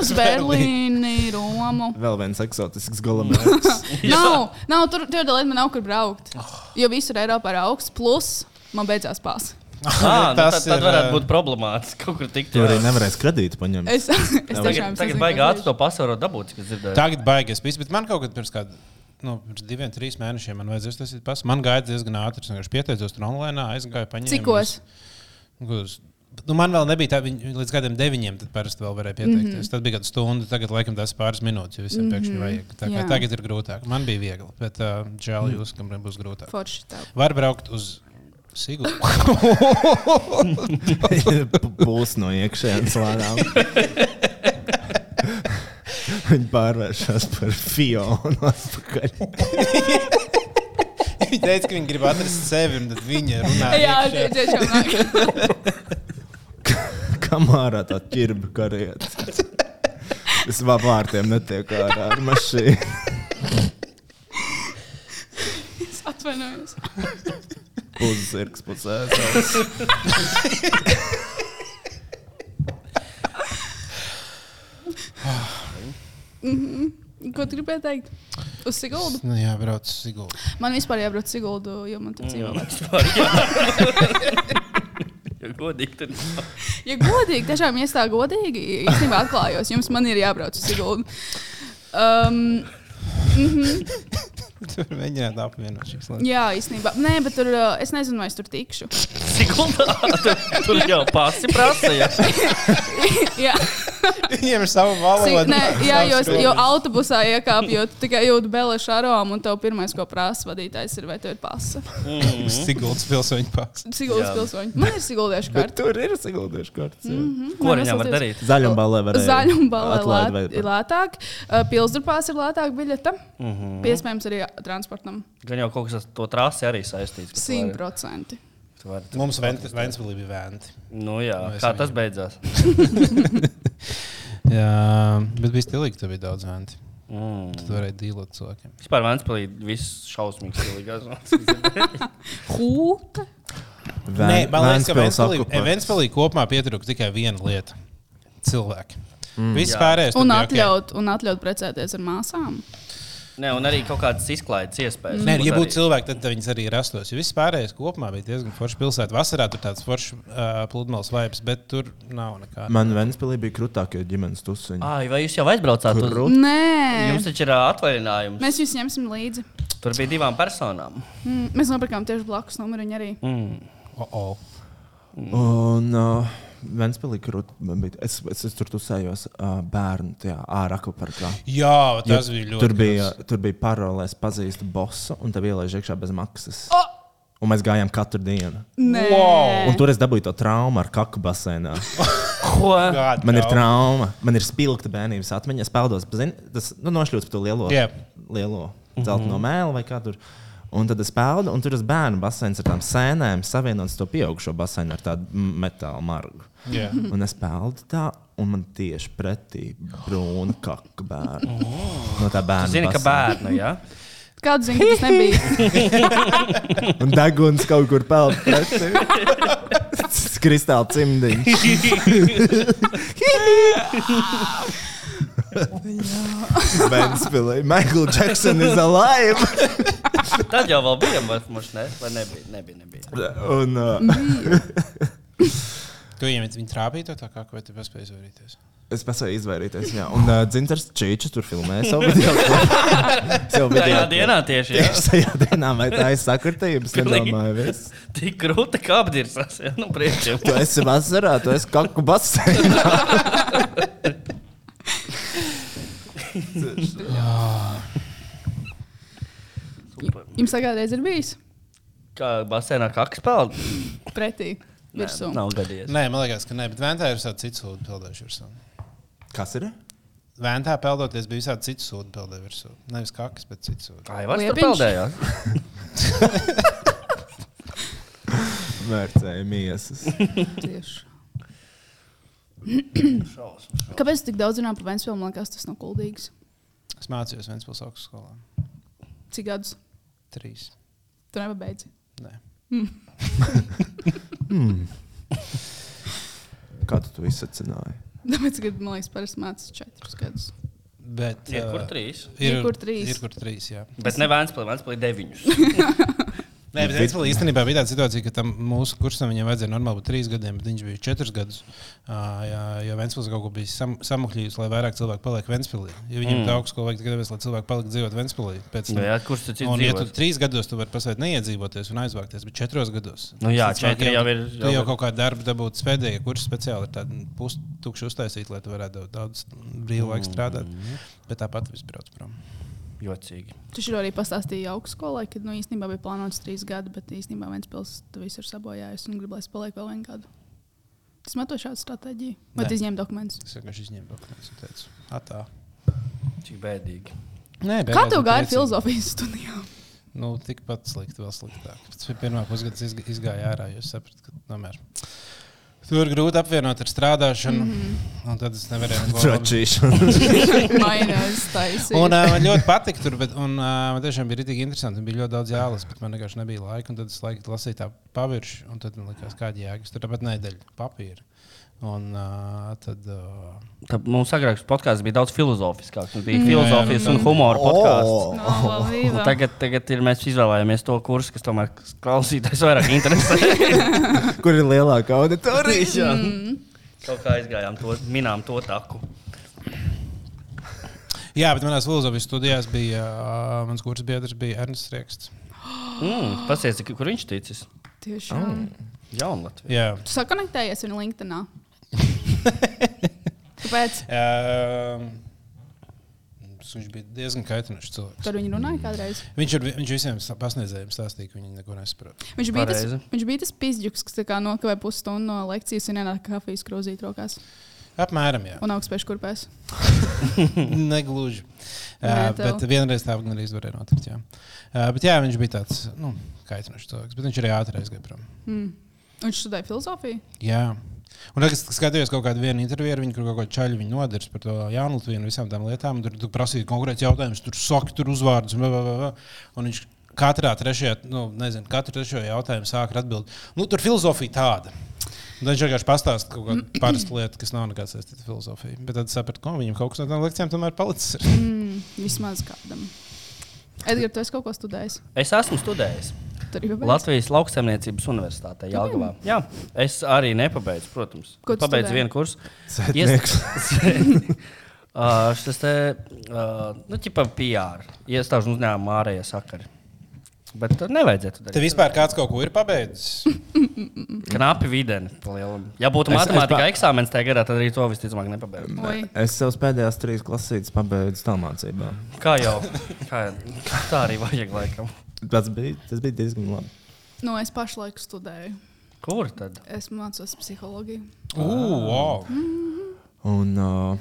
uz Berlīni, Romu. Vēl viens eksotisks galamērķis. Nav, nav tur tur tā līnija, man nav kur braukt. Oh. Jo visur Eiropā ir augsts, plus man beidzās pās. Ah, nu, tad, Tas tad ir, varētu ā, būt problemātiski kaut kur tikt. Tur arī jā. nevarēs kredītu paņemt. Es, es tiešām Tagad, tagad baigā ātri to pasvaru dabūt, kas dzirdēju. Tagad baigies viss, bet man kaut kad pirms kāda. Nu, pirms diviem, trim mēnešiem man vajadzēja tas pats. Man gāja diezgan ātri. Es vienkārši pieteicos tur online, aizgāju, paņēmu. Cikos? Gudrs. Nu, man vēl nebija tā, viņi līdz gadiem deviņiem tad parasti vēl varēja pieteikties. Mhm. Mm -hmm. Tad bija kāda stunda, tagad laikam tas ir pāris minūtes, jo visiem mm -hmm. pēkšņi vajag. Tā kā Jā. Mhm. tagad ir grūtāk. Man bija viegli, bet uh, žēl jūs, kam būs grūtāk. Forši tev. Var braukt uz Sigūdu. Būs no iekšienes lēnām. Viņa pārvēršas par Fionu. atpakaļ. Viņa teica, ka viņi grib atrast sevi, un tad viņa runā. Jā, iekšā. tie tiešām nāk. Kamārā tā ķirba kariet. Es vēl vārtiem netiek ārā ar mašīnu. Es atvainojos. Puzzirgs pusēs. Mhm. Ko tu gribēji teikt? Uz Siguldu? Nu, jā, braukt uz Sigūdu. Man vispār jābrauc uz Siguldu, jo man tur dzīvo. vecāki. Ja godīgi, tad Ja godīgi, tiešām ja es tā godīgi, īstenībā atklājos, jums man ir jābrauc uz Siguldu. Um, mhm. Tur mēģināt apvienot šīs lietas. jā, īstenībā. Nē, bet tur, uh, es nezinu, vai es tur tikšu. sekundā tur, tur jau pasi prasa. Ja. jā, Viņiem ir sava Cik, valoda. nē, jā jo, es- jo autobusā iekāpjot, tikai jūtu belešu aromu, un tev pirmais, ko prasa vadītājs, ir, vai tev ir pasa. Mhm. Mm. Sigūdas pilsēņa pats. Siguldas pilsoņi. Man ir Mhm. Siguldiešu Bet karte. tur ir siguldiešu kārtas. Mm Ko viņam var darīt? Zaļam balē var Zaļuma balva ir lētāk, uh, pilsdurpās ir lētāk biļete. Mm Mhm. -hmm. Piespējams, arī transportam Gan jau kaut kas ar to trasi arī saistīts. ka tu vari- 100%. tu vari- Mums Vēnsburgā bija venti. Nu jā, es kā arī- tas beidzās? Jā, bet bija stilīgi, ka bija daudz venti. Mm. Tad varēja dīlot cilvēkiem. Vispār Vanspēlī viss šausmīgs ilgās. Hūta. Nē, man liekas, ka Vēnspils Vēnsburgā kopumā pietrūka tikai viena lieta - cilvēki. Mm. Viss pārējais Un tur bija ok. atļaut, un atļaut precēties ar māsām. Nē, un arī kaut kādas izklaides iespējas. nu, Nē, ja Varbūt būtu arī. cilvēki, tad viņas arī rastos. Jo viss pārējais kopumā bija diezgan forši pilsētā. Vasarā tur tāds foršs uh, pludmales vibes, bet tur nav nekā. Man Vēnspilī bija krūtākie ģimenes tusiņi. Ai, vai jūs jau aizbraucāt? Uz... Krūtāk. Nē, Jums taču ir ā, atvaļinājums. mēs jūs ņemsim līdzi. Tur bija divām personām. Mm, Mēs nopirkām tieši blakus numuriņu arī. Oh -oh. Mm. Un uh, Vēnspilī krūtākie. Es, es, es tur tusējos uh, bērnu tajā ārā akvaparkā. Jā, tas Jo bija ļoti. Tur bija, tur bija parolēs, pazīstu bosu, un tev ielaiž iekšā bez maksas. Oh! Un mēs gājām katru dienu. Nē, Un tur es dabūju to traumu ar kaku basēnā. Ko? Kāda Man ir trauma, man ir spilgta bērnības atmiņa. Es peldos, zini, tas nu, nošļūts par to lielo, Jā. Mhm. lielo zelta no mēla vai kā tur. Un tad es peldu, un tur ir bērnu basēns ar tām sēnēm, savienots to pieaugušo basēnu ar tādu mm, metālu margu. Jā. Un es peldu tā, un man tieši pretī brūna kaka bērna. No tā bērna. Zini, ka baseina. bērnu, jā? kāda ziņa tas nebija? Un deguns kaut kur peld pretī. Tas Kristāla cimdiņš. Ventspilī. Michael Jackson is alive. Tad jau vēl bija, bet mums ne, vai nebija, nebija, nebija. Un, uh, Tu viņiem viņi trāpīja to tā kā, vai tu paspēji izvairīties? es paspēju izvairīties. Jā. Un uh, dzintars Čīčs tur filmēja savu video. Savu Tajā klipu. dienā tieši, jā. Tieši tajā dienā, vai tā ir sakritības, Pilnīgi. nedomāju. viss. Tik grūti kā apdirsās, jā, nu priekšā. Tu esi vasarā, tu esi kaku basēnā. Jums tā kādreiz ir bijis Kā basēnā kakas peld? pretī virsū. Nav gadījies. Nē, man liekas, ka nē, bet Vēntā ir visādi cits sūdu peldējuši virsū. Kas ir? Vēntā peldoties bija visādi cits sūdu peldē virsū. Nevis kakas, bet cits sūdu. Ai, var tur Liepiņš? peldējāt? Vērtēja miesas. Tieši. Kāpēc tik daudz runā par Vēnspilsnu? Man liekas, tas nav kuldīgs. Es mācījos Vēnspils augstskolā. Cik gadus Trīs. tu Mm. nepabeidzi? Nē. Hmm. Kā tu to izsacināji? Tāpēc, kad man liekas, parasti mācās četrus gadus. Bet, eh, Tie, ā, kur trīs? Ir kur trīs. Ir kur trīs, jā. Bet ne Vēnspilī, Vēnspilī deviņus. Nē, bet Vēnspils īstenībā bija tāda situācija, ka tam mūsu kursam viņam vajadzēja normāli būt trīs gadiem, bet viņš bija četrus gadus. ā, Jā, jo Vēnspils kaut ko bija sam, samukļījis, lai vairāk cilvēku paliek Vēnspilī. Jo viņam mm. daudz ko vajag tikai tāpēc, lai cilvēki paliek dzīvot Vēnspilī. Pēc tam. Nu jā, kurš tu citu Un, ja tu dzīvot? trīs gados tu vari pasēt neiedzīvoties un aizvākties, bet četros gados. Nu jā, tas cilvēki četri jau ir- Tu jau jau ir- kaut kādu darbu dabūti spēdējā, kurš speciāli ir tāda pustukša uztaisīta, lai tu varētu daudz brīvu laiku strādāt. Bet tāpat viss brauc prom. Mm. Jocīgi. Tu šo arī pastāstīji augstskolai, kad nu, īstenībā bija plānots trīs gadi, bet īstenībā Vēnspilsna to visu ir sabojājusi un grib, lai es palieku vēl vienu gadu. Es metu šādu stratēģiju. Vai Nē. tu izņem dokumentus? Es vienkārši izņēmu dokumentus un teicu, atā. Cik bēdīgi. Nē, Kā beigās tev bija gāja priecīgi. filozofijas studijā? Nu, tikpat slikti, vēl sliktāk. Tas bija pirmā pusgada izg izgāja ārā, jo es sapratu, ka tomēr. Tur ir grūti apvienot ar strādāšanu, mm Mhm. -hmm. un tad es nevarēju neko labi- Tračīšana. Mainās taisnība. Un, uh, man ļoti patika tur, bet, un, uh, man tiešām bija rītīgi interesanti. un Bija ļoti daudz jālasa, bet man vienkārši nebija laika. un Tad es laikam lasīju tā pavirši, un tad man likās, kāda jēga. Es Tur tāpat nedēļa papīra. Un uh, tad. Uh, Tad mums agrākais podkāsts bija daudz filozofiskāks. un Bija filozofijas Mm. un Oh. humora podkāsts. Un Nē, Tagad, tagad ir, mēs izvēlējāmies to kursu, kas tomēr klausītājs vairāk interesē. Kur ir lielākā auditorija? Kaut kā aizgājām to, minām to taku. jā, bet manā filozofijas studijās bija uh, mans kurs biedrs, bija Ernsts Rieksts. Mm, Pasies, kur viņš ticis? tieši tā. Oh. Jaunlatvijā. Jā. Tu sakonektējies viņu LinkedInā. Kāpēc? Um, Viņš bija diezgan kaitinošs cilvēks. Mm. Par viņu runāja kādreiz. Viņš, ir, vi- viņš visiem sa- pasniedzējiem stāstīja, ka viņi neko nesaprot. Viņš bija tas, Pareizi. viņš bija tas pizģis, kas tā kā nokavēja pusstundu no lekcijas un ienāca kafijas krūzīt rokās Apmēram tā. un augstspēju kurpēs. Negluži. Nē, Uh, tev. bet vienreiz tā gan arī varēja notikt. Jā. Uh, bet jā, viņš bija tāds nu, kaitinošs cilvēks, bet viņš arī ātri aizgāja prom. Mm. Un Viņš studēja filozofiju. Jā. Un tagad es skatījos kaut kādu vienu interviju ar viņu, kur kaut kāda čaļa viņa nodarbojas par to jaunu Latviju un visām tām lietām. un Tur, tur prasīja konkrēts jautājums, tur saka, tur uzvārds. Un, bla, bla, bla, bla. un viņš katrā trešajā, nu, nezinu, katru trešo jautājumu sāk ar atbildi. Nu, tur filozofija tāda. Un tad Viņš vienkārši pastāsta kaut kādu parastu lietu, kas nav nekāds saistīts ar filozofiju. Bet tad sapratu, ka viņam kaut kas no tām lekcijām tomēr palicis. Mm, vismaz kādam. Edgars, tu esi kaut ko studējis. Es esmu studējis Tur arī pabeidz? Latvijas Lauksaimniecības Universitātē Jāgavā. Jā, es arī nepabeidu, protams. Ko tu Pabeidzu studēji? vienu kursu. Cetnieks. Uh, šis te, uh, nu, tipā PR, iestāžu uzņēmuma ārējie sakari. Bet tur nevajadzētu Tev tādu vispār kāds kaut ko ir pabeidzis? knapi vidēni. pa lielam. Ja būtu Es- es matemātikā pa- eksāmenis tajā gadā, tad arī to visticamāk nepabeigtu. Oi, Es sev pēdējās trīs klasītes pabeidzu tālmācībā. Kā jau? Kā, tā arī vajag laikam. Tas bija, tas bija diezgan labi. nu, es pašlaik studēju. Kur tad? Es mācos psiholoģiju. Ugh, wow! Mhm. Un, uh,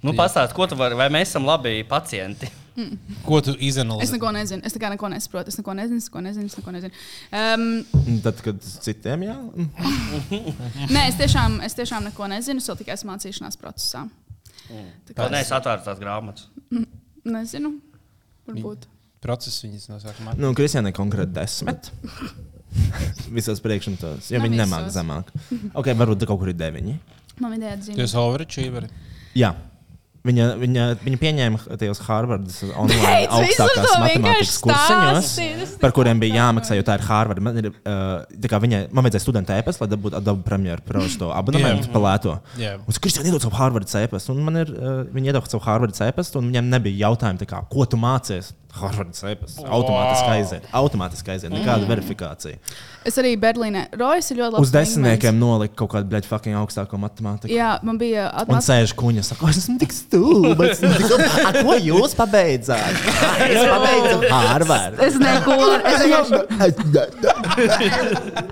Nu, pastāst, ko tu vari, vai mēs esam labi pacienti? Mm. Ko tu Es izanalizēji? neko nezinu. Es tā kā neko nesaprotu. Es neko nezinu. Es neko nezinu. Es neko nezinu. Um, un tad, kad citiem jā, mm, nē, es tiešām, es tiešām neko nezinu. Es vēl tikai esmu mācīšanās procesā. Tā kā Tad nē, es atvēru tās grāmatas. nezinu. Varbūt. Process viņas no sākuma. nu, Kristiānai konkrēti desmit. Visās priekšmetās, jo Ne viņi visos. nemāca zemāk. Ok, varbūt kaut kur ir deviņi. Man ideja Tu atzīmēt. esi overachieveri. Jā. Viņa, viņa, viņa pieņēma tajos Harvardas online Beidz, visur augstākās to matemātikas vienkārši stāsti, kursiņos, tas par kuriem bija jāmaksā, jo tā ir Harvarda. Man, ir, uh, tā kā viņai- man vajadzēja studenta ēpas, lai dabūtu dabu premjeru praustu abonementu par lēto. Jā. Un es Kristiāna iedod savu Harvardas ēpas, un man ir, uh, viņa iedod savu Harvardas ēpas, un viņam nebija jautājumu, tā kā, ko tu mācies Harvards e-pasts. Automātiski aiziet. Automātiski aiziet. Nekāda verifikācija. Es arī Berlīnē. Rojas ir ļoti Mm. labs. Uz desmitniekiem nolika kaut kādu bleģu fucking augstāko matemātiku. Jā, man bija Un atmācība. sēž kuņa, saka, "Oh, es esmu tik stulba. Es esmu tik stulba. "A, Ko jūs pabeidzāt? "A, Es pabeidzu Harvardu. Es neko. Es vienkārši,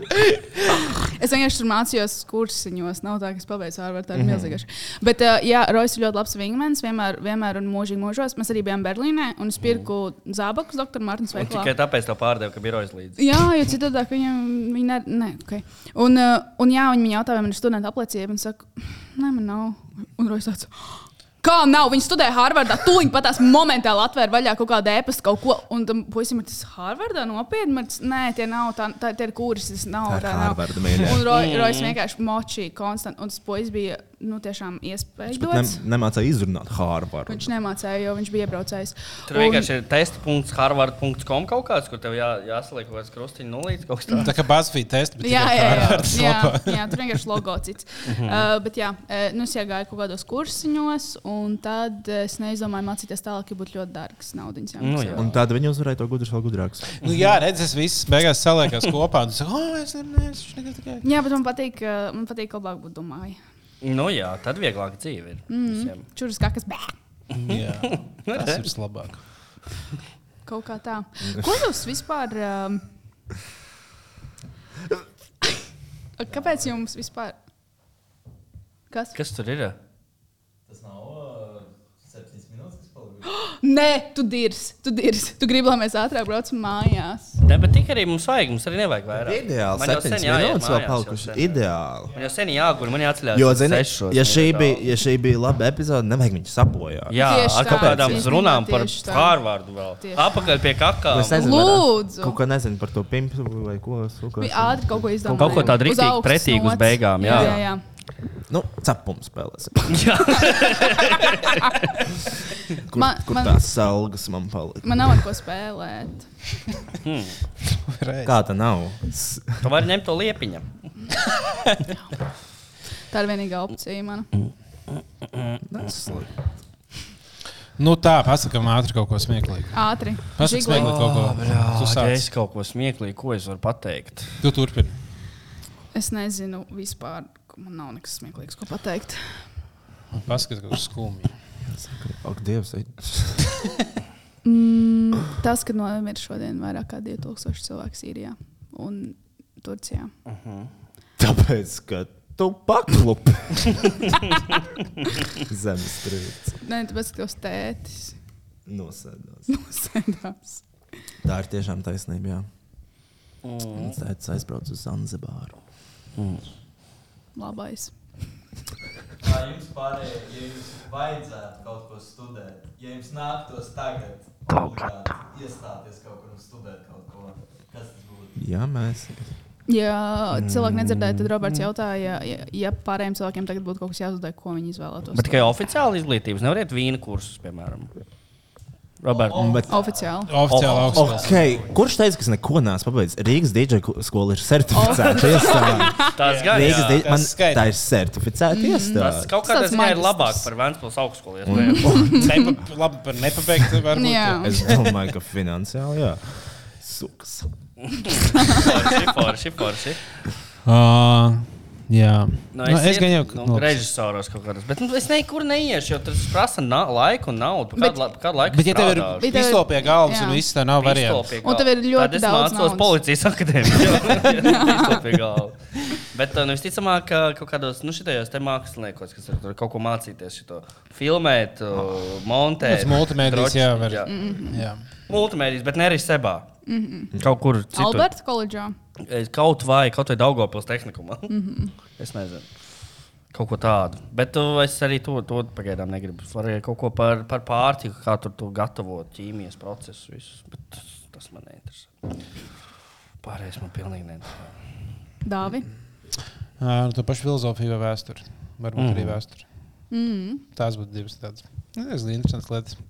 es vienkārši tur mācījos kursiņos. Nav tā, ka es pabeidzu ārvārdu. Mhm. Tā ir milzīga. šī. Bet, uh, jā, Rojas ir ļoti labs vingmens. Vienmēr, vienmēr un mūžīgi mūžos. Mēs arī bijām Berlīnē un es pirku zābakus doktora Mārtiņas Mm. Un tikai veikalā. tāpēc tā pārdeva, ka birojas līdzi. Jā, jo citādi viņam viņa ne, ne, okay. un, uh, un jā, viņi man jautāja, vai man ir studenta apliecība. Un es saku, nē, man nav. Un Rojas tāds. Kā nav? Viņa studēja Harvardā. Tūlīt pat tās momentāli atvēra vaļā kaut kādu ēpastu, kaut ko. Un tam puisim ir tas Harvardā nopietni. Man tas- Nē, tie nav. Tā, tā, tie ir kursi. Tas nav. Tā ir Tā nav. Harvarda, mīļā. Un Rojas mm. Rojas vienkārši močīja konstanti. Un tas puisis bija nu, tiešām iespējams. Ne, nemācīja izrunāt Harvardu. Viņš nemācīja, jo viņš bija iebraucējis. Tur vienkārši ir testa.harvard.com kaut kāds, kur tev jā, jāsaliek kaut kāds krustiņš nulīts. Kaut kas tāds. Tā kā BuzzFeed testa, bet Jā, tikai jā, jā, Harvards jā, lapā. jā, tur vienkārši logo cits. uh, bet jā, eh, nu es iegāju kaut kādos kursiņos, un tad eh, es neizdomāju mācīties tālāk, ja būtu ļoti dārgs naudas. Nu jā. Un tad viņi uzvarēja to gudrus vēl gudrākus. Nu, jā, redz, es viss beigās saliekās kopā. Un, tu saki, oh, es nezinu, es tikai tikai. jā, bet man patīk, eh, man patīk labāk būt domāju. Mhm. Nu jā, tad vieglāk dzīve ir. Mm. Čuris kā kas bēg. Mm. Jā, tas ir labāk. Kaut kā tā. Ko jūs vispār? Um... Kāpēc jums vispār? Kas? Kas tur ir? Nē, tu dirs, tu dirs. Tu gribi, lai mēs ātrāk braucam mājās. Ne, bet tik arī mums vajag, mums arī nevajag vairāk. Ideāli, Man jau sen 7 jāiet minūtes vēl mājās, jau palikuši. sen. Ideāli. Man jau sen jāgur, man jāatceļās. Jo, uz zini, sešos, ja šī nedaudz. bija, ja šī bija laba epizode, nevajag viņu sabojāt. Jā, Tieši ar kaut tā, kādām tieši runām tā, par tieši tā. Harvardu vēl. Tieši. Apakaļ pie kakām. Es nezinu, varētu- Lūdzu. Kaut ko nezinu par to pimpu vai ko. sukas. Bija ātri kaut ko izdomāt. Kaut ko tādu riktīgi pretīgu uz beigām, jā. jā, jā. Nu, cepums spēlēs. Jā. Kur, Man- man, kur man- man... tās algas man palika? Man nav ar ko spēlēt. Mm. Kā tā nav? S- Tu vari ņemt to liepiņu. Tā ir vienīgā opcija. Man. "Ah!" Nu tā, pasakām ātri kaut ko smieklīgu. Ātri. Pasakām Žigli. smieklīgu kaut ko. Tu Ah, Ja sāc. es kaut ko smieklīgu, ko es varu pateikt. Tu turpini. Es nezinu vispār. ka Man nav nekas smieklīgs, ko pateikt. Pasakies kaut ko skumju. Ak, Dievs. ej. Mm, tas, ka nomira šodien vairāk kā 2000 cilvēku Sīrijā un Turcijā. Tāpēc, ka tu paklupi. Zemes strīds. Nē, tāpēc, ka tas tētis Nosēdās. nosēdās. Tā ir tiešām taisnība. Jā. Mans tēvs aizbrauca uz Zanzibāru. Labais. Kā jums pārējai, ja jums vajadzētu kaut ko studēt, ja jums nāktos tagad obligāti iestāties kaut kur un studēt kaut ko, kas tas būtu? Jā, mēs. Ja cilvēki nedzirdēja, tad Roberts jautāja, ja, ja pārējiem cilvēkiem tagad būtu kaut kas jāuzdod, ko viņi izvēlētos. Bet tikai oficiāli izglītības nevariet vīna kursus, piemēram. Roberts. Bet, Oficiāli. Oficiāli augsts. okay. Kurš teica, ka es neko neesmu pabeidzis? Rīgas DJ skola ir certificēta iestāde. Tās gan Rīgas jā. Mm. DJ man tas skaidrs. tā ir certificēta Tas iestāde. kaut kādā Tas ziņā ir maģistrs. labāk par Vēnspils augstskolu. iespējams. Nepa, labi, par nepabeigtu varbūt. Jā. Jā. Es domāju, ka finansiāli, jā. Suks. Forši, forši, forši. Ā, Ah, Jā. Nu, es gan jau nu, režisoros kaut kādas, bet nu, es nekur neiešu, jo tas prasa na laiku un naudu. Kādu, la- kādu laiku? Bet, ja tev ir Bet tev ir- pistole pie galvas jā. un viss tā nav variants, Pistolpie Un tev ir galva. ļoti Tad es daudz mācos naudas. policijas akadēmijā. Bet uh, nu, visticamāk, ka kaut kādos nu, šitajos te māksliniekos, kas ir tur kaut ko mācīties, šo filmēt, uh, montēt. tas multimedijas droši- jāvar. jā. Jā. Multimedijas, bet ne arī sebā. Kaut kur citur. Alberta koledžā. Es Kaut vai, kaut vai Daugopils tehnikumā. es nezinu. Kaut ko tādu. Bet uh, es arī to, to pagaidām negribu. Varēja kaut ko par, par pārtiku, kā tur to gatavot, ķīmijas procesu. Visu. Bet tas, tas man neinteresē. Pārējais man pilnīgi neinteresē. Dāvi. Ā, nu, To pašu filozofiju vai vēsturi. Varbūt arī vēsturi. Tās būtu divas tādas. Nu, Tas ir interesants lietas.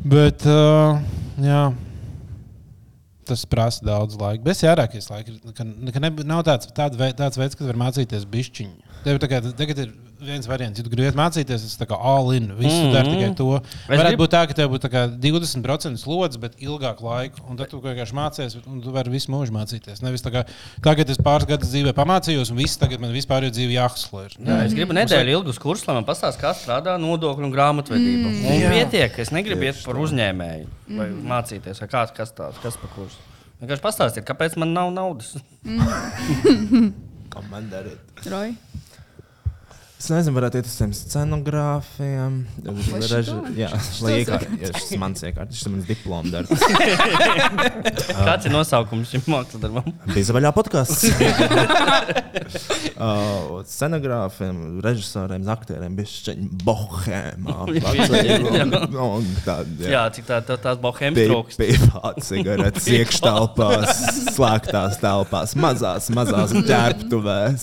Bet, uh, jā. Tas prasa daudz laika. Bet jārākais laika. ir, Ka, ka ne, nav tāds, tāda vei, tāds veids, kad var mācīties bišķiņu. Tev tagad, tagad ir viens variants. Ja tu gribi iet mācīties, tas ir all in. Visu mm -hmm. dara tikai to. Es Es Varētu gribu- gribu... būt tā, ka tev būtu tā kā 20% slodzi, bet ilgāk laika. Un tad tu vienkārši mācies, un tu vari visu mūžu mācīties. Nevis tā kā tagad es pāris gadus dzīvē pamācījos, un viss tagad man vispār ir dzīve jāhusler. Jā, Mm. es gribu nedēļu ilgus kursus, lai man pastāstītu, kā strādā nodokļu un grāmatvedība. Mm. Un Jā. pietiek, es negribu iet par uzņēmēju vai mācīties, vai kāds, kas tāds - kas par kursu. Vienkārši pastāstiet, kāpēc man nav naudas. Mm. Ko man darīt? Roy? Es nezinu, varētu iet uz tiem scenogrāfiem. Vai Reži, šito? jā, Šis lai tas iekārtu. ir? Jā, šis ir mans iekārtu, šis ir mans diploms darbs. Kāds ir nosaukums šim mākslas darbam? Bija zaļā podkāsts. uh, scenogrāfiem, režisoriem, aktieriem, bišķiņ, bohēmā. Jā. Un tad, Jā, cik tā, tā, tās bohēmas trūkst. Pēpāts, cigaretes Pie- iekštelpās, slēgtās telpās, mazās, mazās ķērptuvēs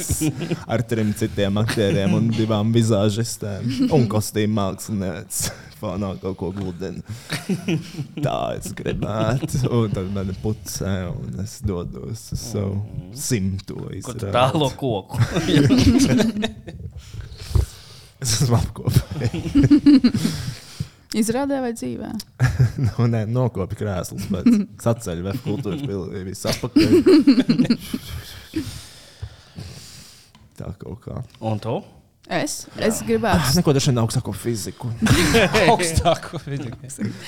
ar trim citiem aktieriem un divām vizāžistēm un kostīm mākslinieci. Fonā kaut ko gludina. Tā es gribētu. Un tad man ir pucē, un es dodos uz savu simto Kur izrādi. tu tālo koku? es esmu apkopējis. Izrādē vai dzīvē? nu, nē, nokopi krēslus, bet sacēļ vēl kultūras pilnīgi viss apakaļ. Tā kaut kā. Ah, Un tu? Es, es gribētu. Neko dažu augstāko fiziku. Augstāko fiziku.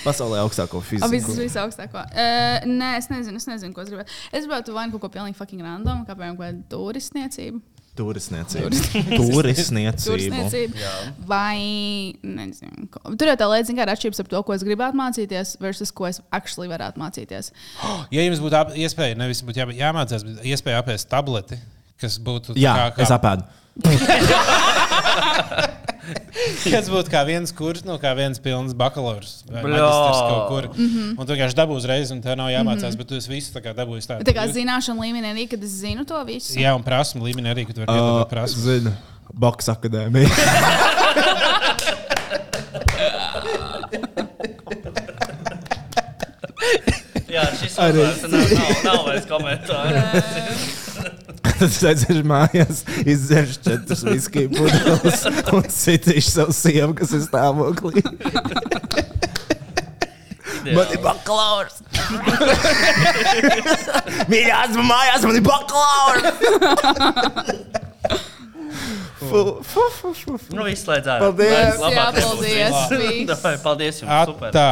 Pasaulē augstāko Abi viss fiziku. visaugstāko. Uh, nē, es nezinu, es nezinu, ko es gribētu. Es gribētu vainu kaut ko pilnīgi fucking random, kā piemēram, kaut kādu turisniecību. Turisniecība. Turisniecība. Turisniecība. Vai nezinu, ko. Tur jau tā līnija, ka ir atšķirības ar to, ko es gribētu mācīties, versus ko es actually varētu mācīties. Ja jums būtu ap- iespēja, nevis būtu jā, jāmācās, bet iespēja apēst tableti, kas būtu tā Jā, kā, kā es apēdu. Kas būtu kā viens kurs, nu, kā viens pilns bakalaurs vai Bļā. magistrs kaut kur. Mhm. Un tu vienkārši dabūji uzreiz, un tev nav jāmācās, Mhm. bet tu esi visu tā kā dabūji tādu. Tā kā zināšanu līmenī, arī, kad es zinu to visu. Jā, un prasmu līmenī arī, ka tu vari Ā, piedāvāt Uh, prasmu. Zinu, Boks akadēmija. Jā, šis Arī. uzvārds nav, nav, nav vairs komentārs. Tad es aiziešu mājās, izdzeršu četrus viskiju pudeles un citīšu savu sievu, kas ir stāvoklī. Man ir baklaurs! Mīļā, esmu mājās, man ir baklaurs! Fu, fu, fu, fu, fu. Nu, viss slēdz ārā. Paldies! Labāk nebūs. Jā, paldies, Davai, Paldies jums! Super! Tā.